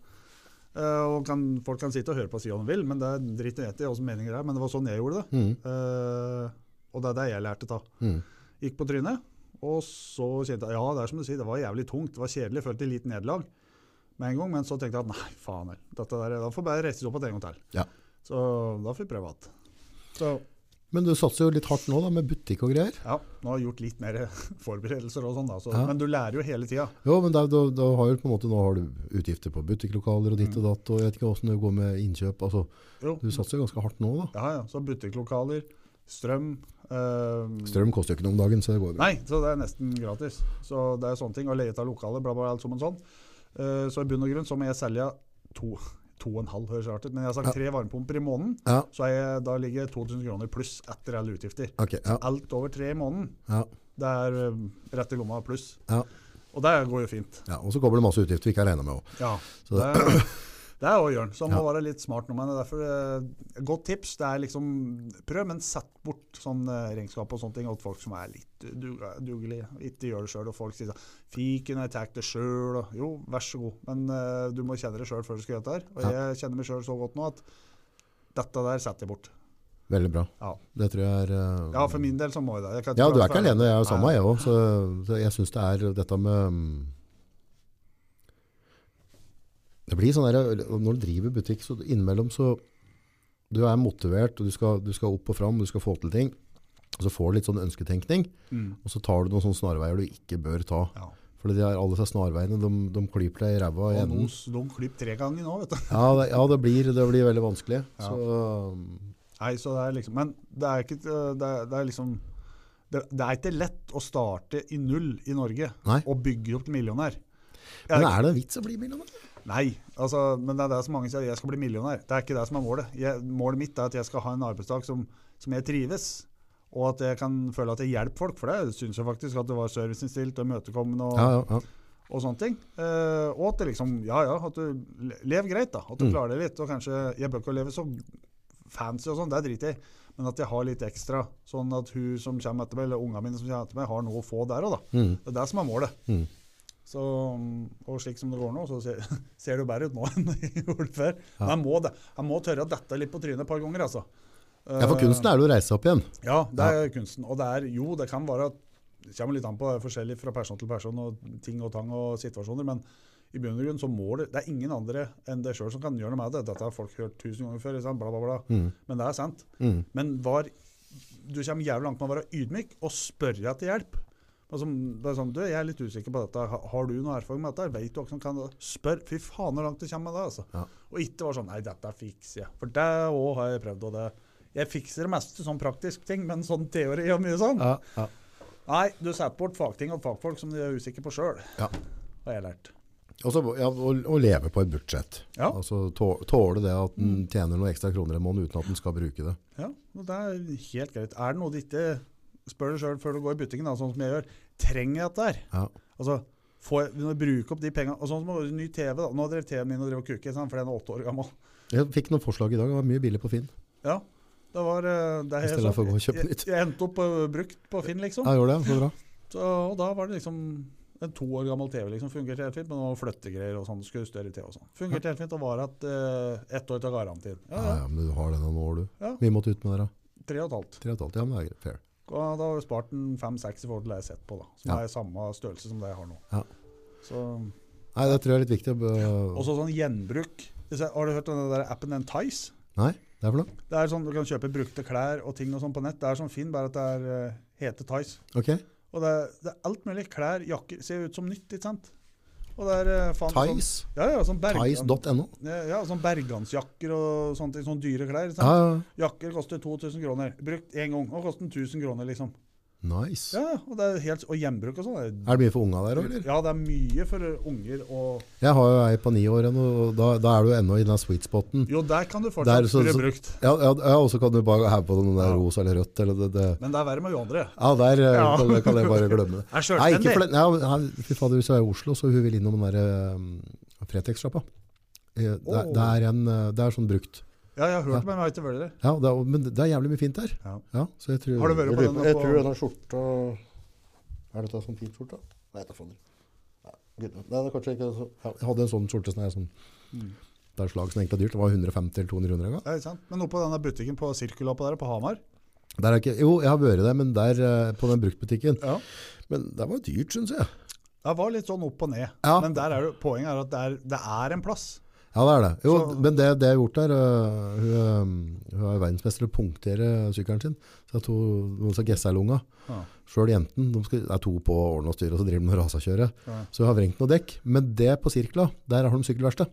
S2: eh, og kan, folk kan sitte og høre på og si hva de vil, men det er dritt å gjette i hvilke meninger det er. Men det var sånn jeg gjorde det.
S1: Mm.
S2: Eh, og det er det jeg lærte da.
S1: Mm.
S2: Gikk på trynet, og så kjente jeg ja, det er som du sier, det var jævlig tungt, det var kjedelig, jeg følte litt nederlag med en gang, men så tenkte jeg at nei, faen heller, dette der, da får jeg bare reise seg opp igjen en gang til.
S1: Ja.
S2: Så da får vi prøve igjen. Så
S1: Men du satser jo litt hardt nå, da, med butikk og greier.
S2: ja, nå har jeg gjort litt mer forberedelser og sånn, da, så,
S1: Ja.
S2: men du lærer jo hele tida.
S1: Jo, men da, da, da har jo på en måte, nå har du utgifter på butikklokaler og ditt og datt, og jeg vet ikke åssen det går med innkjøp. Altså,
S2: Jo,
S1: du satser jo ganske hardt nå, da.
S2: ja, ja, så butikklokaler, strøm eh,
S1: Strøm koster jo ikke noe om dagen, så det går bra.
S2: Nei, så det er nesten gratis. Så det er sånne ting. Å leie ut av lokalet, bla, bla, alt som en sånn. Eh, så i bunn og grunn så må jeg selge to, to og en halv, høres rart ut, men jeg har sagt tre varmepumper i måneden.
S1: Ja,
S2: Så er jeg, da ligger jeg 2000 kroner pluss etter alle utgifter.
S1: ok. Ja,
S2: Alt over tre i måneden,
S1: ja,
S2: det er eh, rett i lomma pluss.
S1: ja.
S2: Og det går jo fint.
S1: ja. Og så kommer det masse utgifter vi ikke har regna med òg.
S2: Ja.
S1: Så
S2: Det er, det er å gjøre. Så man må
S1: Ja.
S2: være litt smart nå, men det er derfor eh, godt tips. Det er liksom prøv, men sett bort sånn eh, regnskap og sånne ting åt folk som er litt du- dugelige. Ikke gjør det sjøl, og folk sier sånn Fiken, jeg tar det sjøl. Jo, vær så god, men eh, du må kjenne det sjøl før du skal gjøre dette her. Og
S1: Ja.
S2: jeg kjenner meg sjøl så godt nå at dette der setter jeg bort.
S1: Veldig bra.
S2: Ja.
S1: Det tror jeg er eh,
S2: Ja, for min del så må jeg det. Jeg kan
S1: Ja, du er
S2: prate
S1: ikke
S2: for-
S1: alene, jeg er jo sammen med
S2: Nei.
S1: jeg òg. Så, så jeg syns det er dette med mm, Det blir sånn der, Når du driver butikk, så innimellom så Du er motivert, og du skal, du skal opp og fram, du skal få til ting. Og så får du litt sånn ønsketenkning,
S2: Mm.
S1: og så tar du noen sånne snarveier du ikke bør ta.
S2: Ja.
S1: For de der, alle disse snarveiene, de, de klyper deg i ræva i
S2: Og
S1: enden.
S2: nå s- de klyp tre ganger nå, vet du.
S1: Ja, det, ja det, blir, det blir veldig vanskelig.
S2: Ja.
S1: Så,
S2: Nei, så det er liksom, men det er ikke øh, det er, det er liksom det, det er ikke lett å starte i null i Norge
S1: Nei.
S2: og bygge opp til millionær.
S1: men er det en vits å bli millionær?
S2: Nei, altså, men det er det som mange sier, jeg skal bli millionær. Det er ikke det som er målet. Jeg, målet mitt er at jeg skal ha en arbeidsdag som, som jeg trives, og at jeg kan føle at jeg hjelper folk, for det syns jeg faktisk at det var serviceinnstilt og imøtekommende og,
S1: Ja, ja, ja.
S2: og sånne ting. Eh, og at det liksom, ja ja, at du le- lever greit, da. At du
S1: Mm.
S2: klarer det litt. Og kanskje Jeg bør ikke leve så fancy og sånn, det driter jeg i. Men at jeg har litt ekstra, sånn at hun som kommer etter meg, eller ungene mine som kommer etter meg, har noe å få der òg, da.
S1: Mm.
S2: Det er det som er målet.
S1: Mm.
S2: Så, og slik som det går nå, så ser, ser det jo bedre ut nå enn det gjorde før.
S1: Ja.
S2: Men jeg må, det. jeg må tørre å dette litt på trynet et par ganger, altså.
S1: ja, for kunsten er det å reise seg opp igjen.
S2: Ja, det er kunsten. Og det er jo, det kan være at Det kommer litt an på, det er forskjellig fra person til person og ting og tang og situasjoner, men i bunn og grunn så må det Det er ingen andre enn deg sjøl som kan gjøre noe med det. Dette har folk hørt tusen ganger før, ikke sant? bla, bla, bla.
S1: Mm.
S2: Men det er sant.
S1: Mm.
S2: Men var, du kommer jævlig langt med å være ydmyk og spørre etter hjelp. Altså, det er sånn, du, 'Jeg er litt usikker på dette. Ha- Har du noe erfaring med dette?' Vet du hva som kan Spør. Fy faen, hvor langt du kommer med det. altså.
S1: Ja.
S2: Og ikke være sånn 'Nei, dette fikser jeg'. For det òg har jeg prøvd. og det. Jeg fikser det meste sånn praktisk ting, men sånn teori og mye sånn
S1: Ja, ja.
S2: Nei, du setter bort fagting og fagfolk som du er usikker på sjøl,
S1: Ja.
S2: har jeg lært.
S1: Og så- ja, å, å leve på et budsjett.
S2: Ja.
S1: Altså tå- tåle det at en tjener noen ekstra kroner en måned uten at en skal bruke det.
S2: Ja, og det er helt greit. Er det noe du ikke spør deg sjøl før du går i butikken, da, sånn som jeg gjør, trenger jeg dette her?
S1: Ja.
S2: Altså, får jeg, når jeg bruker opp de pengene Og sånn som å- ny TV, da. Nå drev TV-en min og drev og kuket, sant, for den er åtte år gammel.
S1: Jeg fikk noen forslag i dag, det var mye billig på Finn.
S2: Ja, det var eh, det er
S1: I stedet
S2: sånn-
S1: for å gå og kjøpe
S2: jeg-
S1: nytt.
S2: Jeg, endte opp eh, brukt på Finn, liksom.
S1: Jeg gjorde det, så bra.
S2: Så, og da var det liksom en to år gammel TV liksom fungerte helt fint, men det var flyttegreier og sånn. det Skulle større TV og sånn. Fungerte helt fint og var at eh, ett år til garantien. Ja,
S1: Ja,
S2: ja.
S1: ja, men du har det noen år, du.
S2: Ja.
S1: Vi måtte ut med dere.
S2: Tre og et halvt.
S1: Tre og et halvt, ja, men det er greit. Fair.
S2: Og da har jeg spart en fem-seks i forhold til det jeg har sett på, da. Som
S1: Ja.
S2: er samme størrelse som det jeg har nå.
S1: Ja.
S2: Så
S1: Nei, det tror jeg er litt viktig. å be-
S2: Og så sånn gjenbruk. Hvis jeg- Har du hørt om den der appen Entice?
S1: Nei, det er for noe.
S2: Det er sånn Du kan kjøpe brukte klær og ting og sånn på nett. Det er sånn Finn, bare at det er eh, hete Tice.
S1: Ok,
S2: Og det er, det er alt mulig. Klær, jakker Ser jo ut som nytt, ikke sant? Og det er eh, faen Sånn,
S1: Thais.
S2: ja, ja, sånn Bergan-
S1: Thais.no.
S2: ja, ja, sånn bergansjakker og sånne ting. Sånne dyre klær. ikke
S1: Ja,
S2: sant?
S1: ja.
S2: Jakker koster 2000 kroner. Brukt én gang. Og koster 1000 kroner, liksom.
S1: Nice.
S2: Ja, og, det er helt, og gjenbruk og sånn. er
S1: Er det mye for unga der, også, eller?
S2: Ja, det er mye for unger og
S1: Jeg har jo ei på ni år, ennå, og da, da er du ennå i den sweet spoten.
S2: Jo, der kan du
S1: Der,
S2: fortsatt
S1: så- så-
S2: bli brukt.
S1: Ja, ja, ja og så kan du bare heve på den der
S2: Ja.
S1: rosa eller rødt, eller det, det.
S2: Men det er verre med hun andre.
S1: Ja, der eh,
S2: Ja.
S1: Kan, kan jeg bare glemme det.
S2: Jeg er
S1: Nei, ikke
S2: sjølstendig.
S1: for den. Ja, men her- fy fader, hvis jeg er i Oslo, så hun vil innom den der um, Fretex-sjappa. Eh, Det,
S2: Åh.
S1: det, er en, eh, det er sånn brukt.
S2: Ja, jeg har hørt det, men jeg har ikke vært der.
S1: Ja, det er, men det er jævlig mye fint der.
S2: Ja.
S1: så jeg tror,
S2: Har du vært
S1: jeg
S2: på
S1: lurer
S2: den
S1: Jeg
S2: på-
S1: tror den har skjorta Er dette sånn fin skjorte? Nei, det er fader. Nei, gud, nei, det er kanskje ikke så ja, Jeg hadde en sånn skjorte som er sånn
S2: Mm.
S1: Det er slag som egentlig er dyrt. Det var 150 eller 200 kroner en gang.
S2: Ja, ikke sant? Men oppå denne butikken på Sirkula på der, på Hamar
S1: Der er ikke, jo, jeg har vært der, men der eh, på den bruktbutikken.
S2: ja.
S1: Men det var dyrt, syns jeg.
S2: Det var litt sånn opp og ned.
S1: Ja.
S2: Men der er det, poenget er at det er, det er en plass.
S1: Ja, det er det. Jo,
S2: Så-
S1: men det, det jeg har gjort der øh, Hun, øh, hun er verdensmester til å punktere sykkelen sin. Så jeg tror hun skal gesse i lunga.
S2: Ja.
S1: Sjøl jenten. De skal, det er to på å ordne og styre, og så driver de med rasakjøre.
S2: Ja.
S1: Så hun har vrengt noe dekk. Men det på sirkla, der har de sykkelverksted.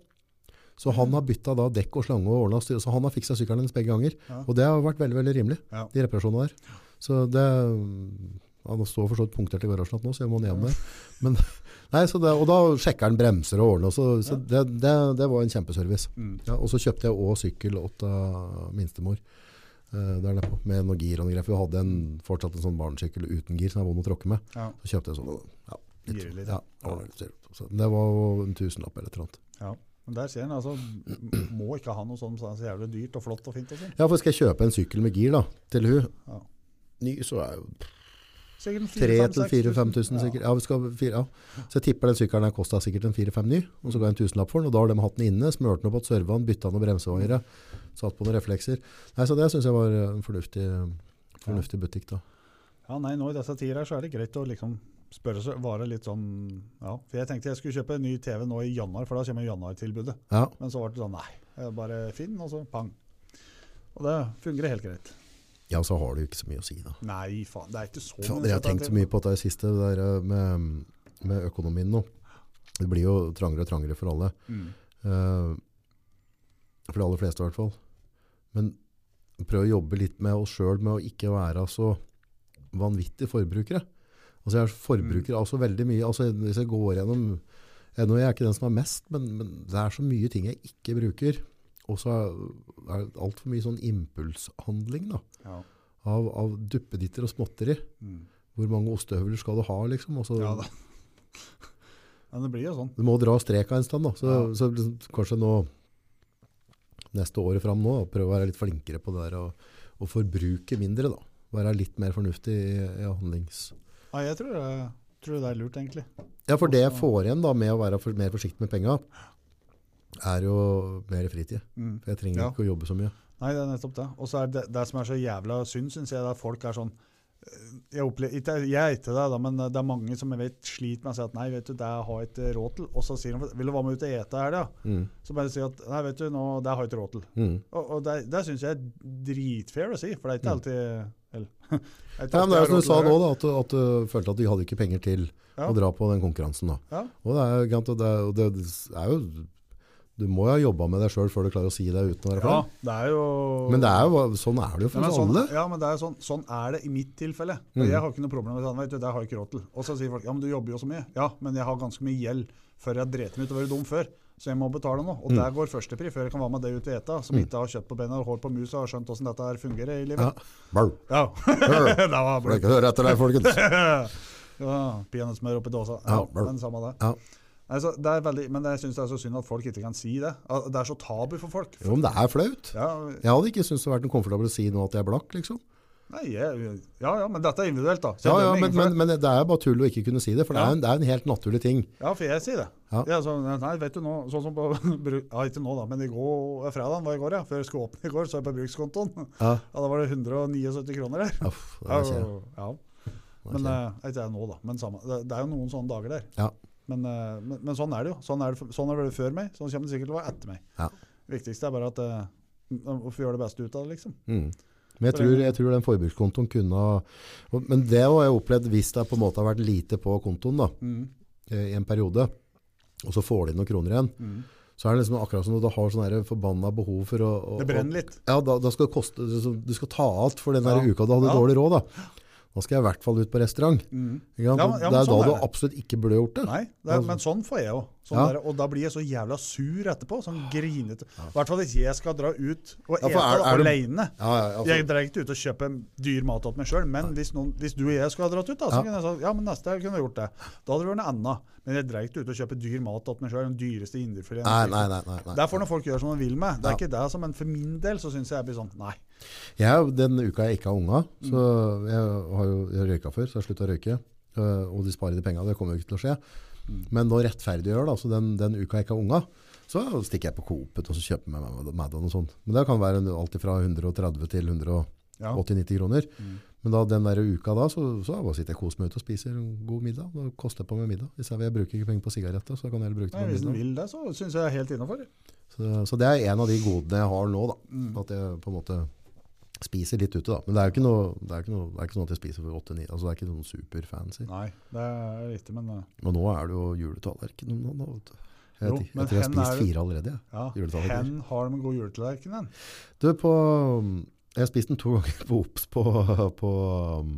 S1: Så
S2: Mm.
S1: han har bytta da dekk og slange og ordna og styre. Så han har fiksa sykkelen hennes begge ganger.
S2: Ja.
S1: Og det har vært veldig veldig rimelig,
S2: Ja.
S1: de reparasjonene der. Så det Han står for så vidt punktert i garasjen igjen nå, så jeg må ned igjen der. Men, nei, så det, og da sjekker han bremser og ordner, og så, så det, det, det var en kjempeservice.
S2: Mm.
S1: Ja, og så kjøpte jeg òg sykkel åt uh, minstemor. eh, der nede på, med noe gir og noe greier. For hun hadde en, fortsatt en sånn barnesykkel uten gir som er vond å tråkke med.
S2: Ja.
S1: Så kjøpte jeg sånn. og- Ja, sånn,
S2: Girer litt,
S1: ja, ordner litt selv. så det var jo en tusenlapp eller et eller annet.
S2: ja. Men der ser en altså m- Må ikke ha noe sånn som er så jævlig dyrt og flott og fint og sånn.
S1: Ja, for skal jeg kjøpe en sykkel med gir da, til hun,
S2: Ja.
S1: ny, så er jo
S2: Sikkert en fire,
S1: 3
S2: fem,
S1: til
S2: seks
S1: 4-5 tusen sikkert. Ja, vi skal, fire, ja. Så jeg tipper den sykkelen her kostet sikkert en 4-5 ny, og så ga jeg en tusenlapp for den, og da har de hatt den inne, smørt den opp, serva den, bytta noen bremsevaiere, satt på noen reflekser. Nei, så det synes jeg var en fornuftig, fornuftig butikk da.
S2: Ja, nei, nå i disse tider her så er det greit å liksom spørre seg, være litt sånn Ja. For jeg tenkte jeg skulle kjøpe en ny TV nå i januar, for da kommer januartilbudet.
S1: Ja,
S2: Men så ble det sånn nei, jeg bare Finn, og så pang. Og det fungerer helt greit.
S1: ja så har du ikke så mye å si da.
S2: Nei, faen, det er ikke så
S1: Fader, jeg har tenkt så mye på det siste det der eh, med, med økonomien nå. Det blir jo trangere og trangere for alle.
S2: Mm.
S1: Eh, For de aller fleste i hvert fall. Men prøv å jobbe litt med oss sjøl med å ikke være så vanvittige forbrukere. Altså jeg er forbruker av så veldig mye. Altså hvis jeg går gjennom Eh, Nå er jeg ikke den som har mest, men, men det er så mye ting jeg ikke bruker. Og så er er det altfor mye sånn impulshandling da,
S2: Ja.
S1: av, av duppeditter og småtteri.
S2: Mm.
S1: Hvor mange ostehøvler skal du ha, liksom? Og så,
S2: ja da. Men det blir jo sånn.
S1: du må dra streka en stand, da. Så,
S2: Ja.
S1: så liksom, kanskje nå, neste året fram nå, da, prøve å være litt flinkere på det der, og, og forbruke mindre, da. Være litt mer fornuftig i, i handlings...
S2: Nei, jeg tror, det, tror det er lurt, egentlig.
S1: Ja, for det jeg
S2: Også-
S1: får igjen da, med å være for, mer forsiktig med penga, er jo mer fritid.
S2: Mm.
S1: For jeg trenger
S2: Ja.
S1: ikke å jobbe så mye.
S2: Nei, det er nettopp det. Og så er det, det som er så jævla synd, syns jeg, det er at folk er sånn eh, jeg, opplever, ikke, jeg er ikke det, da, men eh, det er mange som jeg vet sliter med å si at nei, vet du, det har jeg ikke råd til. Og så sier de vil du være med ut og ete her, da?
S1: Mm.
S2: Så bare sier at nei, vet du, nå, det har jeg ikke råd til.
S1: Mm.
S2: Og, og det, det syns jeg er dritfair å si, for det er ikke alltid eller, det
S1: Ja, Mm.
S2: er ikke
S1: men det
S2: alltid jeg
S1: er
S2: har
S1: jo som
S2: råd
S1: du sa nå, da,
S2: til det her.
S1: at, du- at du følte at du hadde ikke penger til
S2: Ja.
S1: å dra på den konkurransen. da.
S2: Ja.
S1: Og det er, jo greit, og det, er- og det er jo Du må jo ha jobba med deg sjøl før du klarer å si det uten å være
S2: Ja,
S1: flau.
S2: det er jo
S1: Men det er jo, sånn er det jo for
S2: Ja, men
S1: oss
S2: sånn,
S1: alle.
S2: ja, men det er sånn, sånn er det i mitt tilfelle. Og
S1: Mm.
S2: Jeg har ikke noe problem med det. Vet du, det har jeg ikke råd til. Og så sier folk ja, men du jobber jo så mye. Ja, men jeg har ganske mye gjeld før jeg dreit meg ut og vært dum før. Så jeg må betale nå.
S1: Mm.
S2: Og der går førstepri før jeg kan være med det ut i ETA, som ikke har kjøtt på beina og hår på musa og har skjønt åssen dette her fungerer i
S1: Ja.
S2: livet.
S1: Bau.
S2: Ja.
S1: Hør. Får
S2: det var
S1: dere
S2: bra.
S1: ikke høre etter deg, folkens.
S2: ja, Peanøttsmør oppi dåsa. Ja,
S1: Ja, bra.
S2: men samme det.
S1: Ja.
S2: Nei, så det er veldig, men jeg syns det er så synd at folk ikke kan si det. At Det er så tabu for folk.
S1: Jo, men det er flaut.
S2: Ja,
S1: Jeg hadde ikke syntes det hadde vært noe komfortabelt å si nå at jeg er blakk, liksom.
S2: nei, jeg, ja, ja, men dette er individuelt, da. Så jeg
S1: Ja, ja,
S2: dømmer ingen
S1: men,
S2: for det.
S1: men, men det er jo bare tull å ikke kunne si det, for det er en, det er en helt naturlig ting.
S2: Ja, for jeg sier det.
S1: Ja.
S2: Ja, så, nei, vet du nå, sånn som på, bru- ja, ikke nå da, men i går, fredagen var i går, ja, før jeg skulle åpne i går, så jeg på brukskontoen.
S1: Ja.
S2: Ja, da var det 179 kroner der.
S1: Uff, det
S2: Ja,
S1: er kjedelig.
S2: ja.
S1: Det er
S2: Men,
S1: kjedelig.
S2: eh, ikke jeg nå da, men samme, det, det er jo noen sånne dager der.
S1: Ja.
S2: Men, eh, men, men sånn er det jo. Sånn er det, for- sånn er det før meg, sånn kommer det sikkert til å være etter meg.
S1: Ja.
S2: Det viktigste er bare at, eh, hvorfor gjøre det beste ut av det, liksom?
S1: Mm. Men jeg tror, jeg tror den forbrukskontoen kunne ha- og- Men det har jeg opplevd hvis det på en måte har vært lite på kontoen da, eh, i en periode, og så får de noen kroner igjen, så er det liksom akkurat som at du har sånn her forbanna behov for å... å
S2: Det brenner litt.
S1: Ja, da, da skal det koste... liksom, Du skal ta alt for den der
S2: Ja.
S1: uka du hadde
S2: Ja. Mm.
S1: dårlig råd da. Da skal jeg i hvert fall ut på restaurant. Ikke sant?
S2: Ja, men- ja,
S1: det
S2: men
S1: er da
S2: sånn er
S1: du
S2: det.
S1: absolutt ikke burde gjort det.
S2: Nei, det er, men sånn får jeg òg. Sånn
S1: Ja. Ah.
S2: er det. og da blir jeg så jævla sur etterpå. Sånn grinete. I hvert fall hvis jeg skal dra ut og
S1: Ja, for
S2: ete da,
S1: er- er du-
S2: alene.
S1: Ja, ja, altså,
S2: Jeg drar ikke ut og kjøper dyr mat til meg sjøl, men hvis, noen, hvis du og jeg skulle ha dratt ut, da, så
S1: Ja.
S2: kunne jeg sagt ja, men neste jeg kunne jeg gjort det. Da hadde det vært noe annet. Men jeg drar ikke ut og kjøper dyr mat til meg sjøl, den dyreste indrefileten.
S1: Nei, nei, nei, nei, nei.
S2: Det er for når folk gjør som de vil med. Det er
S1: Ja.
S2: ikke det som en For min del så syns jeg jeg blir sånn Nei.
S1: Jeg, den uka jeg ikke har unga, så
S2: Mm.
S1: jeg har jo jeg røyka før, så jeg slutta å røyke. øh, Og de sparer de penga, det kommer jo ikke til å skje.
S2: Mm.
S1: Men nå rettferdiggjør det, altså den, den uka jeg ikke har unga, så stikker jeg på Coop-et og så kjøper jeg meg Maddan og sånn. Men det kan være en- alt fra 130 til 180-90
S2: Ja. Mm.
S1: kroner. Men da, den der uka da, så, så bare sitter jeg og koser meg ute og spiser en god middag. Da koster jeg på meg middag. I stedet for jeg bruker ikke penger på sigaretter, så jeg kan heller bruke
S2: Nei,
S1: det
S2: hvis
S1: på
S2: en
S1: middag.
S2: vil det, så syns jeg jeg er helt innafor.
S1: Så, så det er en av de godene jeg har nå, da.
S2: Mm.
S1: At jeg på en måte spiser litt ute, da. Men det er jo ikke, noe, det er ikke, noe, det er ikke sånn at jeg spiser for 8-9. Altså, det er ikke sånn superfancy.
S2: Nei, det er riktig, men eh,
S1: Men nå er det jo juletallerken om dagen, da. Vet du. Jeg,
S2: Jo,
S1: vet ikke,
S2: men
S1: jeg tror jeg har
S2: hen er
S1: spist
S2: det-
S1: fire allerede. jeg.
S2: ja.
S1: Juletallerken.
S2: Hen har de en god juletallerken, den.
S1: Du, på, jeg har spist den to ganger på Ops på, på, um,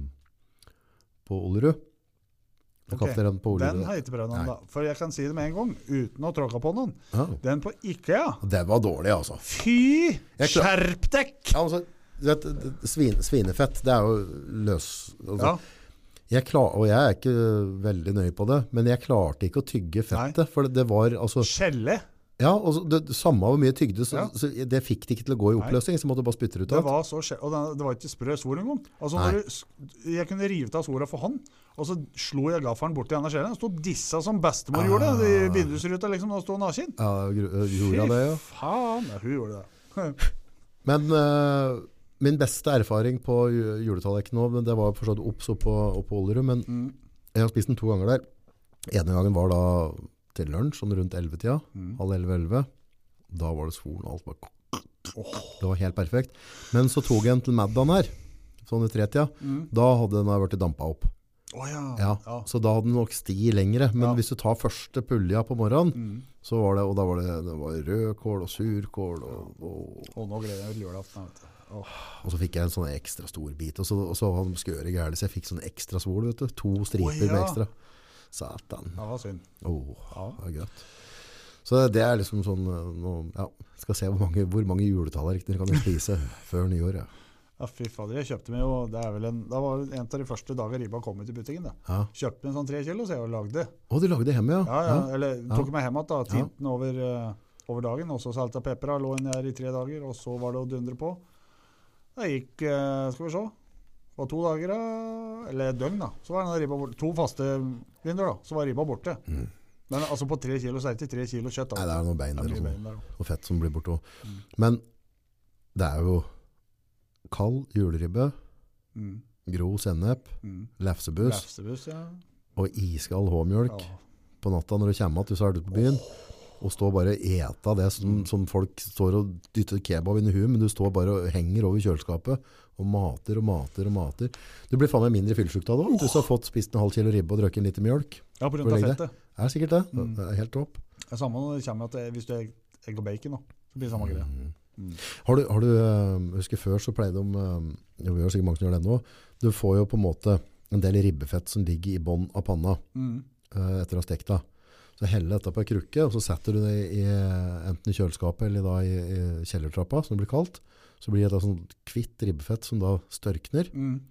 S1: på Olerud. På
S2: Ok,
S1: kafeteriaen på Olerud.
S2: Den har jeg ikke prøvd
S1: Nei.
S2: ennå. For jeg kan si det med en gang, uten å tråkke på noen.
S1: Ja.
S2: Den på Ikea.
S1: Og Det var dårlig, altså.
S2: Fy!
S1: Jeg klar-
S2: Skjerp dekk!
S1: Ja, altså du vet, svin, svinefett, det er jo løs... Altså,
S2: Ja,
S1: Jeg klar, og jeg er ikke veldig nøye på det, men jeg klarte ikke å tygge fettet. For det, det var altså
S2: skjelle.
S1: Ja, og så- det, det samme hvor mye jeg tygde, så,
S2: Ja.
S1: så jeg- det fikk det ikke til å gå i oppløsning. Så måtte jeg bare spytte det ut.
S2: Det
S1: alt.
S2: var så skje- Og den, det var ikke sprø svor engang. Altså,
S1: Sånn. Nei.
S2: når du s- jeg kunne rivet av svora for hånd, og så slo jeg gaffelen borti denne skjellen. Den sto dissa som bestemor gjorde i vindusruta, liksom, da sto naken.
S1: Ja, gru- øh, Ah. gjorde jeg det, ja.
S2: faen! Ja, hun gjorde det.
S1: Men øh, min beste erfaring på ju- juletallerken nå, men det var forstått obs oppe på oppe på Olerud, men
S2: Mm.
S1: jeg har spist den to ganger der. Ene gangen var da til lunsj, sånn rundt 11-tida.
S2: Mm.
S1: Halv 11-11. Da var det svoren og alt bare Det var helt perfekt. Men så tok jeg en til Maddan her, sånn i tretida. Da hadde den vært dampa opp.
S2: Å ja.
S1: Ja,
S2: Mm. ja.
S1: så da hadde den nok sti lengre. Men
S2: Ja. Mm.
S1: hvis du tar første pulja på morgenen, så var det, og da var det, det var rødkål og surkål, og, og,
S2: Og nå gleder jeg meg til julaften. vet du. Åh.
S1: og så fikk jeg en sånn ekstra stor bit, og så, og så var den skøre gærlig, så jeg fikk sånn ekstra svol, vet du. To striper
S2: Å, ja.
S1: med ekstra. Satan.
S2: Det var synd.
S1: Åh,
S2: Ja.
S1: det er greit. Så det er liksom sånn eh, nå, ja, Skal se hvor mange, hvor mange juletallerkener kan du spise før nyår. Ja.
S2: Ja, fy fader, jeg kjøpte meg jo Det er vel en, det var en av de første dager ribba kom ut i butikken. da.
S1: Ja.
S2: Kjøpte meg en sånn tre kilo, så jeg og lagde.
S1: Å, du lagde det hjemme, ja?
S2: Ja, ja, eller tok meg hjem igjen, da.
S1: Ja.
S2: Tint den over, eh, over dagen. Og så salta peppera. Lå den der i tre dager, og så var det å dundre på. Det gikk eh, Skal vi se. Det var to dager, da, eller et døgn, da. Så var den der ribba borte. To faste vinduer, da. Så var ribba borte.
S1: Mm.
S2: Men altså på tre kilo, så er det ikke tre kilo kjøtt.
S1: Nei,
S2: da.
S1: det er noen bein
S2: Det
S1: der
S2: er
S1: og
S2: mye
S1: sånn.
S2: bein der, da.
S1: og fett som blir borte òg.
S2: Mm.
S1: Men det er jo kald juleribbe,
S2: Mm.
S1: grov sennep,
S2: Mm.
S1: lefsebuss
S2: Lefsebuss, ja.
S1: og iskald håmjølk
S2: ja.
S1: på natta når du kommer igjen, så er du på byen. Og står bare og eta det som,
S2: Mm.
S1: som folk står og dytter kebab inn i huet, men du står bare og henger over kjøleskapet og mater og mater og mater. Du blir faen meg mindre fyllesyk av det òg. Hvis du har fått spist en halv kilo ribbe og drukket en liter mjølk.
S2: Ja, på grunn
S1: Hvor
S2: av
S1: lenge det?
S2: fettet.
S1: Det er sikkert det.
S2: Mm.
S1: Det er helt topp.
S2: Det er samme når det kommer at det, hvis du er egg og bacon, da, så blir det samme greia.
S1: Mm.
S2: Mm.
S1: Har du, har du eh, husker før så pleide de, eh, jo, vi har sikkert mange som gjør det nå, du får jo på en måte en del ribbefett som ligger i bånd av panna
S2: Mm.
S1: eh, etter å ha stekt det. Så heller dette på en krukke, og så setter du det i, enten i kjøleskapet eller da i, i kjellertrappa, som det blir kaldt. Så blir det et sånn kvitt ribbefett som da størkner.
S2: Mm.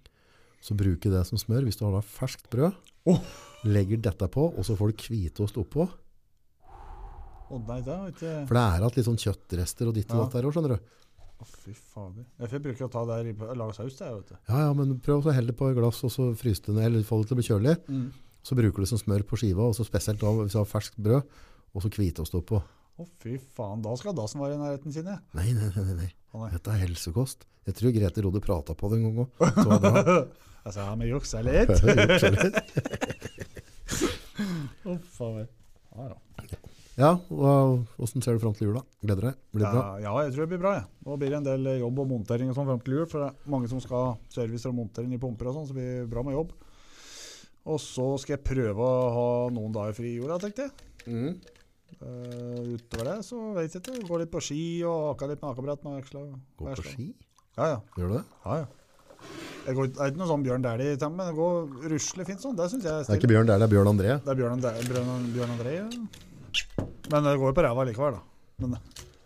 S1: Så bruker det som smør hvis du har da ferskt brød.
S2: Åh!
S1: Legger dette på, og så får du hvitost oppå.
S2: Å nei, det er jo ikke
S1: For det er at litt sånn kjøttrester og ditt og
S2: Ja.
S1: datt der også, skjønner du.
S2: Å, fy fader. Jeg får bruke å ta det i lage saus, det, vet du.
S1: Ja, ja, men prøv å helle det på et glass, og så fryse det ned, eller få det til å bli kjølig.
S2: Mm.
S1: Så bruker du det som smør på skiva, og så spesielt da hvis du har ferskt brød, og så hvitost oppå.
S2: Å, fy faen. Da skal dassen være i nærheten sin, jeg.
S1: Nei, nei, nei, nei, nei.
S2: Å, nei.
S1: Dette er helsekost. Jeg tror Grete Rode pratet på det en gang også. Så var det bra.
S2: Jeg sa ja, men Altså, juks er litt.
S1: Jeg har gjort så litt.
S2: Å, fader. Ja, ja.
S1: Ja, og hvordan ser du frem til jula? Gleder deg? Blir det bra?
S2: Ja, ja, jeg tror det blir bra. jeg. Nå blir det en del eh, jobb og montering og sånn frem til jul. For det er mange som skal ha servicer og montering i pumper og sånn, så det blir bra med jobb. Og så skal jeg prøve å ha noen dager fri i jorda, tenkte jeg.
S1: Mm.
S2: Eh, utover det så vet jeg ikke. Gå litt på ski og ake litt med akebrett med veksla.
S1: Gå på
S2: veksla.
S1: ski?
S2: Ja, ja.
S1: Gjør du det?
S2: ja, ja. Jeg går, det er ikke noe sånn Bjørn Dæhlie-tempo, men det går rusle fint sånn. Det syns jeg er
S1: Det er
S2: stilig.
S1: ikke Bjørn der, det er Bjørn André.
S2: Det er Bjørn, André- Bjørn, Bjørn André. Ja. Men det går jo på ræva likevel, da. Men,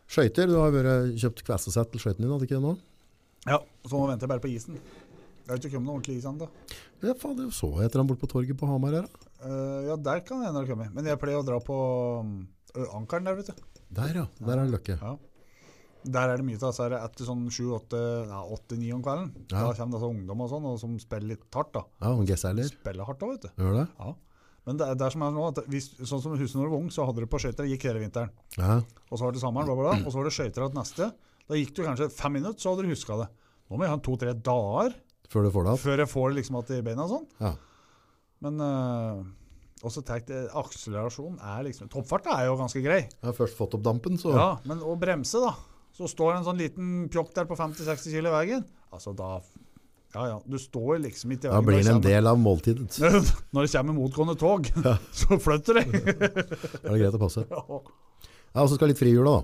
S1: Skøyter, du har vært kjøpt kvessesett til skøyten din, hadde ikke det nå?
S2: ja, så nå venter jeg bare på isen. Det har ikke kommet noe ordentlig is ennå.
S1: Ja, faen, det så jeg etter han bort på torget på Hamar her. da.
S2: Eh, ja, der kan det hende det kommer. Men jeg pleier å dra på um, ø, Ankeren der, vet du.
S1: Der ja, der er løkke.
S2: Ja. Der er det mye av disse her etter sånn sju-åtte, ja, åtte-ni om kvelden.
S1: Ja.
S2: Da kommer det altså ungdom og sånn, og som spiller litt hardt, da.
S1: Ja, og gesseller.
S2: Spiller hardt da, vet du.
S1: Gjør det?
S2: Ja. Men det er, det er som er nå, at hvis, sånn som huset når du var ung, så hadde du på skøyter, gikk hele vinteren.
S1: Ja.
S2: Og så var det sommeren, bla, bla, bla, og så var det skøyter igjen neste. Da gikk du kanskje fem minutter, så hadde du huska det. Nå må jeg ha en to-tre dager
S1: Før du får det opp.
S2: før jeg får det liksom at i beina og sånn.
S1: Ja.
S2: Men øh, også tenkt, eh, akselerasjon er liksom Toppfart er jo ganske grei.
S1: Jeg har først fått opp dampen, så...
S2: Ja, men å bremse, da. Så står en sånn liten pjokk der på 50-60 kg i veien. Altså, da Ja, ja. Du står liksom ikke i
S1: Da blir det en
S2: når
S1: del av måltidet. Da
S2: kommer- Når det kommer motgående tog, så flytter det.
S1: er det greit å passe.
S2: Ja.
S1: Ja, og så skal litt frihjula da.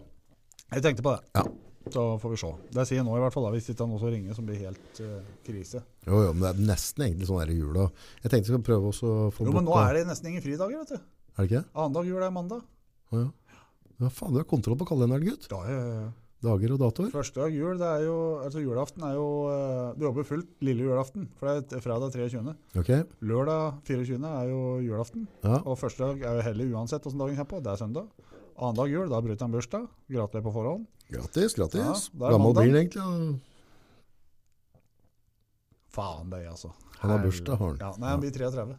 S2: Jeg tenkte på det.
S1: Ja.
S2: Så får vi se. Det sier jeg nå i hvert fall, da, hvis ikke han også ringer, som blir helt eh, krise.
S1: Jo, jo, men det er nesten egentlig sånn her i jula. Jeg tenkte jeg skulle prøve også å få
S2: Jo, men nå
S1: bort-
S2: er det nesten ingen fridager, vet du.
S1: Er det ikke det?
S2: Annendag jul er mandag.
S1: Å, ja. ja, faen, du har kontroll på kalenderen, gutt.
S2: Ja, ja, ja.
S1: Dager og datoer.
S2: Første dag jul, det er jo Altså, julaften er jo eh, Du jobber fullt lille julaften, for det er et- fredag 23.
S1: Ok,
S2: Lørdag 24. er jo julaften.
S1: ja.
S2: Og første dag er jo hellig uansett hvordan dagen kommer på. Det er søndag. Annen dag jul, da bryter han bursdag. Gratulerer på forhånd.
S1: Gratis, gratis.
S2: Ja, det er
S1: Gammel
S2: mandag.
S1: blir han egentlig. ja.
S2: Faen deg, altså.
S1: Han har bursdag, har han.
S2: Ja, nei, han blir 33.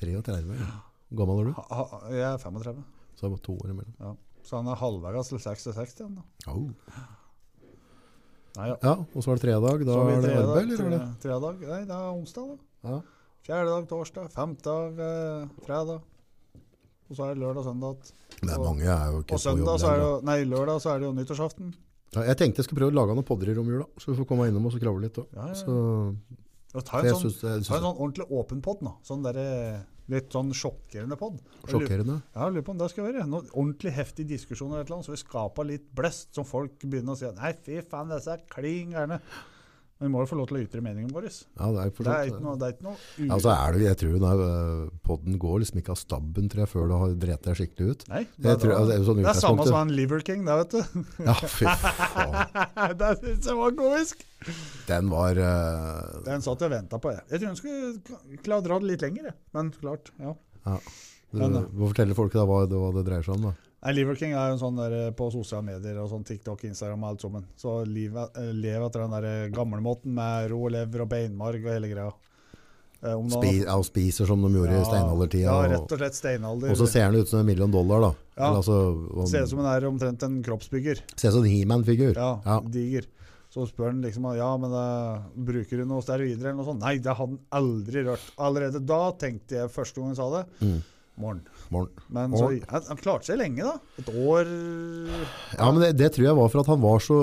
S1: 33. ja. Hvor Gammel er du?
S2: Ha, ha, jeg er 35.
S1: Så er det bare to år imellom.
S2: Så han er halvveis til 66 igjen, da.
S1: Au.
S2: Nei, ja.
S1: Ja, og så er det tredag. Da
S2: Så blir
S1: er det
S2: tredje dag-
S1: arbeid, eller? er det?
S2: tre- Tredje dag? Nei, det er onsdag, da.
S1: Ja.
S2: Fjerde dag torsdag, femte dag eh, fredag. Og så er det lørdag søndag igjen.
S1: Det er mange, jeg er jo ikke
S2: Og søndag så er det jo Nei, lørdag så er det jo nyttårsaften.
S1: Ja, jeg tenkte jeg skulle prøve å lage noen podder i romjula, så vi får komme innom oss og kravle litt. da.
S2: Ja, ja, ja.
S1: Så,
S2: Og ta
S1: for
S2: en
S1: jeg
S2: sånn,
S1: synes det jeg
S2: ta en
S1: synes det
S2: sånn ordentlig åpen pod nå. Sånn der, eh, litt sånn sjokkerende pod.
S1: er sjokkerende.
S2: Ja, jeg lurer på om det skal være noen ordentlig heftig diskusjon eller et eller annet, så vi skaper litt blest som folk begynner å si at nei, fy faen, disse er kling gærne. Men Men vi må jo få lov til å ytre meningen vår.
S1: Ja, det er jo for sånn-
S2: Det
S1: så
S2: er
S1: vidt-
S2: ikke noe, det er ikke noe u-
S1: Ja, og så Altså, er det, jeg tror den er, podden går liksom ikke av stabben tror jeg, før du har drept deg skikkelig ut.
S2: Nei, det,
S1: Jeg
S2: er,
S1: tror,
S2: da-
S1: altså, det er jo sånn
S2: det er samme
S1: utgangspunktet.
S2: som han Liver King, det, vet du.
S1: Ja, fy faen.
S2: det syns jeg var komisk.
S1: Den var eh,
S2: Den satt jeg og venta på, jeg. Jeg tror hun skulle klare å dra det litt lenger, jeg. men klart. ja.
S1: du,
S2: den, da.
S1: Må fortelle folk da hva, det- hva det dreier seg om. da.
S2: Nei, Liver King er jo en sånn der eh, på sosiale medier og sånn TikTok, Instagram og alt sammen. Så liv, eh, lev etter den der eh, gamlemåten med rå lever og beinmarg og hele greia. Eh, om
S1: Spi, ja, og spiser som de gjorde i steinaldertida.
S2: Ja,
S1: og-
S2: rett og slett steinalder.
S1: og så ser han ut som en million dollar, da.
S2: Ja.
S1: Eller, altså, han,
S2: Ser ut som hun er omtrent en kroppsbygger.
S1: ser ut som en He-Man-figur.
S2: Ja,
S1: Ja.
S2: diger. Så spør han liksom ja, men eh, bruker du noe steroider eller noe sånt. Nei, det hadde han aldri rørt. Allerede da tenkte jeg første gang jeg sa det.
S1: Mm.
S2: Morgen.
S1: Morn.
S2: Men så,
S1: Morn.
S2: han, han klarte seg lenge, da. Et år
S1: Ja, men det, det tror jeg var for at han var så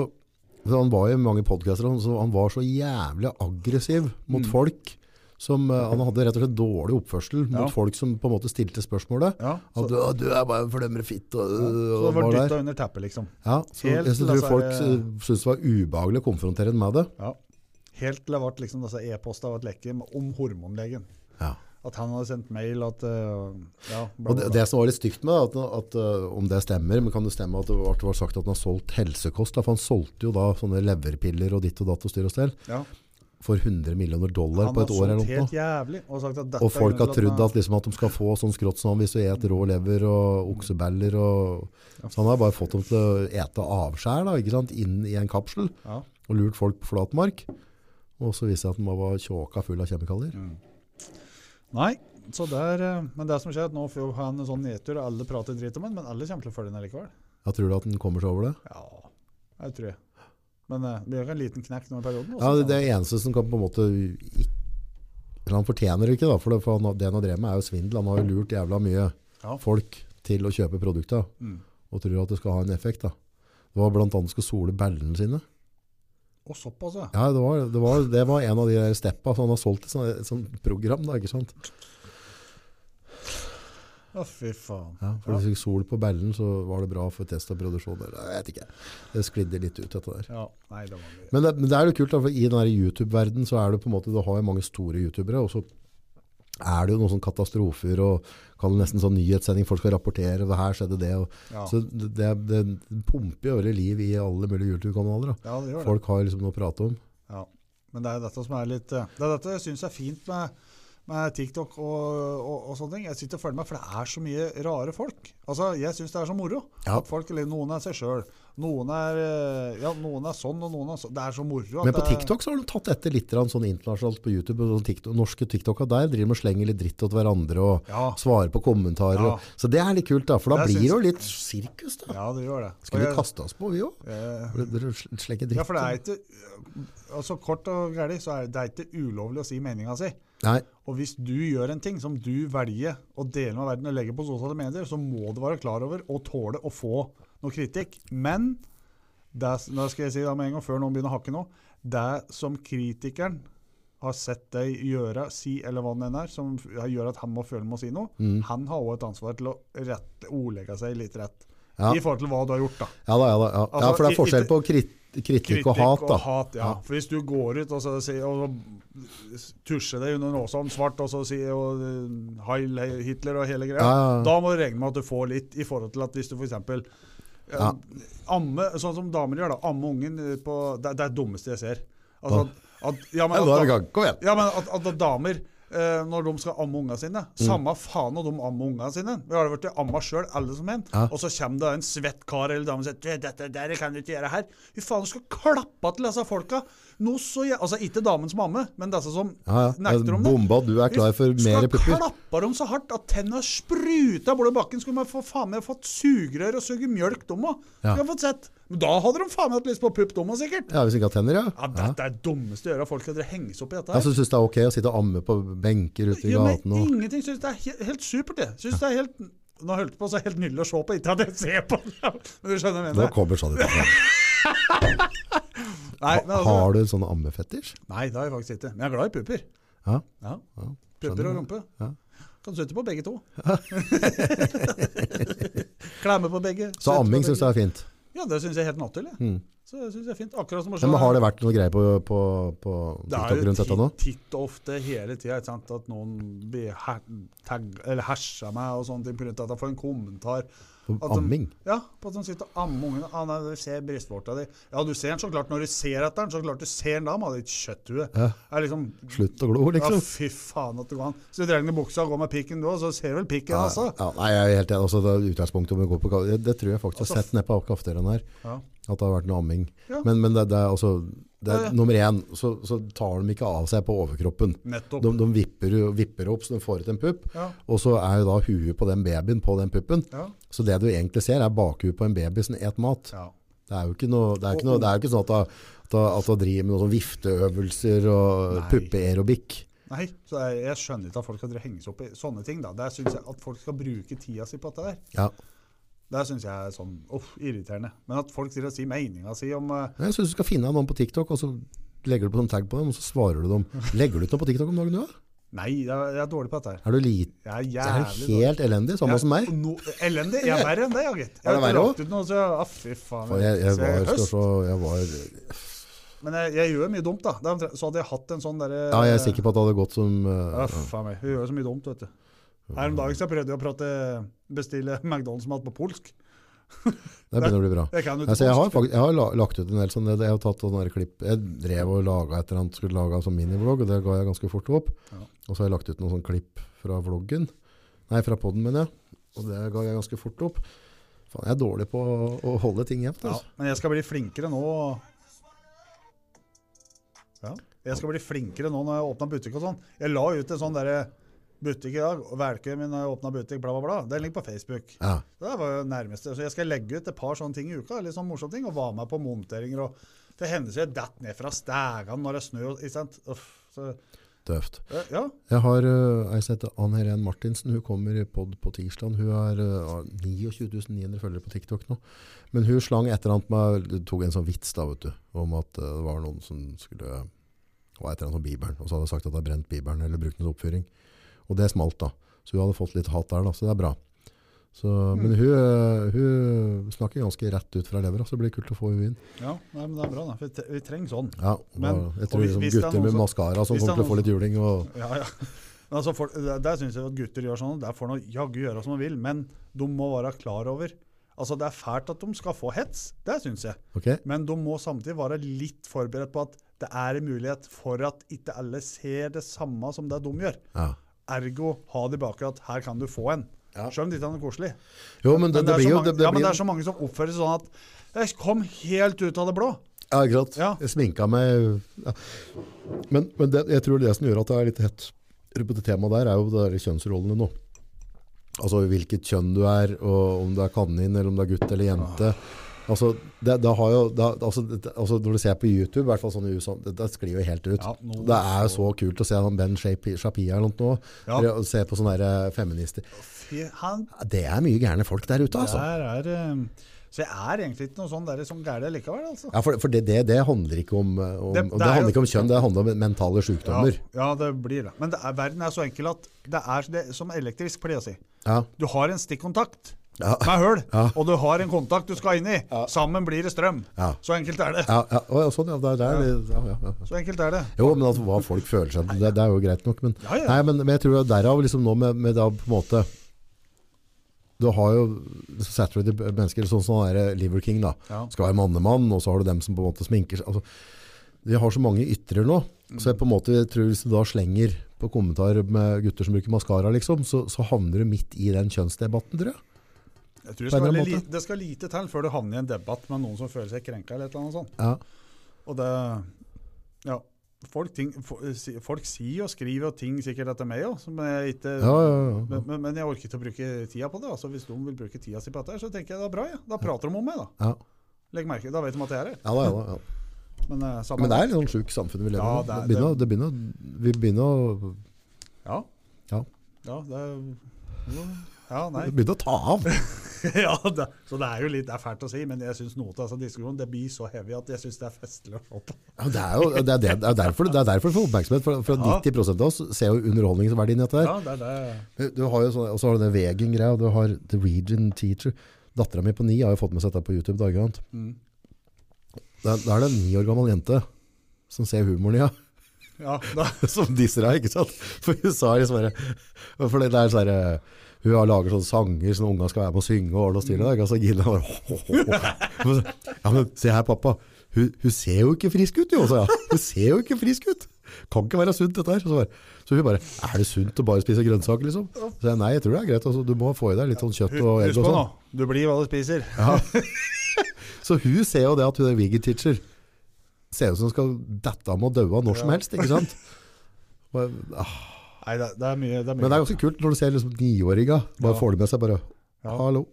S1: for Han var jo i mange podcaster, og sånn, så han var så jævlig aggressiv mot
S2: Mm.
S1: folk. Som, eh, han hadde rett og slett dårlig oppførsel
S2: Ja.
S1: mot folk som på en måte stilte spørsmålet.
S2: Ja,
S1: At
S2: så,
S1: du, «Å, du er bare en fordømmer fitt og,
S2: ja, så det
S1: og
S2: var
S1: var der.
S2: dytta under teppet, liksom.
S1: Ja, så
S2: Helt altså,
S1: jeg
S2: til
S1: tror
S2: disse
S1: folk
S2: her-
S1: eh, syntes det var ubehagelig å konfrontere den med det.
S2: Ja. Helt til det ble liksom, disse e-postene ble lekket med- om hormonlegen.
S1: Ja.
S2: At han hadde sendt mail at eh, ja, bla,
S1: Og det,
S2: bla, bla.
S1: det som var litt stygt med det, at, at eh, om det stemmer, men kan det stemme at det var, at det var sagt at han har solgt helsekost? Da, for han solgte jo da sånne leverpiller og ditt og datt og styr og stell
S2: ja.
S1: for 100 millioner dollar
S2: Han
S1: på
S2: har
S1: et år
S2: sånt
S1: eller noe.
S2: helt jævlig. Og, sagt at dette
S1: Og
S2: er
S1: folk har
S2: grunnen til
S1: trodd
S2: han-
S1: at, liksom, at de skal få sånn skrått som han hvis du et rå lever og oksebeller. Og, så han har bare fått dem til å ete avskjær da, ikke sant? inn i en kapsel
S2: ja.
S1: og lurt folk på flatmark. Og så viser det seg at den var tjåka full av kjemikalier.
S2: Nei, så der, eh, men det som skjer er at nå får jo han en sånn nedtur, og alle prater dritt om han, men alle kommer til å følge han likevel.
S1: Jeg tror du at den kommer seg over det?
S2: Ja, jeg tror jeg. Men eh, det gjør en liten knekk nå i perioden.
S1: Ja, det, det er eneste som kan på en måte ikke, eller Han fortjener det ikke, da, for, det, for han, har- det han har drevet med, er jo svindel. Han har jo lurt jævla mye
S2: Ja.
S1: folk til å kjøpe produkter
S2: Mm.
S1: og tror at det skal ha en effekt. da. Det var blant annet skal sole ballene sine.
S2: Og såpass, ja.
S1: Ja, det var, det var, det var en av de der steppa. Så han har solgt et sånt, et sånt program, da, ikke sant?
S2: Å, fy faen.
S1: Ja, for hvis du fikk sol på bellen, så var det bra for test og produksjon. eller- Jeg vet ikke. Det sklidde litt ut, dette der.
S2: Ja, nei, det var mye.
S1: Men det, men det er jo kult, da, for i den der YouTube-verdenen så er det på en måte, du har jo mange store YouTubere, og så er det jo noen sånne katastrofer, og kaller det nesten sånn nyhetssending, folk skal rapportere, og det her skjedde det. Og,
S2: Ja.
S1: Så det, det, det pumper jo veldig liv i alle mulige YouTube-kanaler. da.
S2: ja, det gjør det.
S1: Folk har liksom noe å prate om.
S2: Ja. Men det er dette som er litt eh, Det er dette jeg syns er fint med, med TikTok og, og, og sånne ting. Jeg sitter og følger med, for det er så mye rare folk. Altså, Jeg syns det er så moro.
S1: Ja.
S2: At folk, eller Noen er seg sjøl. Noen, er, eh, ja, noen er sånn, og noen er sånn. Det er så moro. at
S1: Men på
S2: det er-
S1: TikTok så har de tatt etter litt grann sånn internasjonalt på YouTube. og Sånn TikTok, norske TikToker der driver med å slenge litt dritt åt hverandre og
S2: Ja.
S1: svarer på kommentarer.
S2: Ja.
S1: og- Så det er litt kult, da, for da
S2: Det
S1: blir
S2: syns-
S1: det jo litt sirkus. da.
S2: ja, det gjør det.
S1: Skulle
S2: Og
S1: vi
S2: jeg-
S1: kaste oss på, vi òg?
S2: eh,
S1: Slenge dritt.
S2: Ja, for det er ikke altså Kort og gærlig, så er det, det er ikke ulovlig å si meninga si.
S1: Nei,
S2: Og hvis du gjør en ting som du velger å dele med verden og legge på sosiale medier, så må du være klar over og tåle å få noe kritikk. Men det, det skal jeg si da med en gang, før noen begynner å hakke nå, det som kritikeren har sett deg gjøre, si eller hva det enn er, som f- gjør at han må føle med å si noe, han har også et ansvar til å rette, ordlegge seg litt rett.
S1: Ja.
S2: I forhold til hva du har gjort, da.
S1: ja da, ja da. Ja. ja,
S2: Altså,
S1: for det er
S2: i-
S1: forskjell
S2: ikke-
S1: på krit kritikk og hat, da.
S2: ja.
S1: Ja.
S2: For hvis du går ut og, så, sier- og så tusjer deg under nåsa om svart, og så sier og, eh, Heil Hitler og hele greia,
S1: Ja, ja, ja.
S2: da må du regne med at du får litt i forhold til at hvis du f.eks.
S1: Ja.
S2: Amme, sånn som damer gjør, da. Amme ungen på Det, det er det dummeste jeg ser. Altså, at, at, ja,
S1: Ja,
S2: men at
S1: da er vi i
S2: da-
S1: gang. Kom igjen.
S2: ja, men at, at damer eh, når de skal amme unga sine
S1: Mm.
S2: Samme faen om de ammer unga sine. Vi har vært amma sjøl, alle som en.
S1: Ja.
S2: Og så kommer det en svett kar eller dame og sier «Du, 'Dette der kan du ikke gjøre her'. Fy faen, du skal klappe til disse folka! Noe så jæ- Altså ikke damen som ammer, men disse som
S1: Ja, ja.
S2: nekter om det.
S1: Bomba, du er klar for mer pupper.
S2: Skal klappa dem så hardt at tenna spruta bortover bakken. Skulle man få faen meg fått sugerør og suge mjølk, dem òg.
S1: Ja.
S2: Skulle man fått sett. Men da hadde de faen meg hatt lyst på pupp, dem òg, sikkert.
S1: Ja, Hvis du ikke har tenner, ja. Altså,
S2: Ja,
S1: ja.
S2: Dette er det dummeste å gjøre. Folk skal henge seg opp i dette. her.
S1: Ja, så syns det er ok å sitte og amme på benker ute i
S2: Ja, men
S1: gaten. Og...
S2: Ingenting synes det er helt, helt supert, det. Synes det er helt, nå holdt jeg på å si helt nydelig å se på, ikke at jeg ser på det, men du skjønner hva jeg
S1: Nå
S2: mener.
S1: kommer sånn ut.
S2: Nei, men altså,
S1: Har du en sånn ammefetisj?
S2: nei, det har jeg faktisk ikke. Men jeg er glad i pupper.
S1: Ja.
S2: Ja,
S1: ja.
S2: Pupper og
S1: skjønner.
S2: rumpe.
S1: Ja.
S2: Kan sitte på begge to. Klemme på begge.
S1: Så amming syns jeg er fint.
S2: Ja, det syns jeg er helt naturlig.
S1: Mm.
S2: Så det synes jeg er fint. Akkurat som å
S1: Ja, Men har det vært noe greier på, på, på
S2: Det er
S1: TikTok
S2: jo
S1: rundt dette nå?
S2: titt, titt og ofte hele tida at noen blir her, tagg- eller herser meg og sånne ting pga. at jeg får en kommentar.
S1: På
S2: at de-
S1: Amming?
S2: Ja, på at de sitter og ammer ungene. Ah, nei, du ser brystvorta di. Ja, du ser den så klart når du ser etter den. Så klart du ser den da, med ditt kjøtthue.
S1: Ja.
S2: Det er liksom
S1: Slutt å glo,
S2: Ja,
S1: liksom.
S2: fy faen at det går an. Så du drar ned buksa og går med pikken du òg, så ser du vel pikken,
S1: Ja,
S2: altså.
S1: ja, nei, jeg er helt enig. Altså, det er utgangspunktet om å gå på ka- det, det tror jeg faktisk
S2: Altså,
S1: jeg har sett nede på kafeteriaen her.
S2: Ja.
S1: At det har vært noe amming.
S2: Ja.
S1: Men, men det, det er altså det er,
S2: Ja, ja.
S1: Nummer én, så, så tar de ikke av seg på overkroppen.
S2: Nettopp.
S1: De, de vipper, vipper opp så de får ut en pupp.
S2: Ja.
S1: Og så er jo da huet på den babyen på den puppen.
S2: Ja.
S1: Så det du egentlig ser, er bakhuet på en baby som et mat.
S2: ja.
S1: Det er jo ikke, noe, det er ikke, noe, det er jo ikke sånn at da- at da- at da driver med noen sånn vifteøvelser og
S2: Nei.
S1: puppeaerobikk.
S2: Nei, så jeg, jeg skjønner ikke at folk skal henge seg opp i sånne ting. da. Der syns jeg at folk skal bruke tida si på dette der.
S1: Ja.
S2: Det syns jeg er sånn uff, irriterende. Men at folk sier, sier meninga si om eh,
S1: Jeg syns du skal finne deg noen på TikTok, og så legger du på en tag på dem, og så svarer du dem. Legger du ut noe på TikTok om dagen, du òg?
S2: Nei, jeg, jeg er dårlig på dette her.
S1: Er du lite
S2: Jeg
S1: Det
S2: er
S1: er
S2: jævlig
S1: jo helt elendig, samme som meg.
S2: Jeg- No, elendig? Jeg er verre enn deg, ja, gitt.
S1: Er
S2: Jeg
S1: det
S2: har ikke
S1: verre
S2: lagt ut noe, så ah, fy faen.
S1: For jeg, jeg
S2: Så
S1: var, skal
S2: høst.
S1: se, jeg var
S2: Men jeg, jeg gjør mye dumt, da. Det er omtrent- Så hadde jeg hatt en sånn derre
S1: Ja, jeg er sikker på at det hadde gått som
S2: Ja,
S1: eh,
S2: faen meg. Hun gjør så mye dumt, vet du. Her om dagen så prøvde jeg å prate, bestille McDonald's-mat på polsk.
S1: Det begynner å bli bra.
S2: Jeg kan jo ikke
S1: Altså, jeg, har
S2: polsk.
S1: faktisk, jeg har la- lagt ut en del sånn, jeg har tatt sånne der klipp, jeg drev og laget et eller annet, skulle lage en sånn minivlogg, og det ga jeg ganske fort opp.
S2: Ja.
S1: Og så har jeg lagt ut noen sånne klipp fra vloggen, nei, fra podden, mener jeg, og det ga jeg ganske fort opp. Faen, jeg er dårlig på å, å holde ting jevnt,
S2: Ja,
S1: altså.
S2: men jeg skal bli flinkere nå. Ja, jeg skal bli flinkere nå når jeg åpner butikk og sånn. Jeg la ut en sånn derre butikk i dag, og velkommen når jeg åpner butikk, bla bla bla. Den ligger på Facebook.
S1: Ja.
S2: Det der var jo nærmeste. Så jeg skal legge ut et par sånne ting i uka, litt sånn morsomme ting, og være med på monteringer og Det hender så jeg detter ned fra stegene når det er snø, og- ikke sant. Uff, så, eh,
S1: Tøft.
S2: ja,
S1: Jeg har uh, ei som heter Ann Helen Martinsen. Hun kommer i pod på tirsdag. Hun har uh, 29.900 følgere på TikTok nå. Men hun slang et eller annet med Det tok en sånn vits da, vet du, om at uh, det var noen som skulle Det var et eller annet om Bibelen, og så hadde hun sagt at hun hadde brent Bibelen eller brukt den til oppfyring. Og det smalt, da. Så hun hadde fått litt hat der, da. Så det er bra. Så,
S2: Mm.
S1: Men hun, uh, hun snakker ganske rett ut fra levra, så det blir kult å få henne inn.
S2: ja nei, men det er bra, da. for Vi, tre- vi trenger sånn.
S1: Ja,
S2: Men-
S1: og jeg
S2: og
S1: tror
S2: hvis-
S1: liksom,
S2: hvis det er
S1: gutter
S2: noen
S1: med
S2: som-
S1: maskara som
S2: hvis det er
S1: kommer til å få
S2: noen
S1: litt juling og
S2: Ja, ja. Men Altså, folk, der der syns jeg at gutter gjør sånn. Der får de jaggu gjøre som de vil, men de må være klar over Altså, Det er fælt at de skal få hets, det syns jeg,
S1: Ok?
S2: men de må samtidig være litt forberedt på at det er en mulighet for at ikke alle ser det samme som det de gjør.
S1: Ja.
S2: Ergo ha det i bakhodet at her kan du få en.
S1: Ja.
S2: Selv om det ikke er noe koselig.
S1: Jo, men det, det,
S2: Men det, er
S1: blir
S2: så
S1: jo
S2: mange,
S1: det, det
S2: ja, men
S1: blir
S2: det er så mange som oppfører seg sånn at Jeg kom helt ut av det blå.
S1: Ja, ikke sant?
S2: Ja.
S1: Jeg sminka meg ja. Men, men det, jeg tror det som gjør at det er litt hett på det temaet der, er jo det der kjønnsrollene nå. Altså hvilket kjønn du er, og om du er kanin, eller om du er gutt eller jente. Altså, det, det har jo, det, altså, det, altså Når du ser på YouTube, i hvert fall sånn i USA, det, det sklir jo helt ut.
S2: Ja, nå-
S1: det er jo så kult å se han Ben Shapi- Shapia eller noe,
S2: Ja.
S1: ja. se på sånne der, eh, feminister.
S2: Fy, han
S1: Det er mye gærne folk der ute, altså.
S2: der er eh, Så jeg er egentlig ikke noe sånn der som gæren likevel, altså.
S1: Ja, for for det, det, det handler ikke om, eh, om, det,
S2: Det- det er
S1: handler
S2: jo-
S1: ikke om kjønn, det handler om mentale sykdommer.
S2: Ja, ja, det blir det. Men det er, verden er så enkel at det er det, som elektrisk, pleier jeg å si.
S1: Ja.
S2: Du har en stikkontakt
S1: Ja.
S2: med høl,
S1: Ja.
S2: og du har en kontakt du skal inn i. Sammen blir det strøm.
S1: Ja.
S2: Så enkelt er det.
S1: Ja, ja, å, ja, sånn, ja, det er der, ja. Ja, ja,
S2: Så enkelt er det.
S1: Jo, men altså, hva folk føler seg til, det, det er jo greit nok. Men,
S2: Ja, ja.
S1: Nei, men, men jeg tror at derav liksom nå med, med da på en måte Du har jo liksom saturated mennesker, sånn som han der Liver King, da.
S2: Ja.
S1: Skal være mannemann, og så har du dem som på en måte sminker seg. Altså, vi har så mange ytrer nå, så jeg på en måte jeg tror hvis du da slenger på kommentarer med gutter som bruker maskara, liksom, så, så havner du midt i den kjønnsdebatten, tror jeg.
S2: Jeg tror
S1: På en
S2: det skal,
S1: eller
S2: veldig
S1: annen
S2: li- det skal lite til før du havner i en debatt med noen som føler seg krenka eller et eller annet sånt.
S1: Ja.
S2: Og det Ja. Folk, ting, fo- si- folk sier og skriver og ting sikkert etter meg òg, som jeg ikke
S1: Ja, ja, ja.
S2: men, men, men jeg orker ikke å bruke tida på det. altså Hvis de vil bruke tida si på dette, her, så tenker jeg det er bra. Ja. Da prater de om meg, da.
S1: Ja.
S2: Legg merke, Da vet de at jeg er her.
S1: Ja, da, ja, da, ja.
S2: Men, eh, samme-
S1: Men det er litt sånn sjuk samfunn vi lever i.
S2: Ja,
S1: nå.
S2: det er-
S1: det, begynner å- det begynner å- vi begynner å
S2: Ja.
S1: Ja.
S2: ja, det er jo- Ja, nei.
S1: Det begynte å ta av.
S2: ja, det, så det er jo litt det er fælt å si, men jeg syns noe av disse diskusjonene det blir så heavy at jeg syns det er festlig å se på.
S1: Ja, Det er jo det er, det, det er derfor det er derfor det får oppmerksomhet. For, for
S2: Ja.
S1: 90 av oss ser jo underholdningsverdien i dette. her.
S2: Ja, det er det.
S1: Du har jo sånn, Og så har du den Vegen-greia, og du har The Region Teacher. Dattera mi på ni har jo fått med seg dette på YouTube. Da, ikke sant?
S2: Mm.
S1: Da, da er det en ni år gammel jente som ser humoren i ja.
S2: Ja, da,
S1: som disser deg, ikke sant? For hun sa liksom bare For det der sånn herre Hun har lager sånne sanger som ungene skal være med og synge og ordne og styre. Og så Gina bare «Ho, ho, ho». Ja, men se her, pappa. Hun, hun ser jo ikke frisk ut, jo, sa jeg. Hun ser jo ikke frisk ut. Kan ikke være sunt, dette her. Så, bare, så hun bare Er det sunt å bare spise grønnsaker, liksom? Så jeg nei, jeg tror det er greit. Altså, du må få i deg litt sånn kjøtt
S2: hu-
S1: og egg og
S2: husk på
S1: sånn.
S2: nå, du blir hva du spiser.
S1: Ja. Så hun ser jo det at hun er vegan teacher. Ser ut som hun skal dette av og daue når som
S2: Ja.
S1: helst, ikke sant? Og, ah,
S2: Nei, det, det er mye. Det er mye.
S1: Men det er ganske kult når du ser liksom niåringa. Bare
S2: Ja.
S1: får det med seg bare
S2: Ja.
S1: Hallo.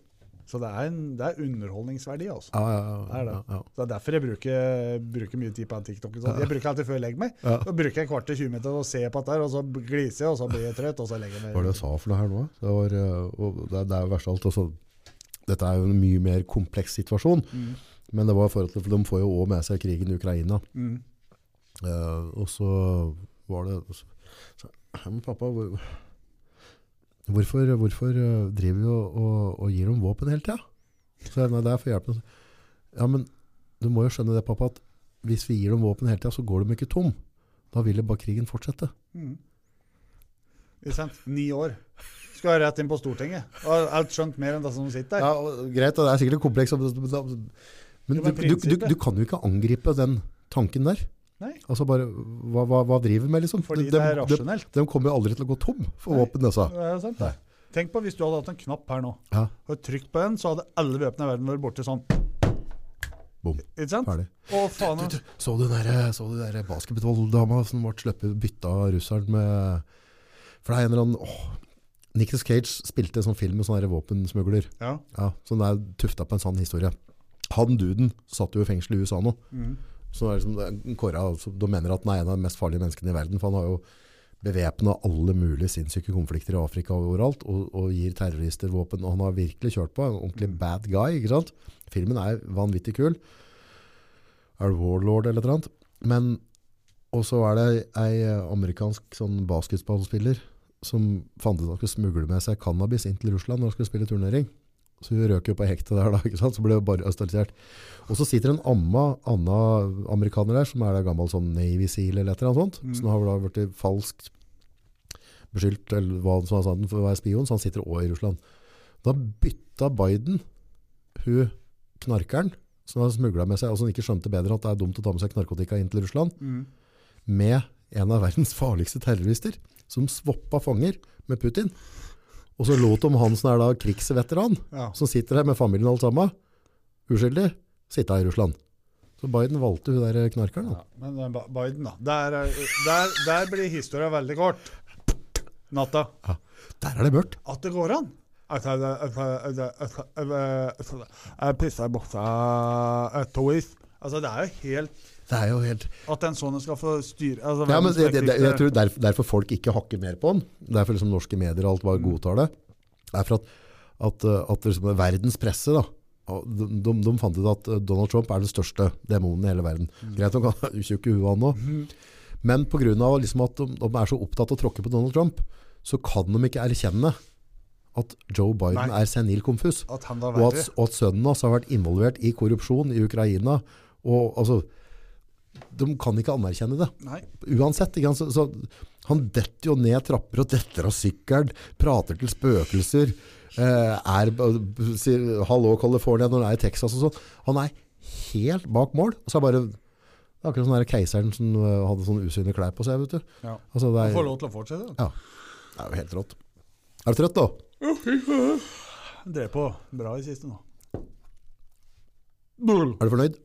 S2: Så det er, en, det er underholdningsverdi, altså.
S1: Ja, ja, ja,
S2: Det
S1: ja,
S2: er det.
S1: ja.
S2: Det er derfor jeg bruker, bruker mye tid på den TikTok. og sånt. Jeg bruker alltid før jeg legger meg.
S1: Ja.
S2: Så bruker jeg en kvart til 20 minutter og ser på dette, her, og så gliser jeg, og så blir jeg trøtt, og så legger
S1: Hva
S2: jeg
S1: var det
S2: meg.
S1: jeg sa for noe her nå? Det, var, eh, og det, er- det er jo verst av alt. Også, dette er jo en mye mer kompleks situasjon.
S2: Mm.
S1: Men det var i forhold til, for de får jo òg med seg krigen i Ukraina.
S2: Mm.
S1: Eh, og så var det så, så, «Hæ, Men pappa, hvor, hvorfor, hvorfor eh, driver vi og, og, og gir dem våpen hele tida? Så jeg, nei, det er for å hjelpe dem. Ja, men du må jo skjønne det, pappa, at hvis vi gir dem våpen hele tida, så går de ikke tom. Da vil jo bare krigen fortsette.
S2: Mm. Ikke sant? Ni år. Skal jeg rett inn på Stortinget. Og alt skjønt mer enn det som sitter der.
S1: Ja, og greit, og det er sikkert komplekst, men, da- men
S2: Ja,
S1: du, du,
S2: men
S1: du,
S2: prinsippet.
S1: du kan jo ikke angripe den tanken der.
S2: Nei.
S1: Altså bare, hva, hva, hva driver vi med, liksom?
S2: Fordi
S1: De-
S2: det er
S1: de-
S2: rasjonelt.
S1: De, de kommer jo aldri til å gå tom for
S2: Nei.
S1: våpen, altså.
S2: Det er sant.
S1: Nei.
S2: Tenk på hvis du hadde hatt en knapp her nå,
S1: Ja.
S2: og trykt på den, så hadde alle våpnene i verden vært borte sånn.
S1: Bom.
S2: Ikke sant?
S1: Ferdig.
S2: Å, faen.
S1: Du, du, så du den der, så du den der basketballdama som ble sluppet bytta av russeren med For det er en eller annen åh, Nicolas Cage spilte en sånn film med sånn der våpensmugler.
S2: Ja.
S1: Ja, som er tufta på en sann historie. Han duden satt jo i fengsel i USA nå.
S2: Mm.
S1: Så det er liksom, det er en Kåre, altså, de mener at han er en av de mest farlige menneskene i verden, for han har jo bevepna alle mulige sinnssyke konflikter i Afrika og overalt, og, og gir terrorister våpen, og han har virkelig kjørt på, en ordentlig bad guy, ikke sant? Filmen er vanvittig kul. Er det Warlord eller noe annet? Men, og så er det ei eh, amerikansk sånn basketballspiller som fant ut at han skulle smugle med seg cannabis inn til Russland når han skulle spille turnering. Så hun røk jo på hektet der da, ikke sant? Så ble hun bare østalisert. Og så sitter en amma, anna amerikaner der, som er da gammel sånn Navy Seal eller et eller annet sånt,
S2: Mm.
S1: så nå har hun da vært falskt beskyldt, eller hva som er sant, for å være spion, så han sitter også i Russland. Da bytta Biden hun knarkeren, som har smuglet med seg, og som ikke skjønte bedre at det er dumt å ta med seg narkotika inn til Russland,
S2: Mm.
S1: med en av verdens farligste terrorister, som svoppa fanger med Putin. Og så lot de han som er da krigsveteran,
S2: Ja.
S1: som sitter her med familien og alt sammen, uskyldig, sitte her i Russland. Så Biden valgte hun der knarkeren. da.
S2: Ja, men eh, Ba- Biden, da. Der, er- der, der blir historien veldig kort. Natta.
S1: Der er det mørkt.
S2: At det går an! Jeg pisser i buksa et to is. Altså, det er jo helt
S1: Det er jo helt...
S2: At en sånn skal få styre altså,
S1: Ja, men
S2: verdens
S1: det, det, det, jeg
S2: mektigste-
S1: tror derfor, derfor folk ikke hakker mer på den, derfor liksom norske medier og alt bare godtar det, er for at, at, eh, at liksom verdens presse da, og de, de, de fant ut at eh, Donald Trump er den største demonen i hele verden. Greit, de kan jo tjukke huet han nå. Men på grunn av liksom at de, de er så opptatt av å tråkke på Donald Trump, så kan de ikke erkjenne at Joe Biden
S2: Nei.
S1: er senil konfus.
S2: At han var
S1: Og at,
S2: verre.
S1: og at sønnen hans har vært involvert i korrupsjon i Ukraina. Og, altså, de kan ikke anerkjenne det
S2: Nei.
S1: uansett, ikke sant? Så, så han detter jo ned trapper og detter av sykkelen, prater til spøkelser, eh, er, b- sier hallo California når han er i Texas og sånn. Han er helt bak mål, og så er bare det er akkurat sånn der keiseren som eh, hadde sånn usynlige klær på seg, vet du.
S2: Ja.
S1: Altså, det,
S2: Han får
S1: er,
S2: lov til å fortsette. da.
S1: det er jo helt rått. Er du trøtt da?
S2: Han Drev på bra i siste nå. Bull.
S1: Er du fornøyd?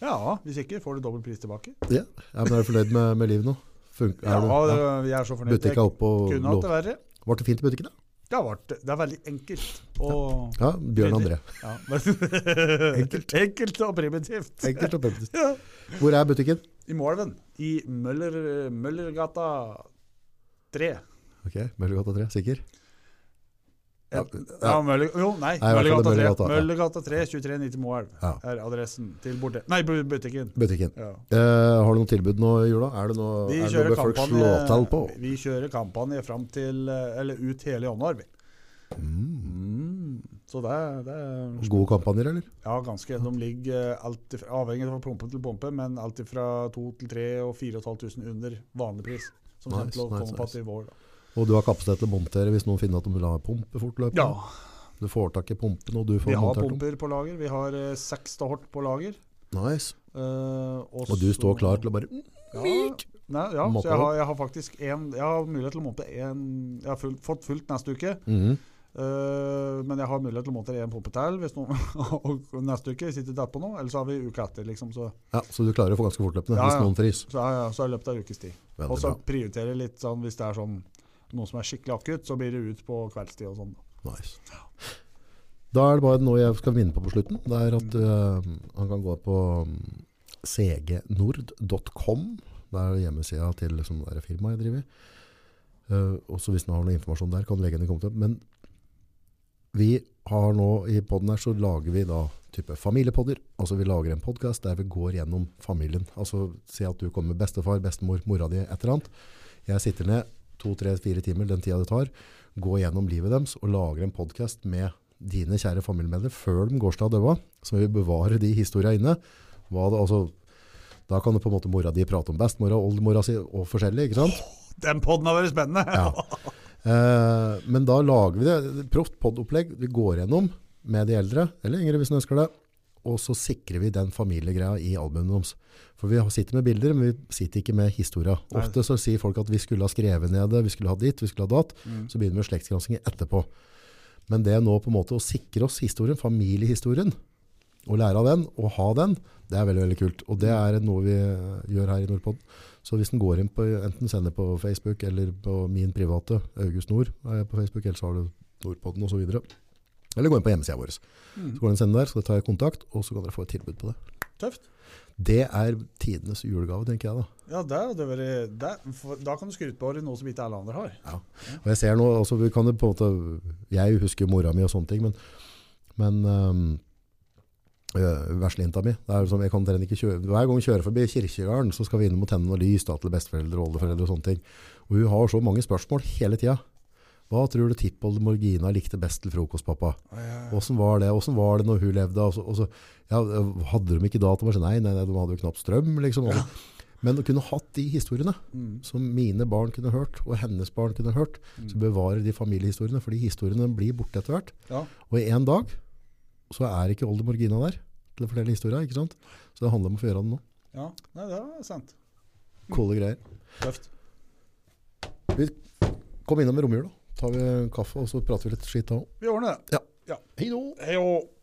S2: Ja, hvis ikke får du dobbel pris tilbake.
S1: Ja, ja men er du fornøyd med, med livet nå? Funker,
S2: Ja,
S1: er du, ja.
S2: jeg er så fornøyd. Jeg
S1: Butikken er oppe og
S2: kunne hatt
S1: lå.
S2: det verre.
S1: Var det fint i butikken da?
S2: Det, har vært, det er veldig enkelt. Og
S1: Ja, Bjørn André.
S2: Ja, men- enkelt. og primitivt.
S1: Enkelt og pent.
S2: Ja.
S1: Hvor er butikken?
S2: I Moelven. I Møller, Møllergata 3.
S1: Ok, Møllergata 3, sikker? Ja,
S2: Ja, Møller, jo, nei.
S1: Nei, i hvert fall
S2: Møllergata 3,
S1: Møllergata, ja.
S2: Møllergata 3 2390 Moelv
S1: Ja.
S2: er adressen til borte. Nei, bu- butikken.
S1: Butikken.
S2: Ja.
S1: Eh, har du noen tilbud nå i jula? Er det noe,
S2: Vi
S1: er det
S2: kjører,
S1: noe folk slår til på?
S2: kampanje, eh, vi kjører kampanje fram til eh, Eller ut hele januar, vi.
S1: Mm.
S2: Mm. Så det, er- det er
S1: Gode kampanjer, eller?
S2: Ja, ganske. De ligger eh, alt ifra, avhengig av pumpe til pumpe, men alt fra 2000 til 3000 og 4500 under vanlig pris. Som
S1: Nice,
S2: kommer til å
S1: nice,
S2: komme på
S1: nice.
S2: at i vår. Da.
S1: Og du har kapasitet til å montere hvis noen finner at de vil ha pumpe fortløpende?
S2: Ja,
S1: Du får tak i pumpen, og du får
S2: vi har
S1: montert dem?
S2: pumper på lager. Vi har eh, seks stahort på lager.
S1: Nice.
S2: eh, og,
S1: Og du
S2: så-
S1: står klar til å bare
S2: ja,
S1: myk.
S2: Nei, ja,
S1: Måtte
S2: så jeg
S1: du?
S2: har, jeg har faktisk en, jeg har mulighet til å monte en Jeg har full, fått fullt neste uke,
S1: Mhm.
S2: eh, men jeg har mulighet til å montere en pumpe til hvis noen, og neste uke. Hvis ikke det er på noe, eller så har vi uka etter, liksom. Så,
S1: Ja, Så du klarer å få ganske fortløpende
S2: Ja,
S1: hvis
S2: ja.
S1: noen frys.
S2: så, er jeg- så er det løpet av en ukes tid.
S1: Veldig
S2: Og så
S1: bra.
S2: prioritere litt sånn hvis det er sånn noe som er skikkelig akutt, så blir det ut på kveldstid og sånn.
S1: Nice. Da er det bare noe jeg skal vinne på på slutten. Det er at eh, han kan gå på mm, cgnord.com. Det er hjemmesida til liksom, det der firmaet jeg driver. Uh, også hvis han har noe informasjon der, kan han legge den i kommentaren. Men vi har nå i podden her, så lager vi da type familiepodder. Altså vi lager en podkast der vi går gjennom familien. Altså si at du kommer med bestefar, bestemor, mora di, et eller annet. Jeg sitter ned to, tre, fire timer, den tida det tar gå gjennom livet deres og lage en podcast med dine kjære familiemedlemmer før de går til å døve, så vi bevarer de historiene inne. Hva det, altså, da kan det på en måte mora di prate om bestemora, oldemora si og forskjellig, ikke sant?
S2: Den poden har vært spennende!
S1: Ja. Eh, men da lager vi det. Proft poddopplegg. Vi går gjennom med de eldre, eller yngre hvis de ønsker det. Og så sikrer vi den familiegreia i albumene deres. For vi har- sitter med bilder, men vi sitter ikke med historia.
S2: Nei.
S1: Ofte så sier folk at vi skulle ha skrevet ned det, vi skulle ha dit, vi skulle ha datt.
S2: Mm.
S1: Så begynner vi med slektsgranskinger etterpå. Men det nå på en måte å sikre oss historien, familiehistorien, og lære av den, og ha den, det er veldig, veldig kult. Og det er noe vi eh, gjør her i Nordpod. Så hvis den går inn på, enten sender på Facebook, eller på min private, August Nord, er jeg på Facebook, eller så har du Nordpodden og så videre. Eller gå inn på hjemmesida vår. Så
S2: Mm.
S1: går den sende der, så tar jeg kontakt, og så kan dere få et tilbud på det.
S2: Tøft.
S1: Det er tidenes julegave, tenker jeg da.
S2: Ja, det hadde vært det- for Da kan du skryte på deg noe som ikke alle andre har.
S1: Og jeg ser nå, altså vi kan jo på en måte, jeg husker jo mora mi og sånne ting, men, men øhm, øh, verslinta mi, det er jo som jeg kan trene ikke kjøre, hver gang jeg kjører forbi kirkegarden, så skal vi inn mot henne og lys da, til besteforeldre og oldeforeldre og sånne ting. Og hun har så mange spørsmål hele tiden. Hva tror du tippold Morgina likte best til frokost, pappa? Hvordan var det? Hvordan var det når hun levde? Og så, og så, ja, hadde de ikke datamaskin? Nei, nei, nei, de hadde jo knapt strøm, liksom. Og så- Men å kunne hatt de historiene,
S2: Mm.
S1: som mine barn kunne hørt, og hennes barn kunne hørt, så bevarer de familiehistoriene, fordi historiene blir borte etter hvert.
S2: Ja.
S1: Og i en dag så er ikke oldemor Gina der til å fortelle historia, ikke sant? Så det handler om å få gjøre det nå.
S2: ja. Nei, det er sant.
S1: Kåle greier.
S2: Tøft.
S1: Kom innom med romjula, tar vi en kaffe, og så prater vi litt skitt da òg.
S2: Vi ordner det.
S1: Hei då!
S2: Hei og